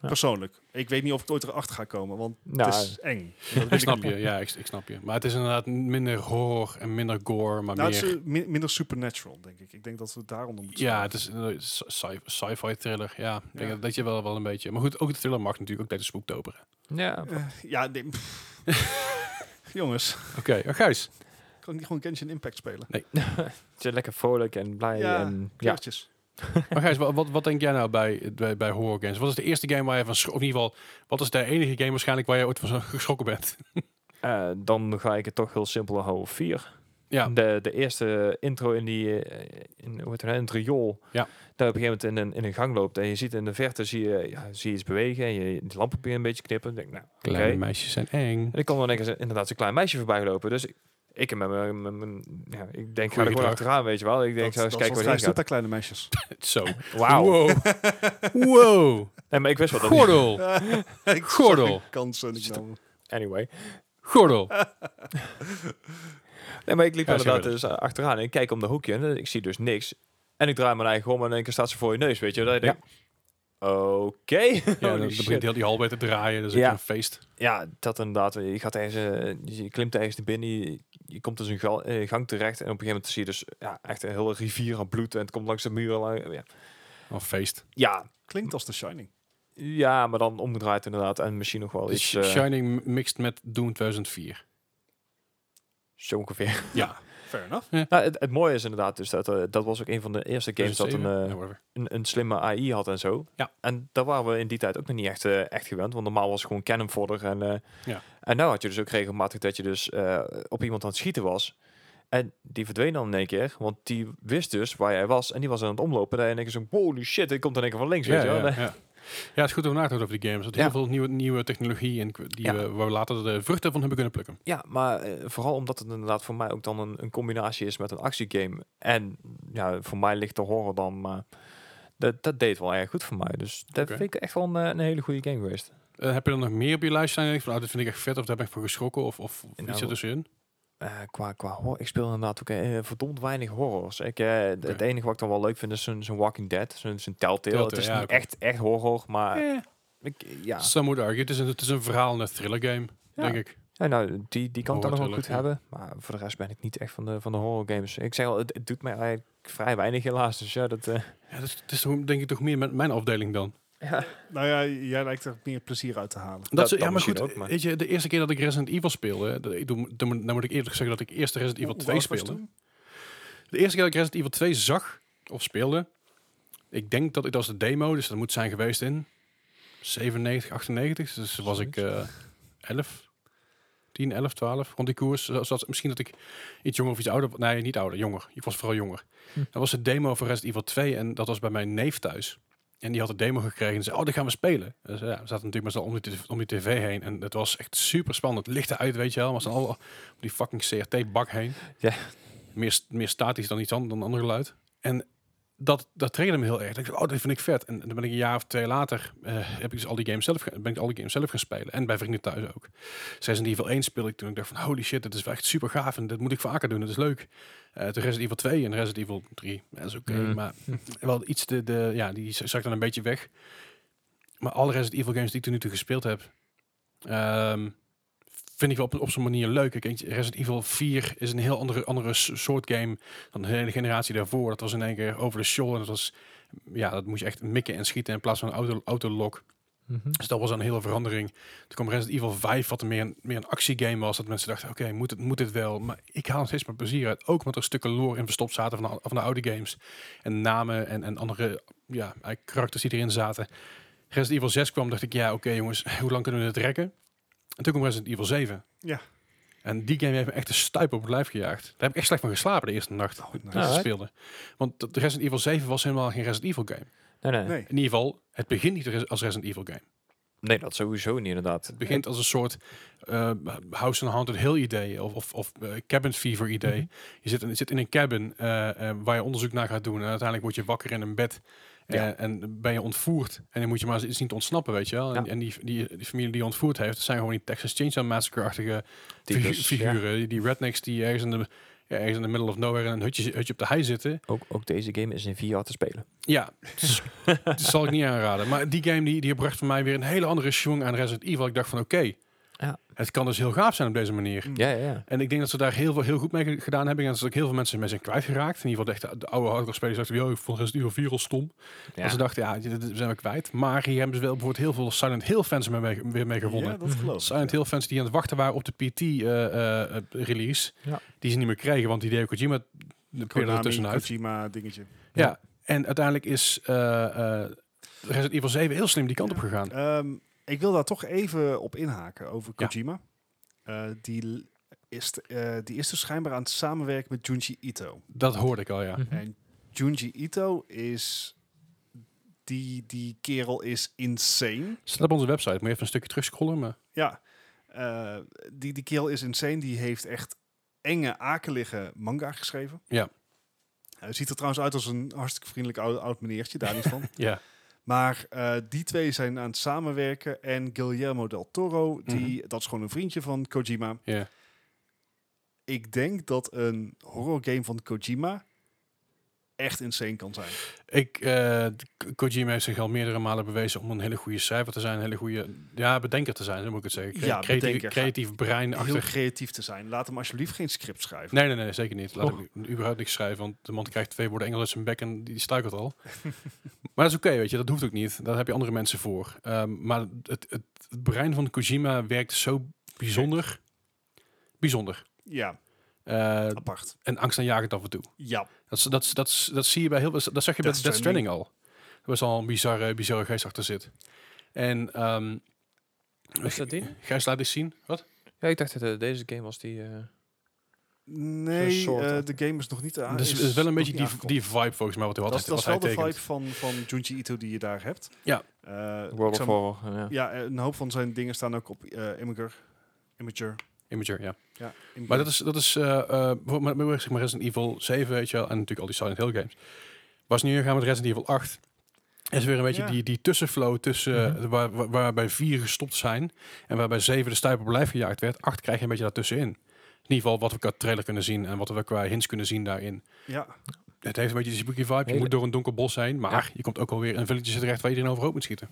Ja. Persoonlijk. Ik weet niet of ik ooit erachter ga komen, want Nou, het is eng. Dat wil eh, Ik ik snap niet. je, ja, ik, ik snap je. Maar het is inderdaad minder horror en minder gore, maar Nou, het meer... is eh, min- minder supernatural, denk ik. Ik denk dat we het daaronder moeten ja, het is een sci- sci-fi thriller. Ja, ik denk Ja. dat- dat je wel, wel een beetje... Maar goed, ook de thriller mag natuurlijk ook deze spook operen. ja. Eh, ja, nee, pff. Jongens, Oké, eh, Gijs. kan ik niet gewoon Genshin Impact spelen? Het is lekker vrolijk en blij. Ja, en, ja. Kleurtjes. Maar Gijs, wa- wat, wat denk jij nou bij, bij, bij horror games? Wat is de eerste game waar je van schrok... Of in ieder geval, wat is de enige game waarschijnlijk waar je ooit van geschrokken bent? Eh, dan ga ik het toch heel simpel houden. op Vier. Ja, De, de eerste intro in die eh, in, hoe heet het, in het riool. Ja. Daar op een gegeven moment in een, in een gang loopt. En je ziet in de verte zie je, ja, zie je iets bewegen. En je de lamp probeert een beetje knippen. En denk, nou, oké. kleine meisjes zijn eng. En ik kwam dan ineens inderdaad zo'n klein meisje voorbij lopen. Dus ik, ik, heb met mijn- met mijn- ja, ik denk, ga er gewoon gedrag. achteraan, weet je wel. Ik denk, zo eens kijken waar Gijs die doet gaat. daar kleine meisjes. Zo. Wauw. Wow. wow. Nee, maar ik wist wel dat niet. Gordel. Ik zag Gordel. een kans en ik Zit- nam hem. Anyway. Gordel. Nee, maar ik liep Ja, zo inderdaad werkt dus eh, achteraan. En ik kijk om de hoekje en eh, ik zie dus niks. En ik draai mijn eigen om en in één keer staat ze voor je neus, weet je. wel. Dat je Ja. denkt, oké. Ja, Holy dan shit. begint heel die hal weer te draaien. Dat is ook Ja. een feest. Ja, dat inderdaad. Je, gaat ergens, eh, je klimt ergens naar binnen, je, je komt dus een gal- eh, gang terecht. En op een gegeven moment zie je dus ja, echt een hele rivier aan bloed. En het komt langs de muren. lang- ja. Een Oh, feest. ja, Klinkt als The Shining. ja, maar dan omgedraaid inderdaad. En misschien nog wel Dus iets... eh, Shining mixed met Doom 2004. zo ongeveer. Ja. Fair enough. nou, het, het mooie is inderdaad dus dat... eh, dat was ook een van de eerste games dat een, 2007? eh, Ja, whatever. een, een slimme AI had en zo. Ja. En daar waren we in die tijd ook nog niet echt, eh, echt gewend. Want normaal was het gewoon cannon En, eh, Ja. en nou had je dus ook regelmatig dat je dus eh, op iemand aan het schieten was. En die verdween dan in één keer. Want die wist dus waar jij was. En die was aan het omlopen. En dan denk je zo, holy shit, ik komt in één keer van links. ja, weet je wel. ja, ja. ja, het is goed om na te denken over die games. Er zit Ja. heel veel nieuwe, nieuwe technologie en die Ja. we, waar we later de vruchten van hebben kunnen plukken. Ja, maar eh, vooral omdat het inderdaad voor mij ook dan een, een combinatie is met een actiegame. En ja, voor mij ligt de horror dan. Maar dat, dat deed wel erg goed voor mij. Dus dat Oké. vind ik echt wel een, eh, een hele goede game geweest. Eh, heb je er nog meer op je lijst staan? en je denkt van, nou, dit vind ik echt vet, of daar ben ik van geschrokken, of, of Nou, iets ertussenin? Eh, qua, qua horror, ik speel inderdaad ook eh, verdomd weinig horrors. Ik, eh, d- Het Oké. enige wat ik dan wel leuk vind is zo'n zo'n Walking Dead, zo'n zo'n Telltale. Telltale, Het is ja, niet oké. echt, echt horror, maar ik, ja. Some would argue. Het is een, het is een verhaal en een thriller game, Ja. denk ik. Ja, nou, die, die kan ik dan nog wel goed Horror hebben. Maar voor de rest ben ik niet echt van de, van de horror games. Ik zeg al, het, het doet mij eigenlijk vrij weinig helaas. Dus ja, dat... eh, Ja, dat is, dat is toch- denk ik toch meer met mijn afdeling dan. Nou ja, jij lijkt er meer plezier uit te halen. Dat, ze- dat ja, maar misschien goed, ook, maar- Weet je, de eerste keer dat ik Resident Evil speelde, dat, ik doe- dan moet- dan moet ik eerlijk zeggen dat ik eerst Resident Evil Hoe 2 oud Oh, was je speelde. toen? De eerste keer dat ik Resident Evil 2 zag of speelde, ik denk dat ik dat was de demo, dus dat moet zijn geweest in 97, 98. Dus toen was ik eh 11, 10, 11, 12, rond die koers. Zo- zodat- misschien dat ik iets jonger of iets ouder, nee, niet ouder, jonger. Ik was vooral jonger. Hm. Dat was de demo voor Resident Evil 2 en dat was bij mijn neef thuis. En die had de demo gekregen en zei, oh, dat gaan we spelen. Dus ja, we zaten natuurlijk met z'n allen om die, t- om die tv heen. En het was echt super spannend. Het licht eruit, weet je wel. Maar ze allemaal om die fucking CRT-bak heen meer, st- meer statisch dan iets anders dan ander geluid. En dat, dat triggerde me heel erg. Ik dacht, oh, dit vind ik vet. En, dan ben ik een jaar of twee later eh, heb ik dus al die games zelf, ge- ben ik al die games zelf gaan spelen. En bij vrienden thuis ook. Resident Evil 1 speelde ik toen. Ik dacht van, holy shit, dit is wel echt super gaaf. En dit moet ik vaker doen. Het is leuk. Eh toen Resident Evil 2 en Resident Evil 3. Ja, dat is oké. Mm. Maar wel iets, de, de, ja, die z- zak dan een beetje weg. Maar alle Resident Evil games die ik tot nu toe gespeeld heb, ehm, vind ik wel op, op zijn manier leuk. Ik denk, Resident Evil 4 is een heel andere, andere s- soort game dan de hele generatie daarvoor. Dat was in één keer over de shoulder. En dat was, ja, dat moest je echt mikken en schieten in plaats van een auto, autolok. Mhm. Dus dat was een hele verandering. Toen kwam Resident Evil 5, wat meer een, meer een actiegame was. Dat mensen dachten, oké, moet, het, moet dit wel? Maar ik haal nog steeds mijn plezier uit. Ook omdat er stukken lore in verstopt zaten van de, van de oude games. En namen en, en andere ja, eigenlijk karakters die erin zaten. Resident Evil 6 kwam, dacht ik, ja, oké jongens, hoe lang kunnen we dit rekken? En toen kwam Resident Evil 7. Ja. En die game heeft me echt een stuip op het lijf gejaagd. Daar heb ik echt slecht van geslapen de eerste nacht. Oh, nice. toen ik het Alright. speelde. Want dat Resident Evil 7 was helemaal geen Resident Evil game. nee, nee. nee. Nee. In ieder geval, het begint niet als Resident Evil game. dat sowieso niet inderdaad. Het begint als een soort eh, House on Haunted Hill idee of, of, of eh, Cabin Fever idee. Mhm. je, zit in, je zit in een cabin eh, eh, waar je onderzoek naar gaat doen en uiteindelijk word je wakker in een bed eh, Ja. en ben je ontvoerd. En dan moet je maar eens zien te ontsnappen, weet je wel. En, Ja. en die, die, die familie die je ontvoerd heeft, dat zijn gewoon die Texas Chainsaw Massacre-achtige figu- Eh, Types, ja. figuren. Die- Die rednecks die ergens in de... ja, ergens in the middle of nowhere in een hutje, hutje op de hei zitten. Ook, ook deze game is in VR te spelen. Ja, s- dat zal ik niet aanraden. Maar die game die, die bracht voor mij weer een hele andere schwung aan Resident Evil. Ik dacht van oké, Ja. het kan dus heel gaaf zijn op deze manier. Mm. Ja, ja, ja. En ik denk dat ze daar heel veel heel goed mee ge- gedaan hebben. En dat ze ook heel veel mensen mee zijn kwijtgeraakt. In ieder geval echt de, de oude hardcore spelers dachten, yo, ik vond Resident Evil 4 al stom. En ze dachten, ja, dit, dit zijn we kwijt. Maar hier hebben ze wel bijvoorbeeld heel veel Silent Hill fans mee- mee- weer mee gewonnen. Ja, dat geloof ik. Silent Hill fans die aan het wachten waren op de eh, PT-release. Ja. Die ze niet meer kregen, want die Hideo Kojima de peerde er Konami, tussenuit. Kojima dingetje. Ja, en uiteindelijk is eh eh Resident Evil 7 heel slim die kant op gegaan. Ehm, ik wil daar toch even op inhaken over Ja. Kojima. Eh, die, l- is, t- eh, die is dus schijnbaar aan het samenwerken met Junji Ito. Dat hoorde ik al, ja. Mhm. En Junji Ito is... Die, die kerel is insane. Staat op onze website, moet je even een stukje terugscrollen. Maar... Ja, eh, die, die kerel is insane. Die heeft echt enge, akelige manga geschreven. Ja. Hij ziet er trouwens uit als een hartstikke vriendelijk oud, oud meneertje, daar niet van. Ja. Maar eh, die twee zijn aan het samenwerken. En Guillermo del Toro, die, Mhm. dat is gewoon een vriendje van Kojima. ja. Ik denk dat een horrorgame van Kojima echt insane kan zijn. Ik, eh, K- Kojima heeft zich al meerdere malen bewezen om een hele goede cijfer te zijn. Een hele goede, ja, bedenker te zijn, zo moet ik het zeggen. Cre- Ja, creatief, bedenker. creatief brein Heel achter. creatief te zijn. Laat hem alsjeblieft geen script schrijven. Nee, nee, nee, zeker niet. Laat Oh. Och. ik u- überhaupt niks schrijven, want de man krijgt twee woorden Engels uit zijn bek en die struikelt al. maar dat is oké, weet je, dat hoeft ook niet. Daar heb je andere mensen voor. Ehm, maar het, het, het brein van Kojima werkt zo bijzonder. Bijzonder. Ja, Eh, apart. en angstaanjagend af en toe. Ja, Dat, is- dat, is- dat, is- dat zie je bij heel veel. Dat zag je bij Death Death Stranding al. Er was al een bizarre, bizarre geest achter zit. En ehm Is dat die? Gijs laat eens zien. Wat? Ja, ik dacht dat eh, deze game was die... eh, Nee, Zo'n soort, eh, hè? de game is nog niet aan. dat Dus is, is wel een beetje die, aangekomen. die vibe volgens mij wat hij had. Dat, is- wat dat is hij wel de tekent. vibe van, van Junji Ito die je daar hebt. Ja. Eh, ik World of zou- Horror. Ja. Ja, eh, een hoop van zijn dingen staan ook op eh Imager. Imager. Imager, ja. Ja, Imager. Maar dat is, dat is eh eh, bijvoorbeeld met- met zeg maar Resident Evil 7, weet je wel, en natuurlijk al die Silent Hill games. Was nu gaan met Resident Evil 8. is weer een beetje Ja. die, die tussenflow tussen Mhm. eh, waar, waar- waarbij vier gestopt zijn en waarbij zeven de stijp op lijf gejaagd werd. Acht krijg je een beetje daartussenin. In ieder geval wat we qua trailer kunnen zien en wat we qua hints kunnen zien daarin. Ja, Het heeft een beetje die spooky vibe. Je Hele- moet door een donker bos heen, maar je komt ook alweer in een village terecht waar iedereen overhoop moet schieten.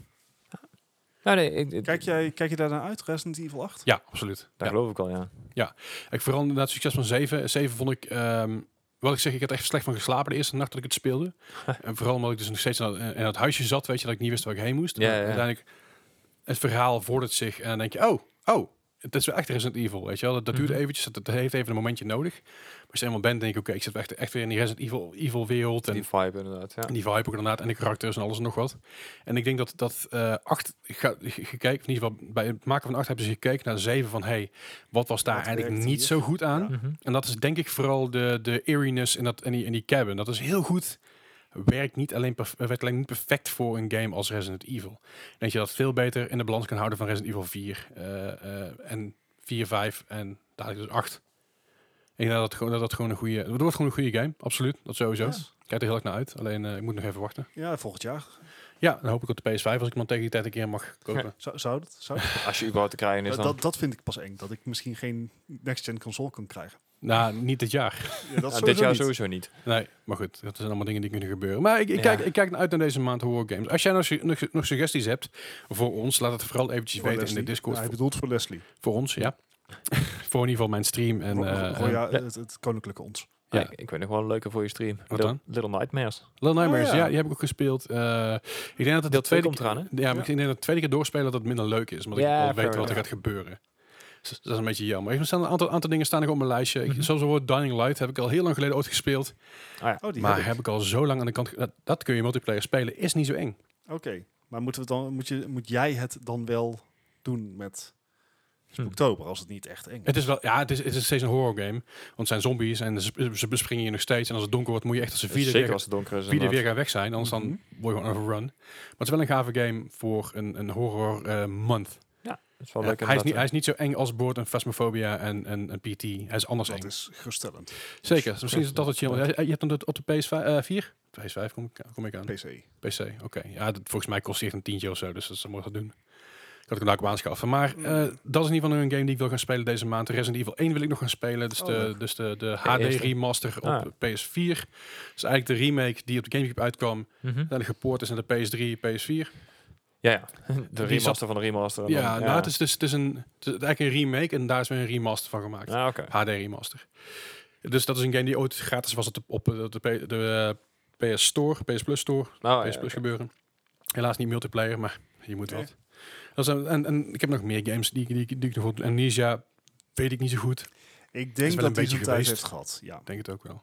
Nou, nee, ik, ik- kijk, jij, kijk je daar naar uit, Resident Evil 8? Ja, absoluut. daar Ja. geloof ik al, ja. Ik vooral inderdaad het succes van 7. 7 vond ik, ehm wat ik zeg, ik had echt slecht van geslapen de eerste nacht dat ik het speelde. en vooral omdat ik dus nog steeds in dat, in dat huisje zat, weet je, dat ik niet wist waar ik heen moest. Ja, Maar ja. Uiteindelijk, het verhaal vordert zich en dan denk je, oh, oh, het is wel echt Resident Evil, weet je wel. Dat, dat duurt Mhm. eventjes, dat, dat heeft even een momentje nodig. Maar als je eenmaal bent, denk ik, oké, ik zit echt, echt weer in die Resident Evil, Evil wereld. En Die vibe inderdaad, ja. en die vibe ook inderdaad. En de karakters en alles en nog wat. En ik denk dat, dat eh acht ga- ge- gekeken, of in ieder geval bij het maken van acht hebben ze gekeken naar zeven van hey, wat was daar Wat eigenlijk werkt niet hier? zo goed aan? Ja. Mhm. En dat is denk ik vooral de, de eeriness in, dat, in, die, in die cabin. Dat is heel goed. Werkt niet alleen, perf- eh, werkt alleen niet perfect voor een game als Resident Evil. Ik denk je dat veel beter in de balans kan houden van Resident Evil 4 eh, eh, en 4, 5 en dadelijk dus 8. Ik denk dat dat gewoon, dat dat gewoon een goede... Het wordt gewoon een goede game, absoluut. Dat sowieso. Ja. Ik kijk er heel erg naar uit. Alleen eh, ik moet nog even wachten. Ja, volgend jaar. Ja, dan hoop ik op de PS5 als ik hem dan tegen die tijd een keer mag kopen. Ja. Zou, zou dat? Zou Als je überhaupt te krijgen is dat, dan... dat, dat vind ik pas eng. Dat ik misschien geen next-gen console kan krijgen. Nou, niet dit jaar. Ja, dat Ja, is dit jaar sowieso. niet. sowieso niet. Nee, maar goed. Dat zijn allemaal dingen die kunnen gebeuren. Maar ik, ik, Ja. kijk, ik kijk uit naar deze maand horror games. Als jij nou su- nog, nog suggesties hebt voor ons, laat het vooral eventjes Voor weten Oh, Leslie. in de Discord. Ja, hij voor, bedoelt voor Leslie. voor ons, ja. voor in ieder geval mijn stream. En, Ro- eh, Ro- en- ja, ja. het, het koninklijke ons. Ja. Ja. Ik, ik weet nog wel een leuke voor je stream. Little, dan? Little Nightmares. Little Nightmares, Oh, ja. ja. die heb ik ook gespeeld. Eh, ik denk dat het Deel de 2 tweede komt eraan, hè? Ja, maar ik denk dat de tweede keer doorspelen dat het minder leuk is. Omdat Ja, ik wel fair weet wat er enough. gaat gebeuren. Dus dat is een beetje jammer. Er staan een aantal, aantal dingen staan nog op mijn lijstje. Ik- Mhm. Zoals het woord Dining Light heb ik al heel lang geleden ooit gespeeld. Oh, die maar heb ik. heb ik al zo lang aan de kant... ge- Dat, dat kun je multiplayer spelen, is niet zo eng. Oké, maar moeten we het dan, moet, je, moet jij het dan wel doen met Hm. oktober als het niet echt eng is? Het is wel... Ja, het is, het is steeds een horror game. Want het zijn zombies en ze, ze bespringen je nog steeds. En als het donker wordt, moet je echt als ze vierde Zeker weer, als het donker is. vierde weer inderdaad. gaan weg zijn. Anders dan Mhm. word je gewoon overrun. Maar het is wel een gave game voor een, een horror eh, month. Dat is wel Ja, leuk hij, is inderdaad, niet, ja. hij is niet zo eng als Board en Phasmophobia en, en, en PT. Hij is anders dat eng. is geruststellend. Zeker. Dus misschien is dat het Ja. chill. Je hebt hem op de PS5... eh, 4? PS5 kom ik, kom ik aan. PC. PC, oké. Ja, dat, volgens mij kost hij echt een tientje of zo, dus dat is mooi dat doen. Ik had ik hem daar ook op aanschaffen. Maar eh, dat is in ieder geval nu een game die ik wil gaan spelen deze maand. Resident Evil 1 wil ik nog gaan spelen. Dus Oh, de, leuk. dus de, de HD eerste. remaster op Ah. PS4. Dus eigenlijk de remake die op de Gamecube uitkwam. Mhm. Uiteindelijk gepoord is naar de PS3, PS4. Ja, ja. De Die remaster zat- van de remaster. en ja, dan- nou, het is, dus het is een, het is eigenlijk een remake en daar is weer een remaster van gemaakt. Ja, oké. HD remaster. Dus dat is een game die ooit gratis was op de, op de, de, P- de, eh, PS Store, PS Plus Store. Nou, PS ja, Plus oké. gebeuren. Helaas niet multiplayer, maar je moet Nee. wat. Dat is een- en, en ik heb nog meer games die, die, die ik nog goed... Amnesia weet ik niet zo goed. Ik Ik wel denk een dat hij beetje zijn tijd geweest. heeft gehad. Ja. denk het ook wel.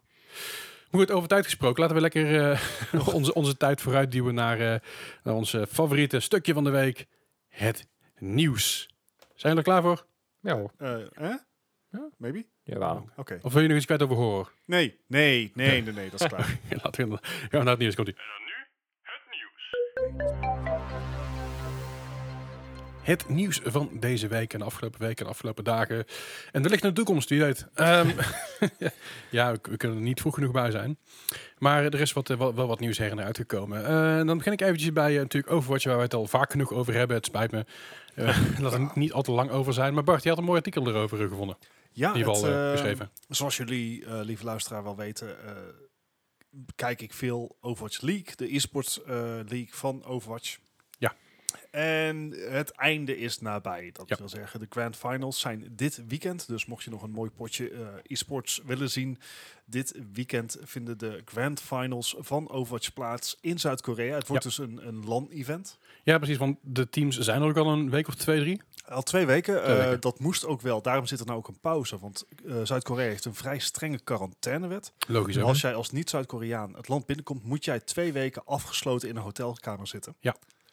Maar goed, over tijd gesproken. Laten we lekker Oh. eh, onze, onze tijd vooruit duwen naar, eh, naar ons eh, favoriete stukje van de week. Het nieuws. Zijn we er klaar voor? Ja hoor. Eh, hè? Ja. Maybe? Jawel. Oké. Of wil je nog iets kwijt over horror? Nee, nee, nee, nee, nee, dat is klaar. Laten we gaan we naar het nieuws. Komt ie. Het nieuws van deze week en de afgelopen week en de afgelopen dagen. En wellicht naar de toekomst, wie weet. Ehm, ja, we, we kunnen er niet vroeg genoeg bij zijn. Maar er is wat, eh, wel, wel wat nieuws her en der uitgekomen. Eh, dan begin ik eventjes bij eh, natuurlijk Overwatch, waar we het al vaak genoeg over hebben. Het spijt me eh, dat er niet al te lang over zijn. Maar Bart, je had een mooi artikel erover eh, gevonden. Ja, In ieder geval het, eh, eh, geschreven. Zoals jullie, eh, lieve luisteraar, wel weten, eh, kijk ik veel Overwatch League, de e-sports eh, league van Overwatch. Ja. En het einde is nabij. Dat Ja. wil zeggen, de grand finals zijn dit weekend. Dus mocht je nog een mooi potje eh, e-sports willen zien, dit weekend vinden de grand finals van Overwatch plaats in Zuid-Korea. Het wordt dus een, een LAN-event. Ja, precies, want de teams zijn er ook al een week of twee, drie. Al twee weken. Twee eh, weken. dat moest ook wel. Daarom zit er nou ook een pauze. Want eh, Zuid-Korea heeft een vrij strenge quarantainewet. Logisch ook. Als jij als niet-Zuid-Koreaan het land binnenkomt, moet jij twee weken afgesloten in een hotelkamer zitten.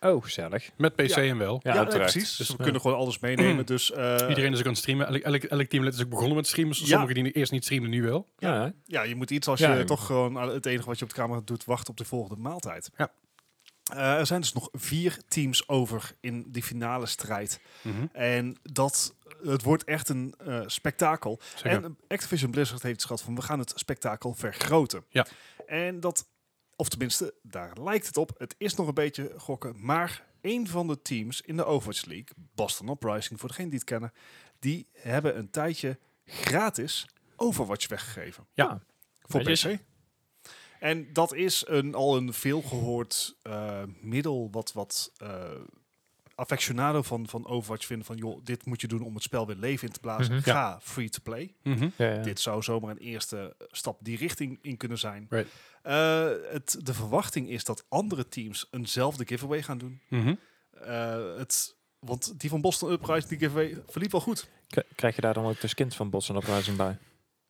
Oh, gezellig. Met PC Ja. en wel. Ja, nee, uiteraard. precies. Dus we Ja. kunnen gewoon alles meenemen. Dus eh, Iedereen is ook aan het streamen. Elk, elk, elk teamlid is ook begonnen met streamen. Ja. Sommigen die eerst niet streamen, nu wel. Ja, hè? ja, je moet iets als Ja, je ja. toch gewoon aan- het enige wat je op de kamer doet, wachten op de volgende maaltijd. Ja. Eh, er zijn dus nog vier teams over in die finale strijd. Mhm. En dat, het wordt echt een eh, spektakel. Zeker. eh, En Activision Blizzard heeft schat van we gaan het spektakel vergroten. Ja. En dat Of tenminste, daar lijkt het op. Het is nog een beetje gokken. Maar een van de teams in de Overwatch League, Boston Uprising, voor degenen die het kennen, die hebben een tijdje gratis Overwatch weggegeven. Ja. Ah, Voor dat is- PC. En dat is een, al een veelgehoord eh, middel wat, wat eh affectionado van, van Overwatch vinden. Van joh, dit moet je doen om het spel weer leven in te blazen. Mhm. Ja. Ga free to play. Mhm. Ja, ja. Dit zou zomaar een eerste stap die richting in kunnen zijn. Right. Eh, het, de verwachting is dat andere teams eenzelfde giveaway gaan doen. Mhm. Eh, het, want die van Boston Uprising, die giveaway, verliep wel goed. K- Krijg je daar dan ook de skins van Boston Uprising bij?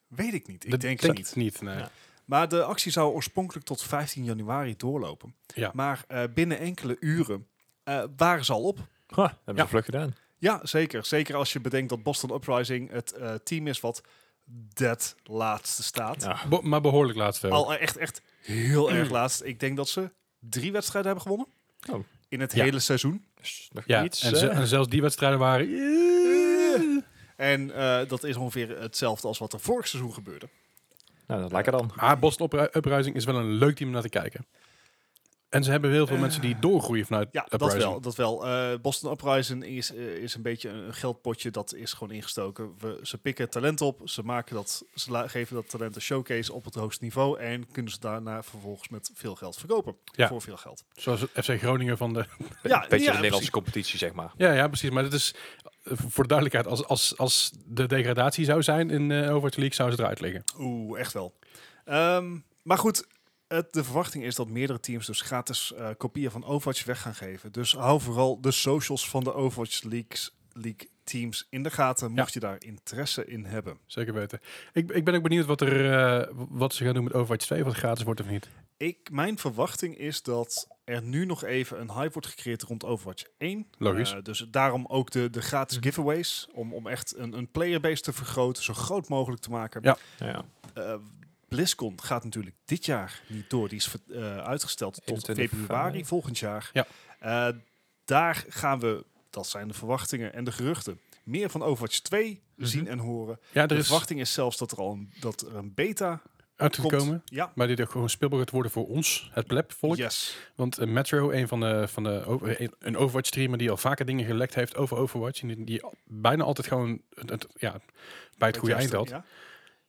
Weet ik niet. Ik Dat denk het niet. niet. Nee. Ja. Maar de actie zou oorspronkelijk tot 15 januari doorlopen. Ja. Maar eh, binnen enkele uren eh, waren ze al op. Ha, dat hebben Ja. ze vlug gedaan. Ja, zeker. Zeker als je bedenkt dat Boston Uprising het eh, team is wat dat laatste staat. Ja. Bo- maar behoorlijk laatst wel. Al echt, echt Mm. heel erg laatst. Ik denk dat ze drie wedstrijden hebben gewonnen. Oh. In het Ja. hele seizoen. Dus nog Ja, iets. en, ze- eh, en zelfs die wedstrijden waren... En eh, dat is ongeveer hetzelfde als wat er vorig seizoen gebeurde. nou, dat lekker dan. Maar Boston Upri- Uprising is wel een leuk team om naar te kijken. En ze hebben heel veel mensen die doorgroeien vanuit Eh. Ja, Uprising. dat wel. Dat wel. Eh, Boston Uprising is, eh, is een beetje een geldpotje dat is gewoon ingestoken. We, ze pikken talent op, ze, maken dat, ze la- geven dat talent een showcase op het hoogste niveau en kunnen ze daarna vervolgens met veel geld verkopen. Ja. Voor veel geld. Zoals het FC Groningen van de... Ja, Beetje ja, de Nederlandse precies. competitie, zeg maar. Ja, ja, precies. Maar dat is... eh, Voor de duidelijkheid, als, als, als de degradatie zou zijn in eh Overwatch League, zou ze eruit liggen. Oeh, echt wel. Ehm, maar goed, het, de verwachting is dat meerdere teams dus gratis eh, kopieën van Overwatch weg gaan geven. Dus hou vooral de socials van de Overwatch Leagues, League teams in de gaten, mocht je daar interesse in hebben. Zeker weten. Ik, ik ben ook benieuwd wat, er, eh, wat ze gaan doen met Overwatch 2, wat gratis wordt of niet. Ik, mijn verwachting is dat er nu nog even een hype wordt gecreëerd rond Overwatch 1. Logisch. Mhm. Eh, dus daarom ook de, de gratis giveaways. Om, om echt een, een playerbase te vergroten, zo groot mogelijk te maken. Ja. Ja. Eh, BlizzCon gaat natuurlijk dit jaar niet door. Die is ver- eh, uitgesteld tot 21 februari mei. volgend jaar. Ja. Eh, daar gaan we, dat zijn de verwachtingen en de geruchten, meer van Overwatch 2 Mhm. zien en horen. Ja, De er is verwachting is zelfs dat er al een, dat er een beta uitgekomen. komt. Ja, Maar dit ook gewoon speelbaar gaat worden voor ons, het plebvolk. yes. Want eh, Metro, een van de, van de o- een- een Overwatch streamer die al vaker dingen gelekt heeft over Overwatch. En die, die al- bijna altijd gewoon het, het- ja, bij het goede eind had. Ja.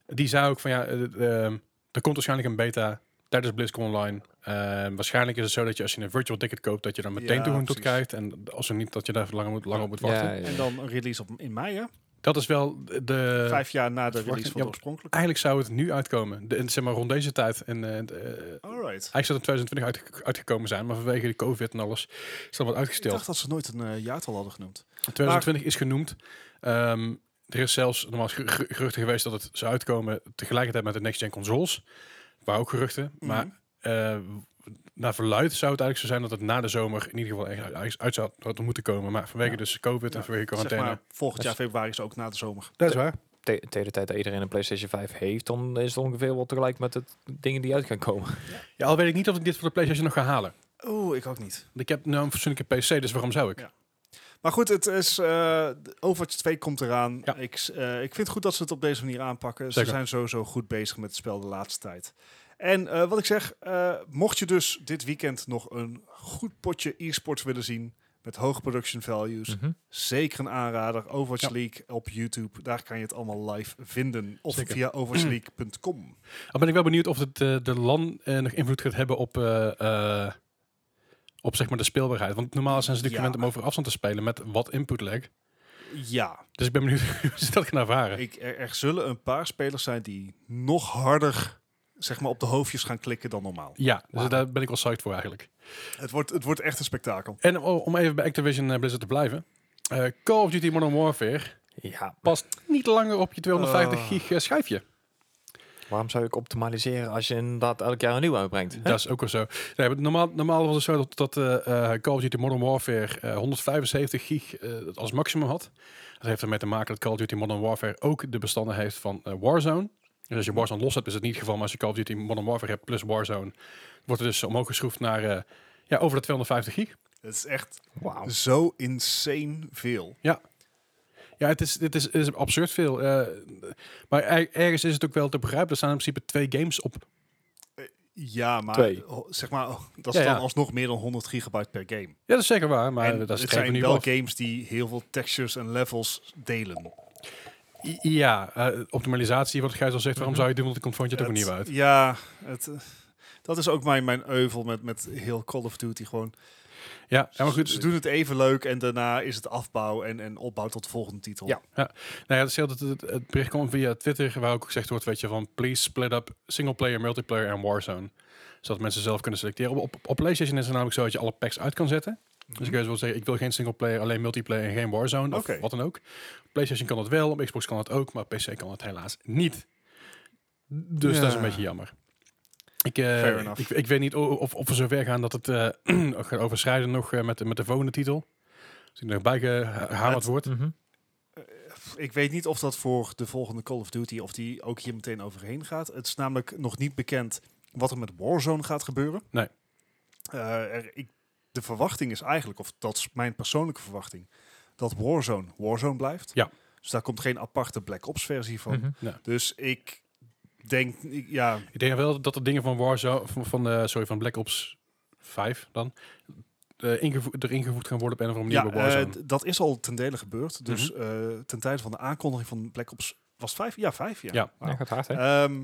Die zei ook van ja, eh, eh, er komt waarschijnlijk een beta tijdens BlizzCon Online. Eh, waarschijnlijk is het zo dat je als je een virtual ticket koopt, dat je dan meteen Ja, toegang tot precies. krijgt. En als er niet, dat je daar lang, moet, lang op moet wachten. Ja, ja. En dan een release op, in mei, hè? Dat is wel de... Vijf jaar na de Eh, verwachting- release van ja, de oorspronkelijke. Eigenlijk zou het nu uitkomen. De, zeg maar rond deze tijd. En, eh, de, eh, Alright. Eigenlijk zou het in 2020 uitge- uitgekomen zijn, maar vanwege de COVID en alles is dat wat Ik uitgesteld. dacht dat ze nooit een eh, jaartal hadden genoemd. 2020 is genoemd. Ehm, er is zelfs normaal ge- ge- geruchten geweest dat het zou uitkomen tegelijkertijd met de next-gen consoles. Waar ook geruchten. Maar Mhm. eh, naar verluid zou het eigenlijk zo zijn dat het na de zomer in ieder geval echt uit- uit, uit zou had moeten komen. Maar vanwege Ja. dus COVID en Ja, vanwege Zeg quarantaine. maar, volgend Dat jaar is- februari is ook na de zomer. Dat is waar. Te- Tegen de tijd dat iedereen een PlayStation 5 heeft, dan is het ongeveer wel tegelijk met de dingen die uit gaan komen. Ja, al weet ik niet of ik dit voor de PlayStation nog ga halen. Oeh, Oh, ik ook niet. Want Ik heb nou een fatsoenlijke PC, dus waarom zou ik? Ja. Maar goed, het is, eh, Overwatch 2 komt eraan. Ja. Ik, s- eh, ik vind het goed dat ze het op deze manier aanpakken. Zeker. Ze zijn sowieso goed bezig met het spel de laatste tijd. En eh, wat ik zeg, eh, mocht je dus dit weekend nog een goed potje e-sports willen zien... met hoge production values, Mhm. Zeker een aanrader. Overwatch Mm. Ja. League op YouTube. Daar kan je het allemaal live vinden. Of Zeker. via overwatchleague.com. Dan Ah, ben ik wel benieuwd of het eh, de LAN eh, nog invloed gaat hebben op, eh, eh, op zeg maar de speelbaarheid. Want normaal zijn ze natuurlijk Ja. gewend om over afstand te spelen met wat input lag. Ja, Dus ik ben benieuwd hoe ze dat gaan ervaren. ik, er, er zullen een paar spelers zijn die nog harder zeg maar, op de hoofdjes gaan klikken dan normaal. Ja, dus Wauw. daar ben ik wel psyched voor eigenlijk. Het wordt, het wordt echt een spektakel. En o- om even bij Activision eh, Blizzard te blijven. eh, Call of Duty Modern Warfare Ja, past niet langer op je 250 Oh. gig eh, schijfje. waarom zou ik optimaliseren als je inderdaad elk jaar een nieuw uitbrengt? hè? Dat is ook wel zo. Nee, maar normaal, normaal was het zo dat, dat eh, eh, Call of Duty Modern Warfare eh, 175 gig eh, als maximum had. Dat heeft ermee te maken dat Call of Duty Modern Warfare ook de bestanden heeft van eh, Warzone. Dus als je Warzone los hebt, is het niet het geval. Maar als je Call of Duty Modern Warfare hebt plus Warzone, wordt het dus omhoog geschroefd naar eh, ja, over de 250 gig. Het is echt Wauw. zo insane veel. Ja, het is, het is, het is absurd veel. eh, maar er- ergens is het ook wel te begrijpen. Er staan in principe twee games op. Ja, maar Twee. ho- zeg maar, oh, dat is Ja, dan ja. alsnog meer dan 100 gigabyte per game. Ja, dat is zeker waar, maar en dat is het geen zijn nu wel af. games die heel veel textures en levels delen. I- Ja, eh, optimalisatie, wat Gijs al zegt, waarom Mhm. zou je doen, want het komt van je toch Het- niet uit. Ja, het, eh, dat is ook mijn, mijn euvel met, met heel Call of Duty gewoon. Ja, ja, maar goed, ze doen het even leuk en daarna is het afbouw en, en opbouw tot de volgende titel. Ja. Nou ja, het, is heel dat het, het bericht kwam via Twitter, waar ook gezegd wordt, weet je, van please split up singleplayer, multiplayer en Warzone. Zodat mensen zelf kunnen selecteren. Op, op, op PlayStation is het namelijk zo dat je alle packs uit kan zetten. Dus ik wil zeggen, ik wil geen singleplayer, alleen multiplayer en geen Warzone of Mhm. Oké. wat dan ook. PlayStation kan dat wel, op Xbox kan dat ook, maar op PC kan dat helaas niet. Dus dat is een Ja. beetje jammer. Ik, eh, Fair enough. ik, ik weet niet o- of, of we zover gaan dat het eh gaat overschrijden nog eh, met, de- met de volgende titel. Als ik er nog bij gehamerd Het- wordt. Mhm, Ik weet niet of dat voor de volgende Call of Duty, of die ook hier meteen overheen gaat. Het is namelijk nog niet bekend wat er met Warzone gaat gebeuren. Nee. Eh, er- ik, de verwachting is eigenlijk, of dat is mijn persoonlijke verwachting, dat Warzone Warzone blijft. Ja. Dus daar komt geen aparte Black Ops versie van. Mhm. Dus ik denk, ik- ja, Ik denk wel dat de dingen van Warzone, van, van, eh, sorry, van Black Ops 5 dan, eh, ingevo- er ingevoegd gaan worden op een of andere ja manier bij Warzone. Mhm. eh, d- dat is al ten dele gebeurd. Dus eh, ten tijde van de aankondiging van Black Ops, was het vijf? Ja, vijf, ja. Ja. Wauw. Ja, gaat hard, hè? Ehm,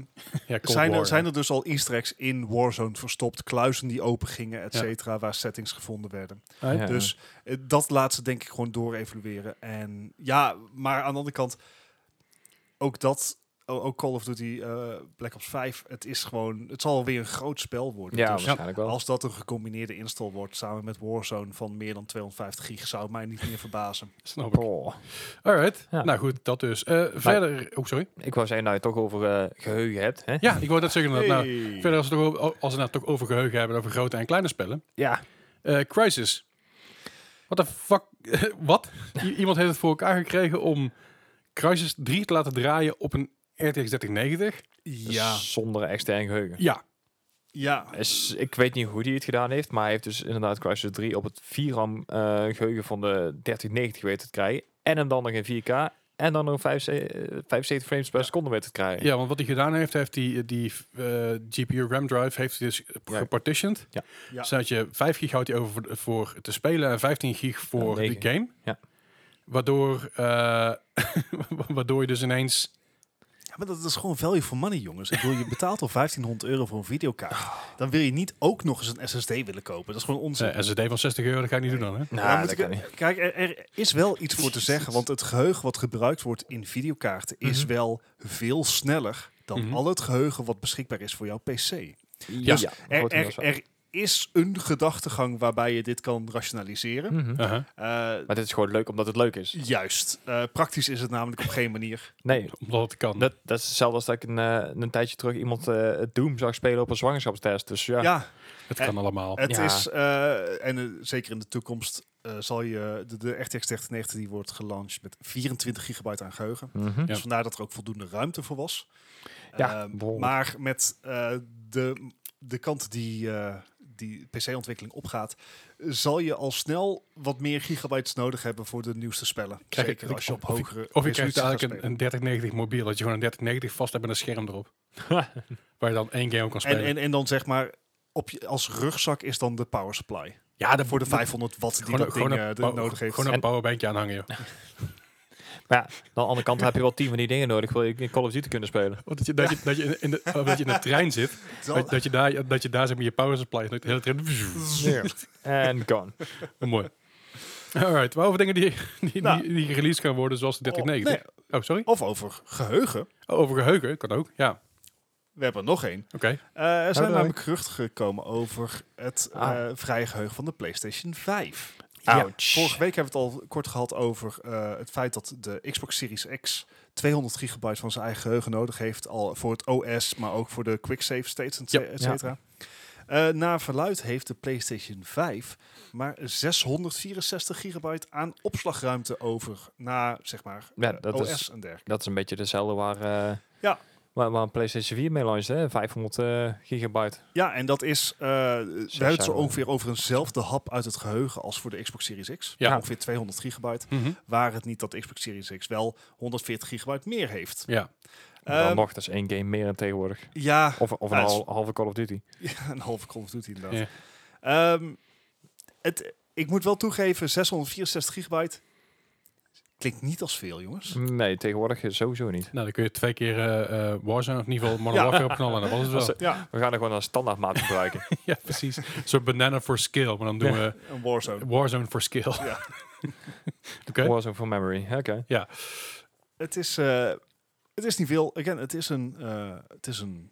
ja, Cold zijn, War, er, zijn ja. er dus al easter eggs in Warzone verstopt, kluizen die open gingen, et Ja. cetera, waar settings gevonden werden. Eh, Ja. Dus eh, dat laat ze denk ik gewoon door evalueren. En ja, maar aan de andere kant, ook dat, o- ook Call of Duty eh, Black Ops 5, het is gewoon, het zal weer een groot spel worden. ja, Dus waarschijnlijk wel. als dat een gecombineerde install wordt samen met Warzone van meer dan 250 gig, zou het mij niet meer verbazen. Snap ik. Oh. Alright. Ja. Nou goed, dat dus. Eh, verder, oh sorry. Ik wou zeggen, nou je het toch over eh, geheugen hebt, hè? Ja, ik wou dat zeggen. inderdaad. Nou, Hey. verder als we, het toch over, als we het nou toch over geheugen hebben, over grote en kleine spellen. Ja. Eh, Crisis. What the fuck? Wat? I- iemand heeft het voor elkaar gekregen om Crisis 3 te laten draaien op een RTX 3090? Ja, Zonder extern geheugen. Ja. ja. Is, ik weet niet hoe hij het gedaan heeft, maar hij heeft dus inderdaad Crysis 3 op het 4RAM eh, geheugen van de 3090 weten te krijgen. En hem dan nog in 4K. En dan nog 5, eh, 75 frames per seconde weten te krijgen. Ja, want wat hij gedaan heeft, heeft die, die eh, GPU RAM drive heeft hij dus Ja. gepartitioned. Ja. Ja. Zodat je 5 gig houdt hij over voor, de- voor te spelen en 15 gig voor Ja, de negen. game. Ja. Waardoor, eh, waardoor je dus ineens... Ja, maar dat is gewoon value for money, jongens. Ik bedoel, je betaalt al 1500 euro voor een videokaart. Dan wil je niet ook nog eens een SSD willen kopen. Dat is gewoon onzin. eh SSD van 60 euro, dat ga ik niet doen dan, hè? Nou, Ja, moet dat ik- kan niet. Kijk, er, er is wel iets voor te zeggen, want het geheugen wat gebruikt wordt in videokaarten is Mhm. wel veel sneller dan Mhm. al het geheugen wat beschikbaar is voor jouw PC. Ja, Dus Er, grotendeels er, wel. er is een gedachtegang waarbij je dit kan rationaliseren. Mhm. Uh-huh. Eh, Maar dit is gewoon leuk omdat het leuk is. juist. Eh, praktisch is het namelijk op geen manier. Nee, Omdat het kan. dat, dat is hetzelfde als dat ik een, eh, een tijdje terug iemand eh, het Doom zag spelen op een zwangerschapstest. Dus ja, Ja, het kan allemaal. het Ja. is, eh, en eh, zeker in de toekomst, eh, zal je de, de RTX 3090 die wordt gelanceerd met 24 gigabyte aan geheugen. Mhm. Ja. Dus vandaar dat er ook voldoende ruimte voor was. Ja, Ehm, behoorlijk. maar met eh, de, de kant die, eh, die PC-ontwikkeling opgaat, zal je al snel wat meer gigabytes nodig hebben voor de nieuwste spellen. Krijg je- Zeker als je op of ik- hogere Of je krijgt resoluties gaat eigenlijk een, spelen. een 3090 mobiel, dat je gewoon een 3090 vast hebt met een scherm erop. waar je dan één game op kan spelen. en, en, en dan zeg maar, op je, als rugzak is dan de power supply. ja, dat Voor de 500 watt die Ah, Gewoon, dat een- gewoon, ding eh, een, de- power- nodig heeft. gewoon een powerbankje aanhangen, joh. Maar ja, aan de andere kant heb je wel tien van die dingen nodig. Wil je in Call of Duty kunnen spelen? Want Oh, Dat je, dat je, dat je, in- in, de, oh, dat je in de trein zit Dat, Dat- dat je daar, dat je daar zeg maar je power supply en dat de hele tijd- En gone. Oh, mooi. Alright, maar over dingen die, die, Nou. die, die gereleased gaan worden zoals de Oh, 3090. Oh, sorry. Of over geheugen. Oh, over geheugen, kan ook. Ja, We hebben er nog één. oké. Eh, er zijn leuk. namelijk geruchten gekomen over het eh, Ah. vrije geheugen van de PlayStation 5. Ouch. Vorige week hebben we het al kort gehad over eh, het feit dat de Xbox Series X 200 gigabyte van zijn eigen geheugen nodig heeft. Al voor het OS, maar ook voor de quick save states, et Ja. et cetera. Eh, naar verluid heeft de PlayStation 5 maar 664 gigabyte aan opslagruimte over na, zeg maar, Ja, eh, dat OS is- en dergelijke. Dat is een beetje dezelfde waar, eh, Ja. Waar, waar een PlayStation 4 mee launcht, hè? 500 eh, gigabyte. Ja, en dat is, eh we hebben het zo jaar ongeveer over eenzelfde hap uit het geheugen als voor de Xbox Series X. Ja. Ongeveer 200 gigabyte. Mhm. Waar het niet dat de Xbox Series X wel 140 gigabyte meer heeft. Ja, Maar dan Ehm, nog, dat is één game meer dan tegenwoordig. ja, Of, of een Ja, het is- hal- halve Call of Duty. Ja, een halve Call of Duty inderdaad. Ehm, het, ik moet wel toegeven, 664 gigabyte klinkt niet als veel, jongens. Nee, tegenwoordig eh, sowieso niet. nou dan kun je twee keer eh, eh, Warzone of in ieder geval Modern Ja. Warfare opknallen. Dat was het wel. Ja, We gaan er gewoon een standaardmaat gebruiken. ja, precies. Een soort banana for skill, maar dan doen we een Warzone. Warzone for skill. Ja. Oké. Warzone for memory. Oké. Het is, eh, het is niet veel. Again, het is een, eh, het is een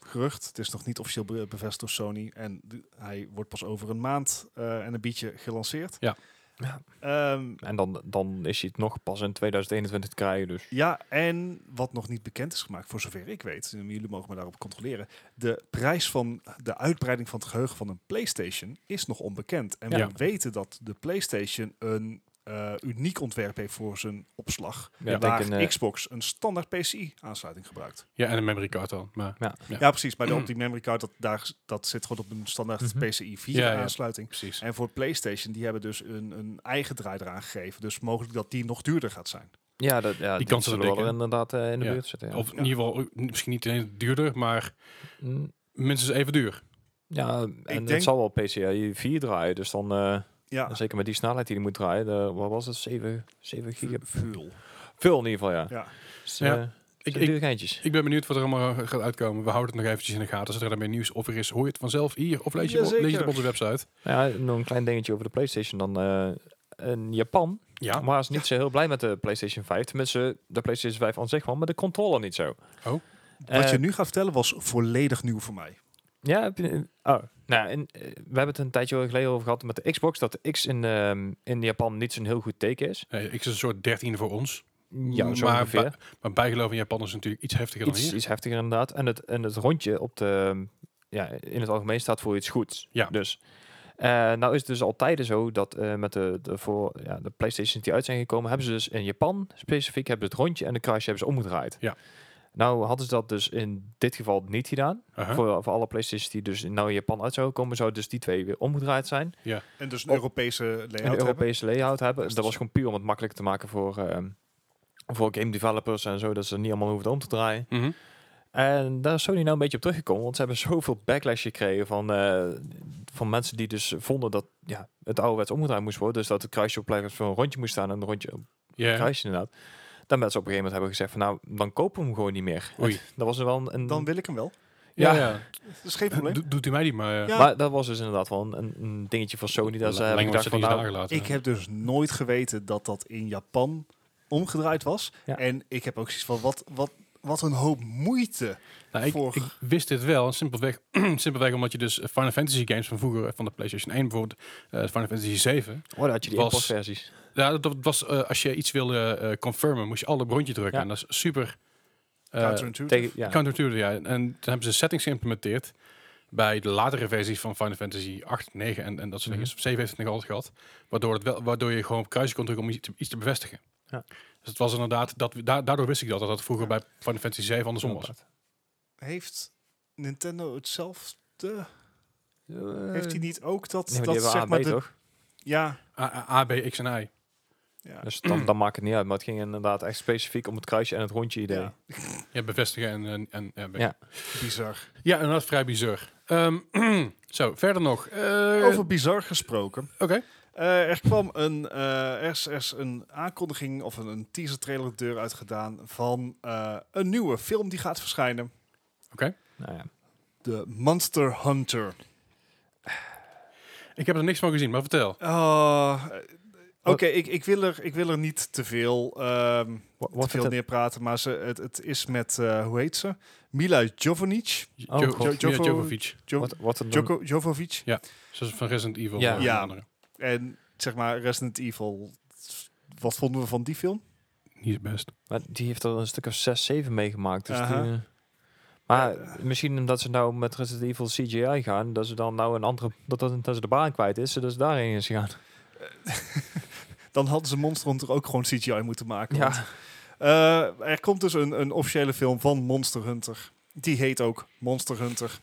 gerucht. Het is nog niet officieel be- bevestigd door Sony. En d- hij wordt pas over een maand eh, en een beetje gelanceerd. Ja. Ja. Ehm, En dan, dan is hij het nog pas in 2021 te krijgen, dus... Ja, en wat nog niet bekend is gemaakt, voor zover ik weet, en jullie mogen me daarop controleren, de prijs van de uitbreiding van het geheugen van een PlayStation is nog onbekend. En Ja. we weten dat de PlayStation een eh, uniek ontwerp heeft voor zijn opslag, Ja, ik waar denk een, eh, Xbox een standaard PCI-aansluiting gebruikt. Ja, en een memory card dan. Maar Ja, precies, maar op die memory card, dat, daar, dat zit gewoon op een standaard Mhm. Ja, ja. PCI-4-aansluiting. precies. En voor PlayStation, die hebben dus een, een eigen draai eraan gegeven. Dus mogelijk dat die nog duurder gaat zijn. Ja, dat, ja, Die kans is zullen wel dik, hè? er inderdaad eh, in de Ja. buurt zitten. Ja. Of in ieder geval, eh, misschien niet alleen duurder, maar Mm, minstens even duur. ja, en denk- het zal wel PCIe 4 draaien, dus dan... eh, Ja, Zeker met die snelheid die hij moet draaien. De, wat was het? 7, 7 gigab? vuil. Veel in ieder geval, ja. Hm. Ja. Dus, Ja. eh, Ik, zijn ik, duur geintjes. ik ben benieuwd wat er allemaal eh, gaat uitkomen. We houden het nog eventjes in de gaten. Zodra er meer nieuws over is, hoor je het vanzelf hier. Of lees je, het op- Jazeker. lees je het op onze website. Nou Ja, nog een klein dingetje over de PlayStation dan. eh in Japan Ja. waren ze niet zo heel blij met de PlayStation 5. Tenminste, de PlayStation 5 aan zich wel, maar de controller niet zo. Oh. Eh, Wat je nu gaat vertellen was volledig nieuw voor mij. Ja, heb je, oh, nou, en, eh, we hebben het een tijdje geleden over gehad met de Xbox. Dat de X in, ehm, in Japan niet zo'n heel goed teken is. Nee, ik is een soort 13 voor ons. Ja, zo Mm, maar, ongeveer. bij- maar bijgeloof in Japan is natuurlijk iets heftiger dan Iets, hier. iets heftiger inderdaad. En het, en het rondje op de, ja, in het algemeen staat voor iets goeds. Ja. Dus, eh, nou is het dus al tijden zo dat eh, met de, de, voor, ja, de Playstations die uit zijn gekomen, hebben ze dus in Japan specifiek hebben ze het rondje en de kruisje hebben ze omgedraaid. Ja. Nou hadden ze dat dus in dit geval niet gedaan. Aha. Voor, voor alle Playstations die dus nou in Japan uit zouden komen, zouden dus die twee weer omgedraaid zijn. En dus een Op- Europese layout Een Oh. Europese layout hebben. Dat is Dat was dus- gewoon puur om het makkelijk te maken voor, ehm, voor game developers en zo, dat ze niet allemaal hoeven om te draaien. Mhm. En daar is Sony nou een beetje op teruggekomen, want ze hebben zoveel backlash gekregen van, eh, van mensen die dus vonden dat ja, het ouderwets omgedraaid moest worden. Dus dat het kruisje op plek van een rondje moest staan en een rondje op Ja. het kruisje inderdaad. Dan mensen op een gegeven moment hebben gezegd van nou, dan kopen we hem gewoon niet meer. Oei. Dat was er wel een... een- Dan wil ik hem wel. Ja, Ja. ja. Dat is geen probleem. Do- doet u mij die maar. eh, Ja. Maar dat was dus inderdaad wel een, een- een dingetje van Sony. Dat ze lang wordt hebben gedacht ze van niet nou, nagelaten. Ik heb dus nooit geweten dat dat in Japan omgedraaid was. Ja. En ik heb ook zoiets van, wat, wat, wat een hoop moeite. Nou, ik, voor- ik wist dit wel, simpelweg, simpelweg omdat je dus Final Fantasy games van vroeger, eh, van de PlayStation 1 bijvoorbeeld, eh, Final Fantasy 7. oh, daar had je die was- importversies. Ja, dat, dat was, eh, als je iets wilde eh, confirmen, moest je alle rondje drukken. Ja. En dat is super eh, Counterintuitive. Tegen, ja. counterintuitive, ja. En toen hebben ze settings geïmplementeerd bij de latere versies van Final Fantasy 8, 9 en, en dat soort Mhm. dingen. 7 heeft het nog altijd gehad. Waardoor, het wel, waardoor je gewoon op kruisje kon drukken om iets te, iets te bevestigen. Ja. Dus het was inderdaad, dat, da- daardoor wist ik dat, dat het vroeger bij Final Fantasy 7 andersom was. Heeft Nintendo hetzelfde? Eh, Heeft hij niet ook dat, nee, maar die dat zeg hebben AB, maar de... toch? Ja, A, A- A, B, X en I. ja. Dus dan, dan maakt het niet uit. Maar het ging inderdaad echt specifiek om het kruisje en het rondje idee. Ja. Ja, bevestigen en... en, en ja, Ja. bizar. ja, inderdaad vrij bizar. Ehm, zo, verder nog. Eh, Over bizar gesproken. Oké. Eh, er kwam een, eh, er is, er is een aankondiging of een, een teaser trailer de deur uitgedaan van eh, een nieuwe film die gaat verschijnen. Nou ja. De Monster Hunter. Ik heb er niks van gezien, maar vertel. Ah, eh, Oké, ik, ik, wil er- ik wil er niet te veel, ehm Wat, te veel neerpraten, maar ze, het, het is met, eh, hoe heet ze? Mila Jovovich. Jo Oh, jo God. Mia Jovo- Jovovich. Jo- Wat, wat een Joko- Jovovich. Ze is van Resident Evil. Ja. eh, Ja. andere. En zeg maar Resident Evil. Wat vonden we van die film? Niet het best. Maar die heeft er een stuk of 6, 7 meegemaakt. Dus Aha. die, eh, maar misschien omdat ze nou met Resident Evil CGI gaan, dat ze dan nou een andere, dat, dat, dat ze de baan kwijt is, dat ze daarheen is gegaan. Dan hadden ze Monster Hunter ook gewoon CGI moeten maken. want Ja, Eh, er komt dus een, een officiële film van Monster Hunter. Die heet ook Monster Hunter.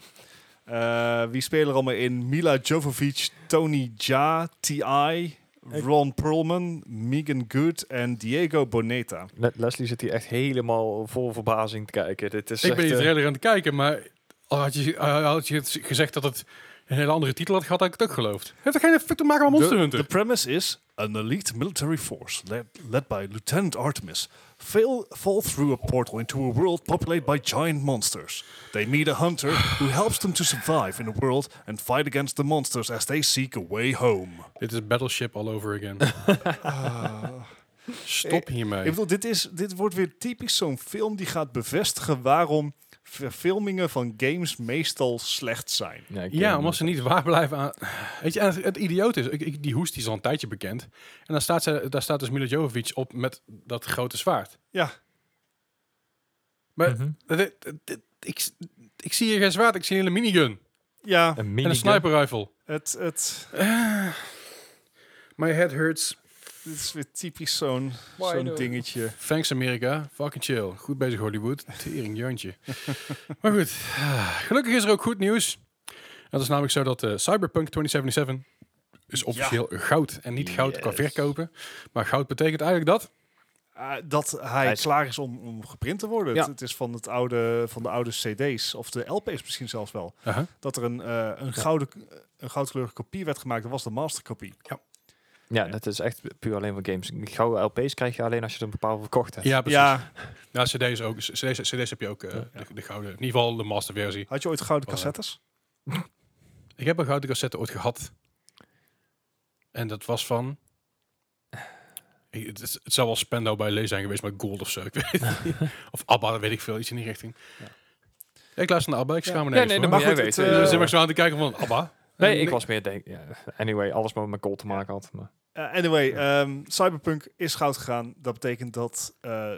Eh, wie spelen er allemaal in? Mila Jovovich, Tony Jaa, T.I., Ron Perlman, Megan Good en Diego Boneta. Le- Leslie zit hier echt helemaal vol verbazing te kijken. Dit is Ik ben echt, niet eh, eerder aan het kijken, maar al had je, al had je het gezegd dat het een hele andere titel had gehad, had ik het ook geloofd. Heeft er geen effect te maken met Monster the, Hunter? The premise is an elite military force led, led by Lieutenant Artemis fail, fall through a portal into a world populated by giant monsters. They meet a hunter who helps them to survive in the world and fight against the monsters as they seek a way home. Dit is Battleship all over again. Ah. Stop hiermee. Ik bedoel, dit, is, dit wordt weer typisch zo'n film die gaat bevestigen waarom verfilmingen van games meestal slecht zijn. ja, ik ken Ja, hem omdat ze niet. niet waar blijven aan. Weet je, en het, het idioot is, ik, ik- die hoest die is al een tijdje bekend. En daar staat, ze, daar staat dus Milo Jovovich op met dat grote zwaard. Ja, Maar Mhm. dat- dat- dat- ik, s- ik zie hier geen zwaard, ik zie een hele minigun. ja, Een En minigun. een sniper rifle. het, het, My head hurts. dit is weer typisch zo'n Why zo'n do- dingetje. Thanks Amerika, fucking chill. Goed bezig Hollywood. Tering jantje. maar goed, ah, gelukkig is er ook goed nieuws. Dat is namelijk zo dat eh, Cyberpunk 2077 is officieel goud. En niet goud qua Yes. verkopen. Maar goud betekent eigenlijk dat Eh, dat hij Hij is- klaar is om, om geprint te worden. Ja. Het, het is van, het oude, van de oude CD's, of de LP's misschien zelfs wel. Aha. Dat er een, eh, een, gouden, een goudkleurige kopie werd gemaakt. Dat was de masterkopie. Ja, dat is echt puur alleen voor games. Gouden LP's krijg je alleen als je er een bepaalde verkocht hebt. Ja, precies. Ja, Ja, CD's, ook, CD's, CD's heb je ook eh, de, de gouden, in ieder geval de masterversie. had je ooit gouden Oh, cassettes? Ik heb een gouden cassette ooit gehad. En dat was van... Ik- Het, is- het zou wel Spendo bij Lee zijn geweest, maar Gold of zo. Ik weet het niet. Of ABBA, weet ik veel. Iets in die richting. Ja. Ja, ik luister naar ABBA, ik schaam me Ja, nergens nee, voor. dat mag Maar jij goed, het, weten. eh, Er we zit maar zo aan te kijken van ABBA. Nee, ik was meer denk. Ja, anyway, alles maar met goal te maken had. Maar. Eh, anyway, ehm, Cyberpunk is goud gegaan. Dat betekent dat eh,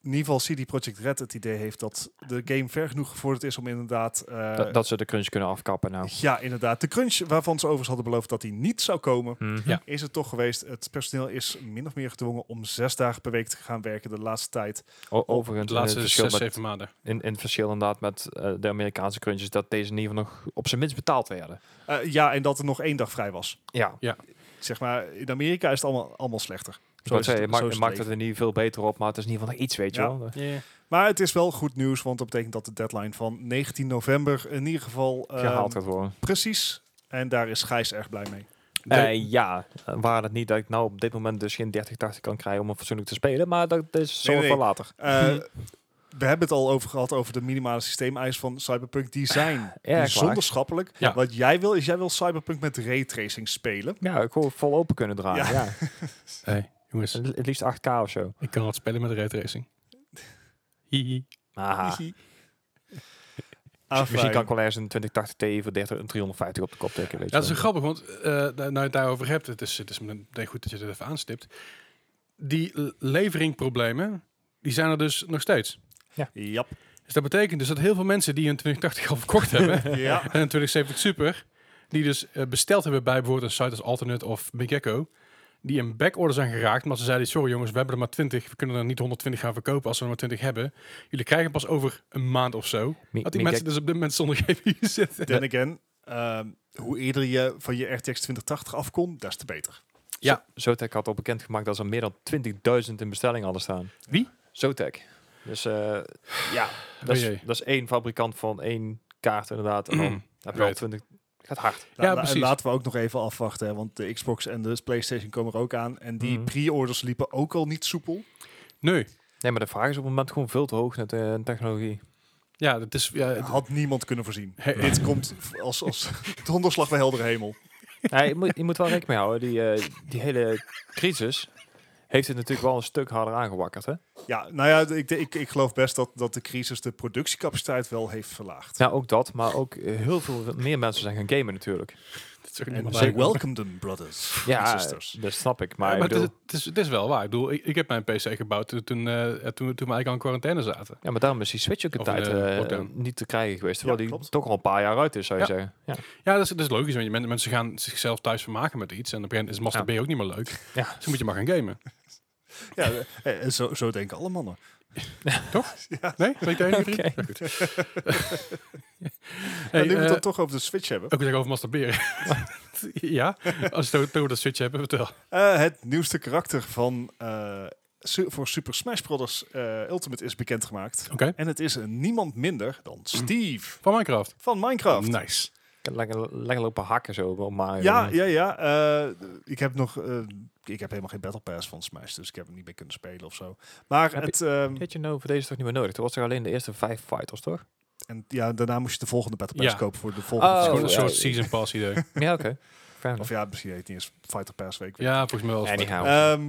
in ieder geval CD Projekt Red het idee heeft dat de game ver genoeg gevorderd is om inderdaad... eh, dat, dat ze de crunch kunnen afkappen nou. Ja, inderdaad. De crunch waarvan ze overigens hadden beloofd dat die niet zou komen. Mhm. Ja. is het toch geweest. Het personeel is min of meer gedwongen om zes dagen per week te gaan werken de laatste tijd. O- De overigens, in het laatste verschil, zes, met, zeven maanden. in, in het verschil inderdaad met eh, de Amerikaanse crunch is dat deze in ieder geval nog op zijn minst betaald werden. Eh, ja, en dat er nog één dag vrij was. Ja, Zeg maar, in Amerika is het allemaal, allemaal slechter. ik wou is het- zeggen, je maakt, is je het maakt het leven. er niet veel beter op, maar het is in ieder geval nog iets, weet Ja. je wel. Maar het is wel goed nieuws, want dat betekent dat de deadline van 19 november in ieder geval eh, Gehaald gaat worden. precies. En daar is Gijs erg blij mee. De- Eh, ja, eh, waar het niet dat ik nou op dit moment dus geen 30-80 kan krijgen om een fatsoenlijk te spelen, maar dat is zo Nee, nee. voor later. Eh, we hebben het al over gehad over de minimale systeemeisen van Cyberpunk. Die zijn waar. bijzonder schappelijk. Ja. Wat jij wil, is jij wil Cyberpunk met raytracing spelen. Ja, ik wil vol open kunnen draaien. Ja. Ja. Hey, jongens, Het liefst 8K of zo. ik kan wat spelen met de raytracing. Hihi. Aha. Ah, Misschien fijn. kan ik wel ergens een 2080 Ti voor 30, een 350 op de kop tikken. Weet Ja, dat je is wel wel. grappig, want eh nou je het daarover hebt, het is, het is me- nee, goed dat je dat even aanstipt. Die l- leveringproblemen, die zijn er dus nog steeds. Jap. Dus dat betekent dus dat heel veel mensen die een 2080 al verkocht hebben, Ja. en een 2070 Super, die dus eh, besteld hebben bij bijvoorbeeld een site als Alternate of Big Echo, die in backorder zijn geraakt, maar ze zeiden, sorry jongens, we hebben er maar 20, we kunnen er niet 120 gaan verkopen als we er maar 20 hebben. Jullie krijgen pas over een maand of zo. Mi- Dat die mi- mensen dus op dit moment zonder GPU zitten. Then again, ehm, hoe eerder je van je RTX 2080 af kon, des te beter. Ja. Zotac had al bekendgemaakt dat ze meer dan 20.000 in bestelling hadden staan. Wie? Zotac. Dus eh, ja, dat is, Oh jee. Mm, dat is één fabrikant van één kaart inderdaad. En dan heb je al Right. 20... Gaat hard. Ja, en precies. laten we ook nog even afwachten, hè, want de Xbox en de PlayStation komen er ook aan. En die Mhm. pre-orders liepen ook al niet soepel. Nee. Nee, maar de vraag is op het moment gewoon veel te hoog naar de technologie. Ja, dat is... Ja, het- Had niemand kunnen voorzien. Hey. Dit komt v- als, als donderslag bij helder hemel. Ja, je, moet, je moet wel rekening mee houden. Die, eh, die hele crisis heeft het natuurlijk wel een stuk harder aangewakkerd. Hè? Ja, nou ja, ik, ik, ik geloof best dat, dat de crisis de productiecapaciteit wel heeft verlaagd. Nou, ook dat. Maar ook eh, heel veel meer mensen zijn gaan gamen natuurlijk. dat is ook niet En meer they waar. welcome them, brothers and Ja, sisters. dat snap ik. Maar, Ja, ik maar het, bedoel- is, het, is, het is wel waar. Ik bedoel, ik, ik heb mijn PC gebouwd toen, toen, eh, toen, toen we eigenlijk al in quarantaine zaten. Ja, maar daarom is die Switch ook een Of tijd een, eh, eh, lockdown. niet te krijgen geweest. Terwijl Ja, die klopt. toch al een paar jaar uit is, zou je zeggen. Ja. Ja, dat is, dat is logisch. Want je men- mensen gaan zichzelf thuis vermaken met iets. En op een gegeven moment is masturberen ook niet meer leuk. Ja. Dus dan moet je maar gaan gamen. Ja, eh, eh, zo, zo denken alle mannen. Nou, Nee? Ben ik de enige? vriend? Ja, goed. hey, en nu we eh, het dan toch over de Switch hebben. ook eens even over masturberen. ja, als we het over dat switch hebben, vertel. Eh, het nieuwste karakter van, eh, su- voor Super Smash Bros. eh, Ultimate is bekendgemaakt. Oké. En het is een niemand minder dan Steve Van Minecraft. Oh, van Minecraft. Nice. Ik heb lekker, lekker lopen hakken zo op Mario. Ja, ja, ja. eh, ik heb nog... eh, ik heb helemaal geen Battle Pass van Smash, dus ik heb hem niet meer kunnen spelen of zo. Maar Heb je- het... ehm, Weet je nou, voor deze is toch niet meer nodig? Toen was er alleen de eerste vijf fighters, toch? en, ja, daarna moest je de volgende Battle Pass Ja. kopen voor de volgende. Oh, Gewoon een versie. ja. soort season pass idee. Ja, oké. Fair enough. Of ja, misschien heet het niet eens Fighter Pass week. ja, volgens mij wel. Anyhow. Ehm,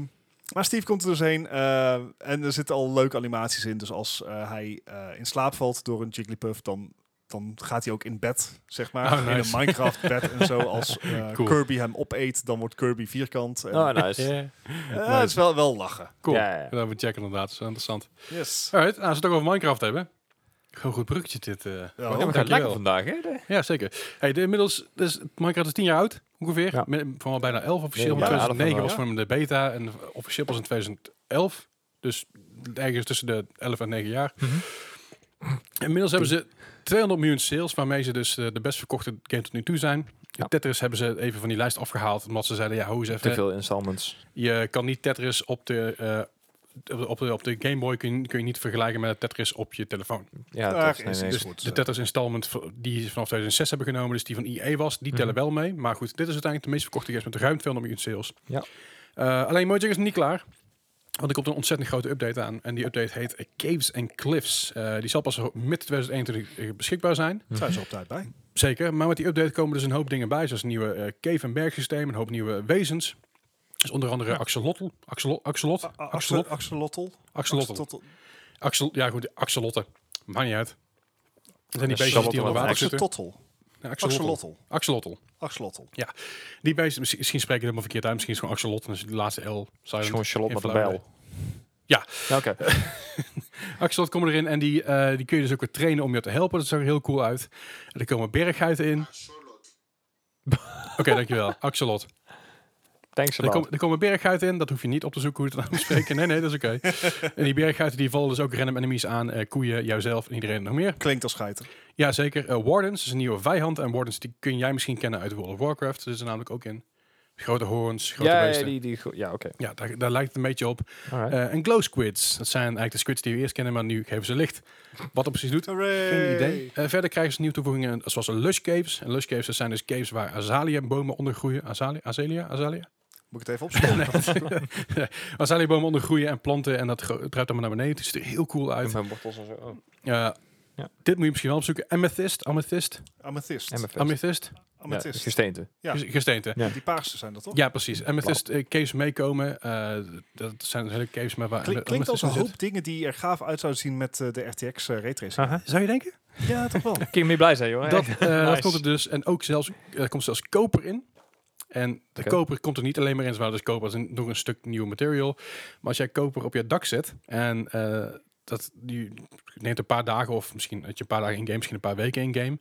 maar Steve komt er dus heen eh, en er zitten al leuke animaties in. Dus als eh, hij eh, in slaap valt door een Jigglypuff, dan, dan gaat hij ook in bed, zeg maar. Oh, In nice. een Minecraft-bed en zo. Als eh, Cool. Kirby hem opeet, dan wordt Kirby vierkant. En, Oh, nice. Ja. Eh, Het is wel, wel lachen. Cool. Ja, ja, ja. Dat hebben we checken inderdaad. Dat is interessant. Yes. Alright, nou, als we het ook over Minecraft hebben. Gewoon goed bruggetje dit. eh. Ja, Ja, we gaan Dankjewel. lekker vandaag, hè? De- Ja, zeker. Hey, de, inmiddels, dus Minecraft is 10 jaar oud, ongeveer. Ja. Met, van wel bijna 11 officieel. Nee, maar bijna 2009 was elf van hem de beta en officieel pas in 2011. Dus ergens tussen de 11 en 9 jaar. Mhm. Inmiddels hebben ze 200 miljoen sales, waarmee ze dus eh, de best verkochte game tot nu toe zijn. Ja. Tetris hebben ze even van die lijst afgehaald, omdat ze zeiden, ja, hoe is Te even, veel installments. je kan niet Tetris op de... eh, op de- op de, op de Game Boy kun je, kun je niet vergelijken met Tetris op je telefoon. Ja, Daar is tot- nee, het nee. dus Dus goed, de eh. Tetris installment v- die ze vanaf 2006 hebben genomen, dus die van EA was, die Mhm. tellen wel mee. Maar goed, dit is uiteindelijk de meest verkochte game met ruim 200 miljoen sales. Ja. Eh, alleen Mojang is nog niet klaar. Want er komt een ontzettend grote update aan. En die update heet eh, Caves and Cliffs. Eh, die zal pas mid 2021 beschikbaar zijn. Zijn ze op tijd bij. Zeker. Maar met die update komen dus een hoop dingen bij. Zoals een nieuwe eh, cave- en bergsysteem. Een hoop nieuwe wezens. Dus onder andere Axolotl. Axolot. Axolot. Axel- Axolot. Axolotl. Axolotl. Axolotl. Axel, ja goed, Axolotten. Maakt niet uit. Dat zijn die Een beestjes die shuttle onder of water zitten. Axolotl. Ja, Axolotl. Axolotl. Axolotl. Axolotl. Die beesten, misschien, misschien spreek ik het helemaal verkeerd uit. Misschien is het gewoon Axolotl. Dus de laatste L. Het is Silent. gewoon Charlotte met een Influenza. bel. Ja. Eh, Oké. Axolotl komen erin en die, eh, die kun je dus ook weer trainen om je te helpen. Dat zag er heel cool uit. En er komen berghuiden in. Oké, dankjewel. Axolot. Thanks Er, a lot. kom, er komen berghuiden in. Dat hoef je niet op te zoeken hoe je het nou spreken. Nee, nee, dat is oké. En die berghuiden die vallen dus ook random enemies aan. eh, koeien, jouzelf en iedereen nog meer. Klinkt als geiter. Jazeker. zeker. Eh, Wardens is een nieuwe vijand. En Wardens die kun jij misschien kennen uit World of Warcraft. Ze zitten namelijk ook in. Grote horens, grote Ja, ja, beesten. die, die, go- ja oké. Ja, daar, daar lijkt het een beetje op. Alright. Eh, en glow squids. Dat zijn eigenlijk de squids die we eerst kennen, maar nu geven ze licht. Wat dat precies doet, Hooray. geen idee. Eh, verder krijgen ze nieuwe toevoegingen zoals lush caves. En lush caves dat zijn dus caves waar azaleabomen onder groeien. Azalea? Azalea? Azalea? Moet ik het even opschrijven? Azaleabomen onder groeien en planten. En dat gro- druipt allemaal naar beneden. Het ziet er heel cool uit. Met mijn wortels en zo. Oh. Eh, Ja. Dit moet je misschien wel opzoeken. Amethyst? Amethyst? Amethyst. En mijn vest. Amethyst? Ja, Amethyst. gesteente. Ja. Ges- Gesteente. Ja. Die paarse zijn dat toch? Ja, precies. Amethyst eh, caves meekomen. Eh, dat zijn dus hele caves met waar... Klink- klinkt amethyst als een in zit. hoop dingen die er gaaf uit zouden zien met eh, de RTX eh, raytracing. Zou je denken? Ja, toch wel. Kun je mee blij zijn, joh. Dat, Echt. eh, dat Nice. komt er dus. En ook zelfs, er komt zelfs koper in. En de Oké. koper komt er niet alleen maar in, zowel dus koper als een, nog een stuk nieuw material. Maar als jij koper op je dak zet en eh, dat die neemt een paar dagen of misschien dat je een paar dagen in game, misschien een paar weken in game,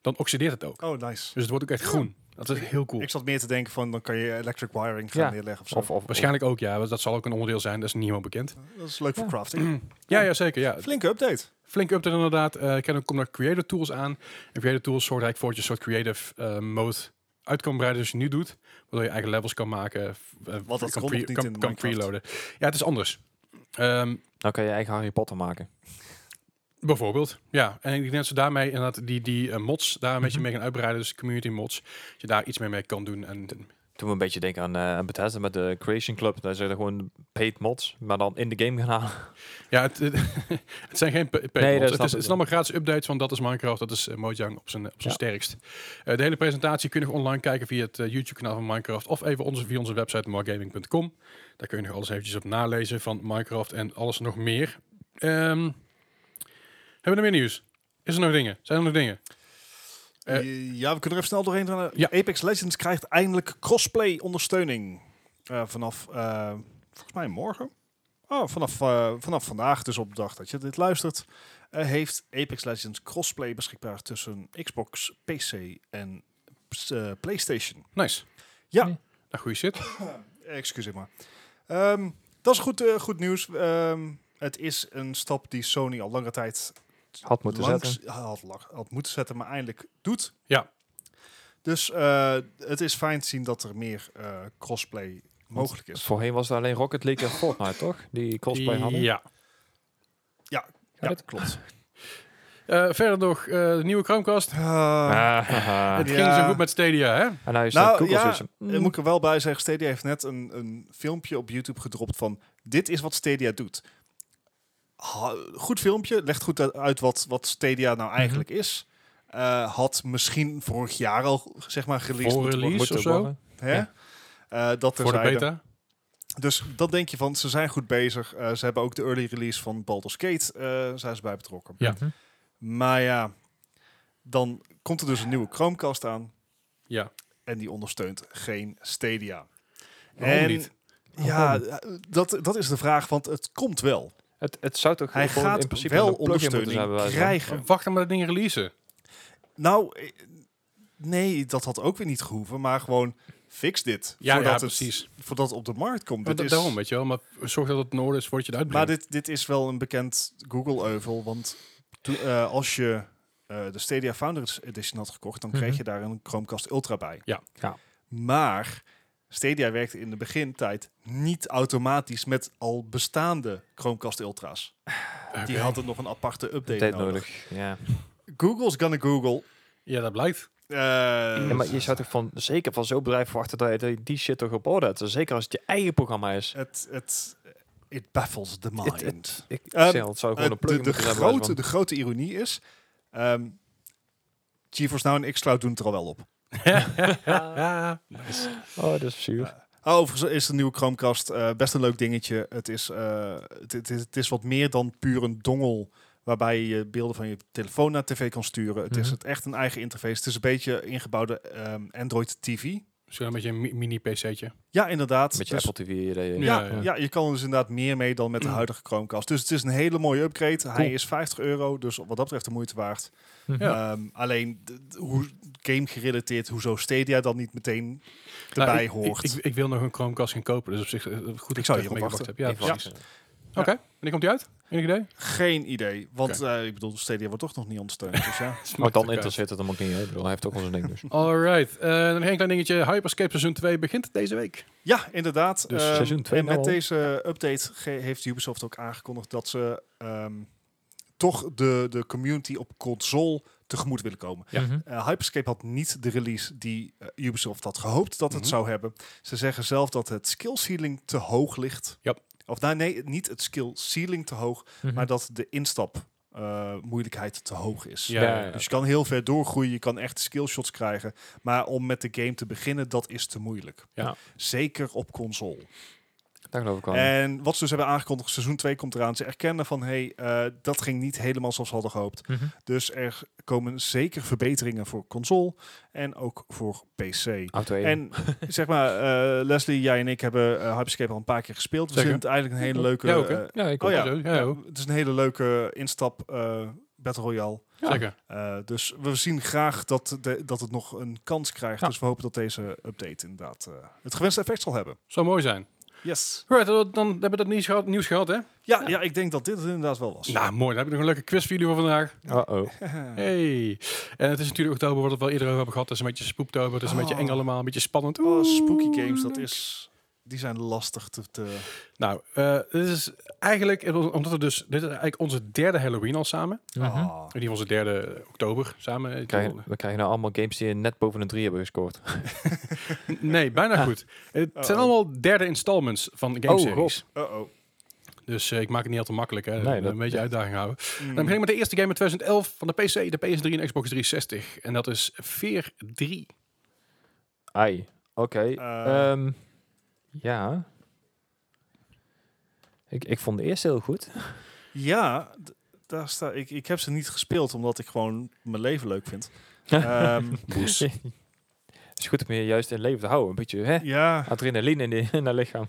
dan oxideert het ook. Oh, nice. Dus het wordt ook echt groen. Dat is heel cool. Ik zat meer te denken van, dan kan je electric wiring gaan Ja. neerleggen of zo. Of, of, Waarschijnlijk ook, ja. want Dat zal ook een onderdeel zijn. Dat is niet helemaal bekend. Dat is leuk voor crafting. Ja, ja zeker. Ja. Flinke update. Flink update inderdaad. Eh ik ken ook komt er creator tools aan. En creator tools zorgt eigenlijk voor dat je een soort creative eh, mode uit kan breiden zoals je nu doet. Waardoor je eigen levels kan maken. f- eh, Wat dat kan, kon nog niet kan, in kan Minecraft. preloaden. Ja, het is anders. Ehm, Dan kan je eigen Harry Potter maken. bijvoorbeeld. Ja, en ik denk dat ze daarmee inderdaad die, die eh, mods daar een Mhm. beetje mee gaan uitbreiden. Dus community mods. Dat je daar iets mee, mee kan doen. En Toen we een beetje denken aan eh, aan Bethesda met de Creation Club. Daar zijn er gewoon paid mods, maar dan in de game gaan halen. ja, het, het, zijn geen pa- paid Nee, dat mods. Het, snap is, ik het zijn wel. allemaal gratis updates van dat is Minecraft, dat is eh, Mojang op zijn, op zijn Ja. sterkst. Eh, de hele presentatie kun je nog online kijken via het eh, YouTube-kanaal van Minecraft of even onze, via onze website margaming.com. Daar kun je nog alles eventjes op nalezen van Minecraft en alles nog meer. Ehm, hebben we er meer nieuws? Is er nog dingen? Zijn er nog dingen? Eh, Eh, ja, we kunnen er even snel doorheen. gaan. Ja. Apex Legends krijgt eindelijk crossplay ondersteuning. Eh, vanaf, eh, volgens mij morgen. Oh, vanaf, eh, vanaf vandaag, dus op de dag dat je dit luistert, eh, heeft Apex Legends crossplay beschikbaar tussen Xbox, PC en eh, PlayStation. Nice. Ja. Nou, goeie shit. Eh, Excuseer maar. Ehm, Dat is goed, eh, goed nieuws. Ehm, het is een stap die Sony al langere tijd Had moeten langs- zetten. Had, lang- had moeten zetten, maar eindelijk doet. Ja. Dus eh, het is fijn te zien dat er meer eh, crossplay mogelijk is. Voorheen was het alleen Rocket League en Fortnite, toch? Die cosplay hadden. Ja. Ja, het? klopt. Eh, verder nog eh, de nieuwe Chromecast. Ah, Het Ja. ging zo goed met Stadia, hè? en nou is Nou, dat Google ja, zoiets. Dan moet ik er wel bij zeggen, Stadia heeft net een, een filmpje op YouTube gedropt van dit is wat Stadia doet. Ha- goed filmpje, legt goed u- uit wat, wat Stadia nou Mhm. eigenlijk is. Eh, had misschien vorig jaar al zeg maar geleased Voor moeten worden, release of zo? hè? ja. Eh, dat Voor de terzijde. beta. Dus dat denk je van, ze zijn goed bezig. Eh, ze hebben ook de early release van Baldur's Gate eh, zijn ze bij betrokken. Ja. Mhm. Maar ja, dan komt er dus een nieuwe Chromecast aan Ja. en die ondersteunt geen Stadia. Waarom niet? Ja, eh, dat, dat is de vraag, want het komt wel. Het, het zou toch Hij gewoon gaat in principe wel een plugin moeten ondersteuning zijn, bij wijze van. krijgen. Wacht dan maar dat ding releasen. Nou, eh, nee, dat had ook weer niet gehoeven, maar gewoon fix dit. Ja, ja, voordat precies. Het, voordat het op de markt komt. Maar Dit da- is, Daarom, weet je wel. Maar zorg dat het in orde is voordat je het maar uitbrengt. dit, dit is wel een bekend Google-euvel, want to- eh, als je eh, de Stadia Founders Edition had gekocht, dan kreeg Mhm. je daar een Chromecast Ultra bij. Ja. Ja. Maar Stadia werkte in de begintijd niet automatisch met al bestaande Chromecast Ultra's. Oké. Die hadden nog een aparte update, Update nodig. nodig. Ja. Google's gonna Google. Ja, dat blijkt. Eh, Ja, maar je zou toch van, zeker van zo'n bedrijf verwachten dat je die- die shit toch op orde hebt. Zeker als het je eigen programma is. het, het, it baffles the mind. Het- Ik ik Ehm, zeg al, het zou gewoon Eh, een plugin de, de, moeten zijn. bij wijze grote, de grote ironie is... ehm GeForce Now en xCloud doen het er al wel op. Ja. van. Oh, dat is zuur. Ah, Overigens is de nieuwe Chromecast eh, best een leuk dingetje. Het is, eh, het, het, het is wat meer dan puur een dongel waarbij je je beelden van je telefoon naar tv kan sturen. Het is Mhm. het echt een eigen interface. Het is een beetje ingebouwde ehm, Android TV. Misschien een beetje een mi- mini-pc'tje. Ja, inderdaad. Met je Dus- Apple eh, TV. dat je- Ja, Ja, ja. ja. je kan er dus inderdaad meer mee dan met de huidige Chromecast. Dus het is een hele mooie upgrade. Hij Cool. is 50 euro, dus wat dat betreft de moeite waard. Mhm. Ja. Ehm, alleen d- d- hoe game gerelateerd, hoezo Stadia dan niet meteen erbij Nou, ik- hoort. Ik, ik, ik wil nog een Chromecast gaan kopen, dus op zich eh, goed dat Ik zou er hierop mee gewacht wachten. heb. Ja, In ieder precies. geval. Oké, wanneer komt die uit? Enig idee? Geen idee, want eh, ik bedoel, Stadia wordt toch nog niet ondersteund. Dus ja. Maar dan Oké. interesseert het hem ook niet. hè. Ik bedoel, hij heeft ook al zijn ding dus. Alright, eh, dan nog één klein dingetje. Hyperscape Seizoen 2 begint deze week. ja, inderdaad. Dus Ehm, seizoen twee en met nou al. deze update ge- heeft Ubisoft ook aangekondigd dat ze ehm, toch de, de community op console tegemoet willen komen. Ja. Mhm, Eh, Hyperscape had niet de release die eh, Ubisoft had gehoopt dat het Mhm. zou hebben. Ze zeggen zelf dat het skill ceiling te hoog ligt. Yep. Mhm. Of nou, nee, niet het skill ceiling te hoog, mhm. maar dat de instap eh, moeilijkheid te hoog is. Ja, Ja, ja. Dus je kan heel ver doorgroeien, je kan echt skillshots krijgen. Maar om met de game te beginnen, dat is te moeilijk. Ja. Zeker op console. Daar geloof ik wel. aan. En wat ze dus hebben aangekondigd, seizoen 2 komt eraan. Ze erkennen van, hé, hey, eh, dat ging niet helemaal zoals we hadden gehoopt. Mhm. Dus er komen zeker verbeteringen voor console en ook voor PC. Auto één. En zeg maar, eh, Leslie, jij en ik hebben eh, Hyperscape al een paar keer gespeeld. We Zeker. vinden het eigenlijk een hele leuke... Ja, ook, hè? eh, ja, ik oh ook. ja, Zo, ja, ja, ook. het is een hele leuke instap eh, Battle Royale. Ja. Zeker. Eh, dus we zien graag dat, de, dat het nog een kans krijgt. Ja. Dus we hopen dat deze update inderdaad eh, het gewenste effect zal hebben. Zou mooi zijn. Yes. Right, dan, dan hebben we dat nieuws gehad, nieuws gehad hè? Ja, ja. ik denk dat dit het inderdaad wel was. Nou, mooi. Dan heb ik nog een leuke quiz voor jullie voor vandaag. Uh-oh. Hey. En het is natuurlijk oktober, wat we al eerder over hebben gehad. Het is een beetje spooktober, het is een beetje Oh. eng allemaal, een beetje spannend. Oh, Oeh. spooky games, dat is... Die zijn lastig te... te Nou, eh, dit is eigenlijk, omdat we dus, dit is eigenlijk onze derde Halloween al samen. Mhm. Ah. In ieder geval onze derde eh, oktober samen. Ik We krijgen- bedoel, we krijgen nou allemaal games die net boven een 3 hebben gescoord. Nee, bijna goed. Het Uh-oh. zijn allemaal derde installments van de Oh, gameseries. Uh-oh. dus eh, ik maak het niet al te makkelijk, hè. Nee, een dat- beetje uitdaging houden. Mm. Dan begin ik met de eerste game uit 2011 van de PC, de PS3 en Xbox 360. En dat is 4-3. Ai. Oké. Eh. ehm, ja. Ik, ik vond de eerste heel goed. Ja, d- daar sta ik. Ik heb ze niet gespeeld omdat ik gewoon mijn leven leuk vind. Ehm, Het is goed om je juist in leven te houden. Een beetje hè? ja, adrenaline in, de, in dat lichaam.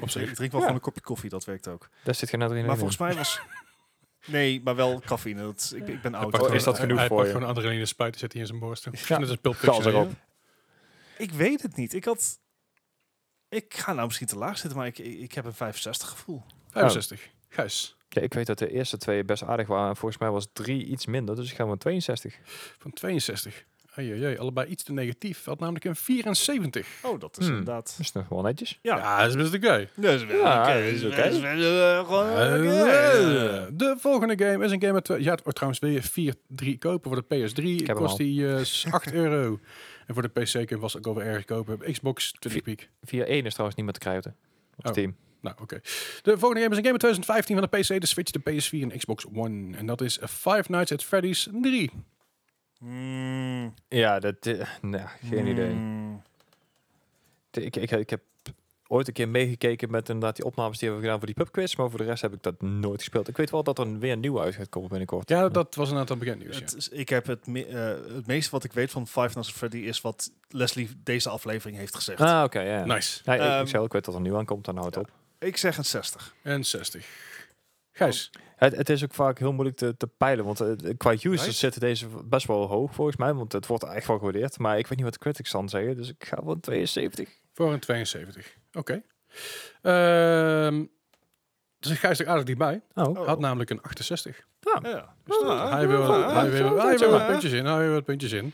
Op zich. ik drink wel Ja. gewoon een kopje koffie, dat werkt ook. Daar zit geen adrenaline Maar in. volgens mij was. Nee, maar wel cafeïne. Dat, ik, ik ben oud. Eh, pakt Oh, is dat Hij- genoeg hij voor pakt je? gewoon adrenaline spuit en zet hij in zijn borst. Ja. Dat is een Kals erop. Ik weet het niet. Ik had. Ik ga nou misschien te laag zitten, maar ik, ik heb een 65 gevoel. 65. Gijs, Ja, ik weet dat de eerste twee best aardig waren. En volgens mij was drie iets minder. Dus ik ga maar 62. van 62. Ai, ai, ai, allebei iets te negatief. Had namelijk een 74. Oh, dat is Hmm. inderdaad. Dat is nog wel netjes. Ja, Ja. dat is best oké. Dat is wel Ja, oké. dat is oké. Dat is wel, eh, gewoon oké. Eh, De volgende game is een game met twee... Ja, t- oh, trouwens wil je 4, 3 kopen voor de PS3. heb hem kost al. die eh, s- 8 euro. En voor de PC kun je was ook over erg kopen. Xbox 20 piek. 4-1 is trouwens niemand te kruiden. Op Oh. Steam. Nou, oké. De volgende game is een game uit 2015 van de PC, de Switch, de PS4 en Xbox One. En dat is Five Nights at Freddy's 3. Mm, Ja, dat... eh, nou, geen idee. mm. Ik, ik, ik heb ooit een keer meegekeken met inderdaad die opnames die we hebben gedaan voor die pubquiz. Maar voor de rest heb ik dat nooit gespeeld. Ik weet wel dat er weer een nieuwe uit gaat komen binnenkort. Ja, dat was een aantal bekend nieuws. ja. Het, is- ik heb het, me- eh, het meeste wat ik weet van Five Nights at Freddy is wat Leslie deze aflevering heeft gezegd. Ah, oké, ja. Nice. Nee, ik- ik, Ehm, zei ook, ik weet dat er nu aankomt, dan houdt het op. Ik zeg een 60. En 60. Gijs. Oh. Het, het is ook vaak heel moeilijk te, te peilen, want eh, qua users Right. zitten deze best wel hoog volgens mij, want het wordt echt wel gewaardeerd. Maar ik weet niet wat de critics dan zeggen, dus ik ga wel 72. Voor een 72. Oké. Ehm dus Gijs er aardig dichtbij. Oh, Oh. Had namelijk een 68. Ja. Dus hij wil, Ah, hij zo, wil, zo, hij wil zo. wat puntjes in. Hij wil wat puntjes in.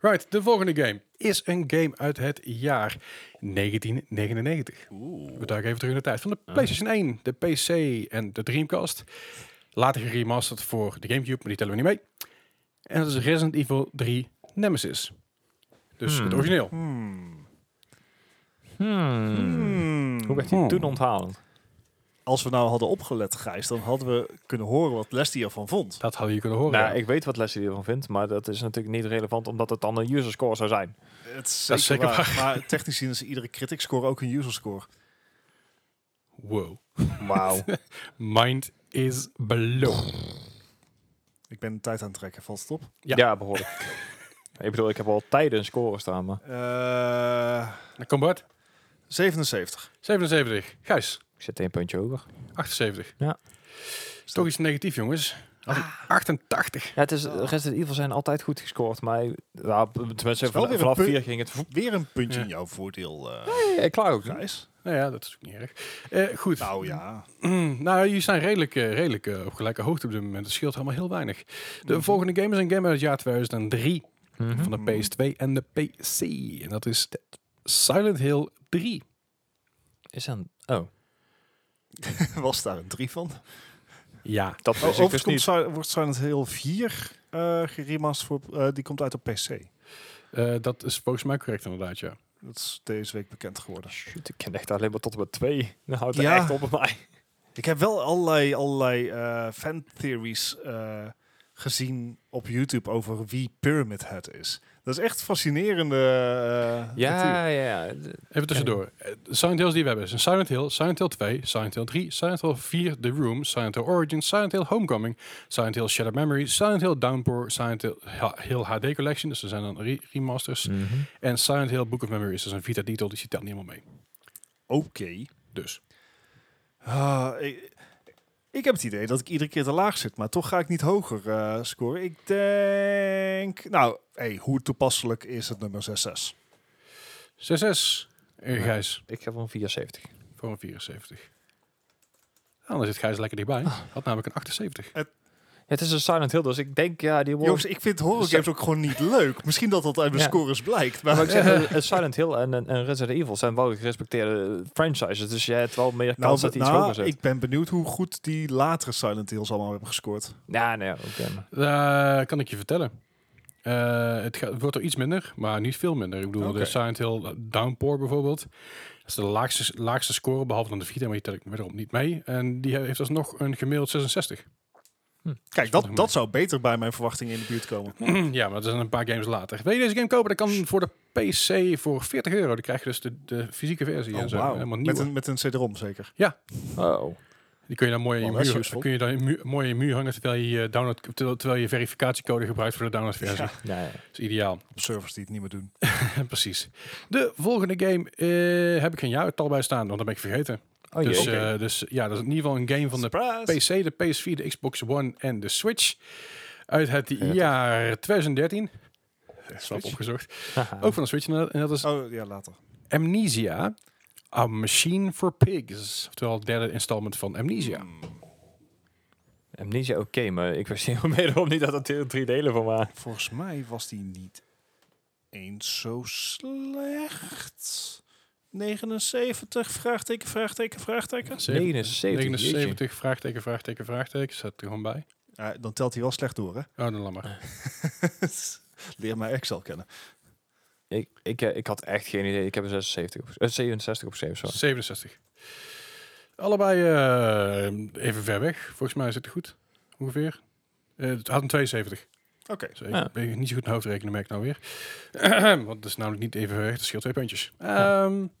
Right, de volgende game is een game uit het jaar 1999. We duiken even terug in de tijd. Van Ah. de PlayStation 1, de PC en de Dreamcast. Later geremasterd voor de Gamecube, maar die tellen we niet mee. En dat is Resident Evil 3 Nemesis. Dus Hmm. het origineel. Hmm. Hmm. Hmm. Hoe werd hij Hmm. toen onthaald? Als we nou hadden opgelet, Gijs, dan hadden we kunnen horen wat Leslie ervan vond. Dat hadden je kunnen horen. nou, ik weet wat Leslie hiervan vindt, maar dat is natuurlijk niet relevant, omdat het dan een user score zou zijn. Het is Dat zeker, is zeker waar. Maar technisch gezien is iedere critic score ook een user score. Wow. Wauw. Mind is blown. Ik ben de tijd aan het trekken, valt het op? Ja. ja. behoorlijk. ik bedoel, ik heb al tijden een score staan, maar Eh, Dan kom Bart. 77. 77. Gijs. ik zit één puntje hoger. 78. Ja. Ah. Is toch iets negatief, jongens. Had ik 88. Ja, het is, Resident Evil zijn altijd goed gescoord, maar nou, tenminste, wel weer vanaf een vanaf punt. vier ging het... voep. Weer een puntje Ja. in jouw voordeel, eh, Ja, klaar ook. Gijs. Nou ja, dat is ook niet erg. Eh, goed. Nou. Nou ja. jullie zijn redelijk, eh, redelijk eh, op gelijke hoogte op dit moment. Het scheelt allemaal heel weinig. De volgende game is een game uit het jaar 2003 Mhm. van de PS2 en de PC. En dat is Silent Hill 3. Is dan... Oh. Was daar een 3 van? Ja. Dat Oh, wist ik overigens dus komt niet. Silent- wordt Silent Hill 4 eh geremasterd. Voor, eh, die komt uit op PC. Eh, dat is volgens mij correct inderdaad, ja. Dat is deze week bekend geworden. Shoot, ik ken echt alleen maar tot en met twee. Dan houdt het Ja. echt op bij mij. Ik heb wel allerlei, allerlei eh, fan theories eh, gezien op YouTube over wie Pyramid Head is. Dat is echt fascinerende. eh, natuur. Ja, ja, ja. Even tussendoor. Eh, de Silent Hills die we hebben zijn Silent Hill, Silent Hill 2, Silent Hill 3, Silent Hill 4, The Room, Silent Hill Origins, Silent Hill Homecoming, Silent Hill Shattered Memory, Silent Hill Downpour, Silent Hill, Ha- Hill HD Collection, dus er zijn dan re- Hm. remasters, Mhm. en Silent Hill Book of Memories, dat is een Vita-titel, dus die telt niet helemaal mee. Oké. Dus. Ah, ik, ik heb het idee dat ik iedere keer te laag zit, maar toch ga ik niet hoger eh, scoren. Ik denk. Nou, hey, hoe toepasselijk is het nummer 66? 6-6. Eh, Gijs, Ik heb een 74. voor een 74. Nou, dan zit Gijs lekker dichtbij. Had namelijk een 78. Ja, het is een Silent Hill, dus ik denk, ja, die Jongens, wordt... ik vind horror games ook gewoon niet leuk. Misschien dat dat uit mijn Ja. scores blijkt. Maar Maar ik zeg, eh, eh, Silent Hill en, en, en Resident Evil zijn wel gerespecteerde franchises, dus jij hebt wel meer kans dat hij iets hoger zit. Nou, ik ben benieuwd hoe goed die latere Silent Hills allemaal hebben gescoord. Ja, nee, oké. Eh, kan ik je vertellen. Eh, het, gaat, het wordt er iets minder, maar niet veel minder. Ik bedoel, de Oké. Silent Hill Downpour bijvoorbeeld. Dat is de laagste, laagste score, behalve dan de Vita, maar die tel ik wederom niet mee. En die heeft alsnog een gemiddeld 66. Kijk, dat, dat zou beter bij mijn verwachtingen in de buurt komen. ja, maar dat zijn een paar games later. Wil je deze game kopen? Dat kan voor de PC voor 40 euro. Dan krijg je dus de, de fysieke versie en zo. Helemaal nieuw. Oh, Met een, met een CD-ROM zeker. Oh. Die kun je dan mooi in je Oh, dat is muur, useful. kun je dan in je muur- mooi in je muur hangen terwijl je, je eh, download, terwijl, terwijl je verificatiecode gebruikt voor de downloadversie. Ja. Ja, ja. Dat is ideaal. Op servers die het niet meer doen. Precies. De volgende game eh, heb ik geen jaartal bij staan, want dat ben ik vergeten. Oh, dus, jee. eh, dus ja, dat is in ieder geval een game van de Surprise! PC, de PS4, de Xbox One en de Switch. Uit het Veertig. jaar 2013. Slap Switch. opgezocht. Haha. eh, Ook van de Switch inderdaad. En dat is Oh ja, later. Amnesia, A Machine for Pigs. Oftewel het derde installment van Amnesia. Hmm. Amnesia oké, maar ik wist helemaal wederom niet dat het er drie delen van waren. Volgens mij was die niet eens zo slecht. 79, vraagteken, vraagteken, vraagteken. Zeven- 79, 79, vraagteken, vraagteken, vraagteken. Zet er gewoon bij. Ja, dan telt hij wel slecht door, hè? Oh, dan laat maar. Leer mij Excel kennen. Ik, ik, eh, ik had echt geen idee. Ik heb een 76 op, eh, 67 op 7, sorry. 67. Allebei eh, even ver weg. Volgens mij zit het goed. Ongeveer. Eh, het had een 72. Oké. Dus ik Ja. ben niet zo goed naar hoofd rekenen, merk ik nou weer. Want dat is namelijk niet even ver weg. Dat scheelt twee puntjes. Ja. Ehm, en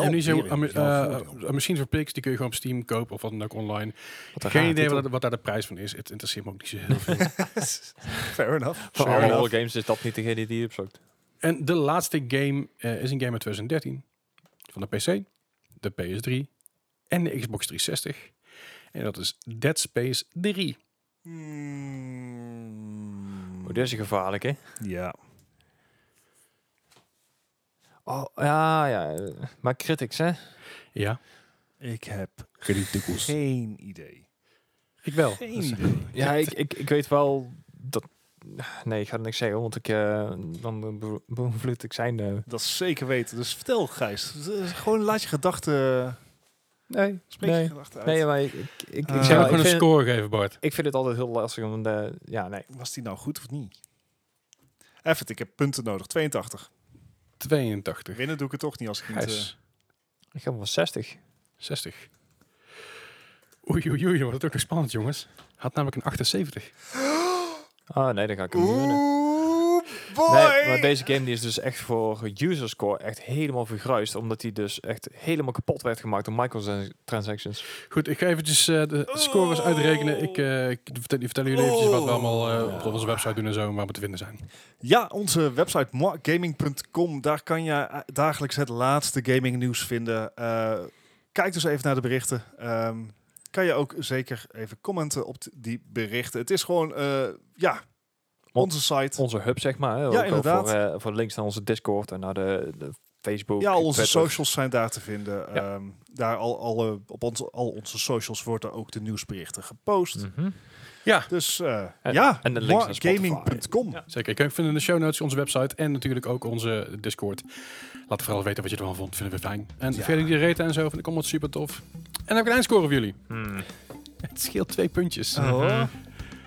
Oh, nu zo, eh, aan Machine for Pigs, die kun je gewoon op Steam kopen of wat dan ook online. Wat een Geen rare idee titel. wat, wat daar de prijs van is. Het interesseert me ook niet zo heel veel. Fair enough. Van Fair alle enough. horror games is dat niet degene die je opzoekt. en de laatste game eh, is een game uit 2013. Van de PC, de PS3 en de Xbox 360. En dat is Dead Space 3. Mm. Oh, dit is gevaarlijk, hè? Ja. Oh, ja, ja. eh, Maar critics, hè? Ja. Ik heb Criticus. geen idee. Ik wel. Dus, eh, Geen Dat is- idee. Ja, ik, ik, ik weet wel dat... Nee, ik ga er niks zeggen, want ik, eh, dan be- beïnvloed ik zijn... eh, Dat is zeker weten. Dus vertel, Gijs. Z- Gewoon laat je gedachten... nee, Spreek je nee. gedachten uit. Nee, maar ik, ik, ik, Eh, Ik ik, zeg zou ook wel, gewoon ik, een vind, het- score geven, Bart. ik vind het altijd heel lastig om de... Ja, nee. Was die nou goed of niet? Even, ik heb punten nodig. 82. 82. Winnen doe ik het toch niet als ik niet... eh, Gijs, Ik heb wel 60. 60. Oei, oei, oei. Wordt het ook nog spannend, jongens. Had namelijk een 78. Ah, nee, dan ga ik hem niet winnen. Oeh, boy! Nee, maar deze game die is dus echt voor userscore echt helemaal vergruist. Omdat die dus echt helemaal kapot werd gemaakt door microtransactions. Goed, ik ga eventjes eh, Oh. de scores uitrekenen. Ik, eh, ik vertel, ik vertel jullie eventjes wat we allemaal eh, op onze website doen en zo, en waar we te vinden zijn. Ja, onze website moagaming.com. Daar kan je eh, dagelijks het laatste gamingnieuws vinden. Eh, kijk dus even naar de berichten. Ehm, kan je ook zeker even commenten op t- die berichten. Het is gewoon, eh, ja, onze site. Onze hub, zeg maar. hè. Ook wel inderdaad. Voor, eh, voor links naar onze Discord en naar de, de Facebook. Ja, al onze Twitter. socials zijn daar te vinden. Ja. Ehm, daar al, alle, op onze, al onze socials worden ook de nieuwsberichten gepost. Mhm. Dus eh, En- ja, en de links naar Spotify. moagaming.com. Ja. Zeker. Je kunt vinden in de show notes onze website en natuurlijk ook onze Discord. Laat vooral weten wat je ervan vond. Vinden we fijn. En Ja. verder die reten en zo, vind ik allemaal super tof. En dan heb ik een eindscore voor jullie. Hmm. Het scheelt twee puntjes. Oh.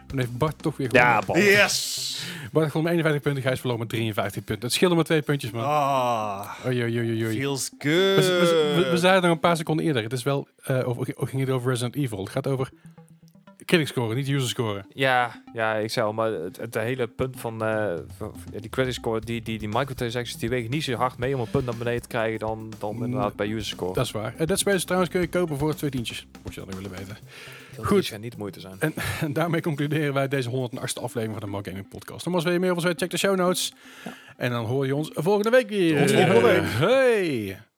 Dan heeft Bart toch weer gewonnen. Ja, bal. Yes! Bart gewoon met 51 punten, Gijs verloren met 53 punten. Het scheelde maar twee puntjes, man. Ah, Oei, oei, oei, oei. feels good. We, we, we- we zeiden het nog een paar seconden eerder. Het is wel, eh over, ging het over Resident Evil. Het gaat over critic scoren, niet user scoren. Ja, ja, ik zou, maar het, het hele punt van, eh, van- ja, die credit score, die, die, die microtransactions, die wegen niet zo hard mee om een punt naar beneden te krijgen dan, dan Nee. inderdaad bij user score. Mm. Dat is waar. Eh, Dead Space trouwens kun je kopen voor twee tientjes. Mocht je dat nog willen weten. goed. gaat niet moeite zijn. En daarmee concluderen wij deze 108e aflevering van de Mark Gaming Podcast. Nogmaals, wil je meer van ons weten? Check de show notes. En dan hoor je ons volgende week weer. Tot volgende week. Hey.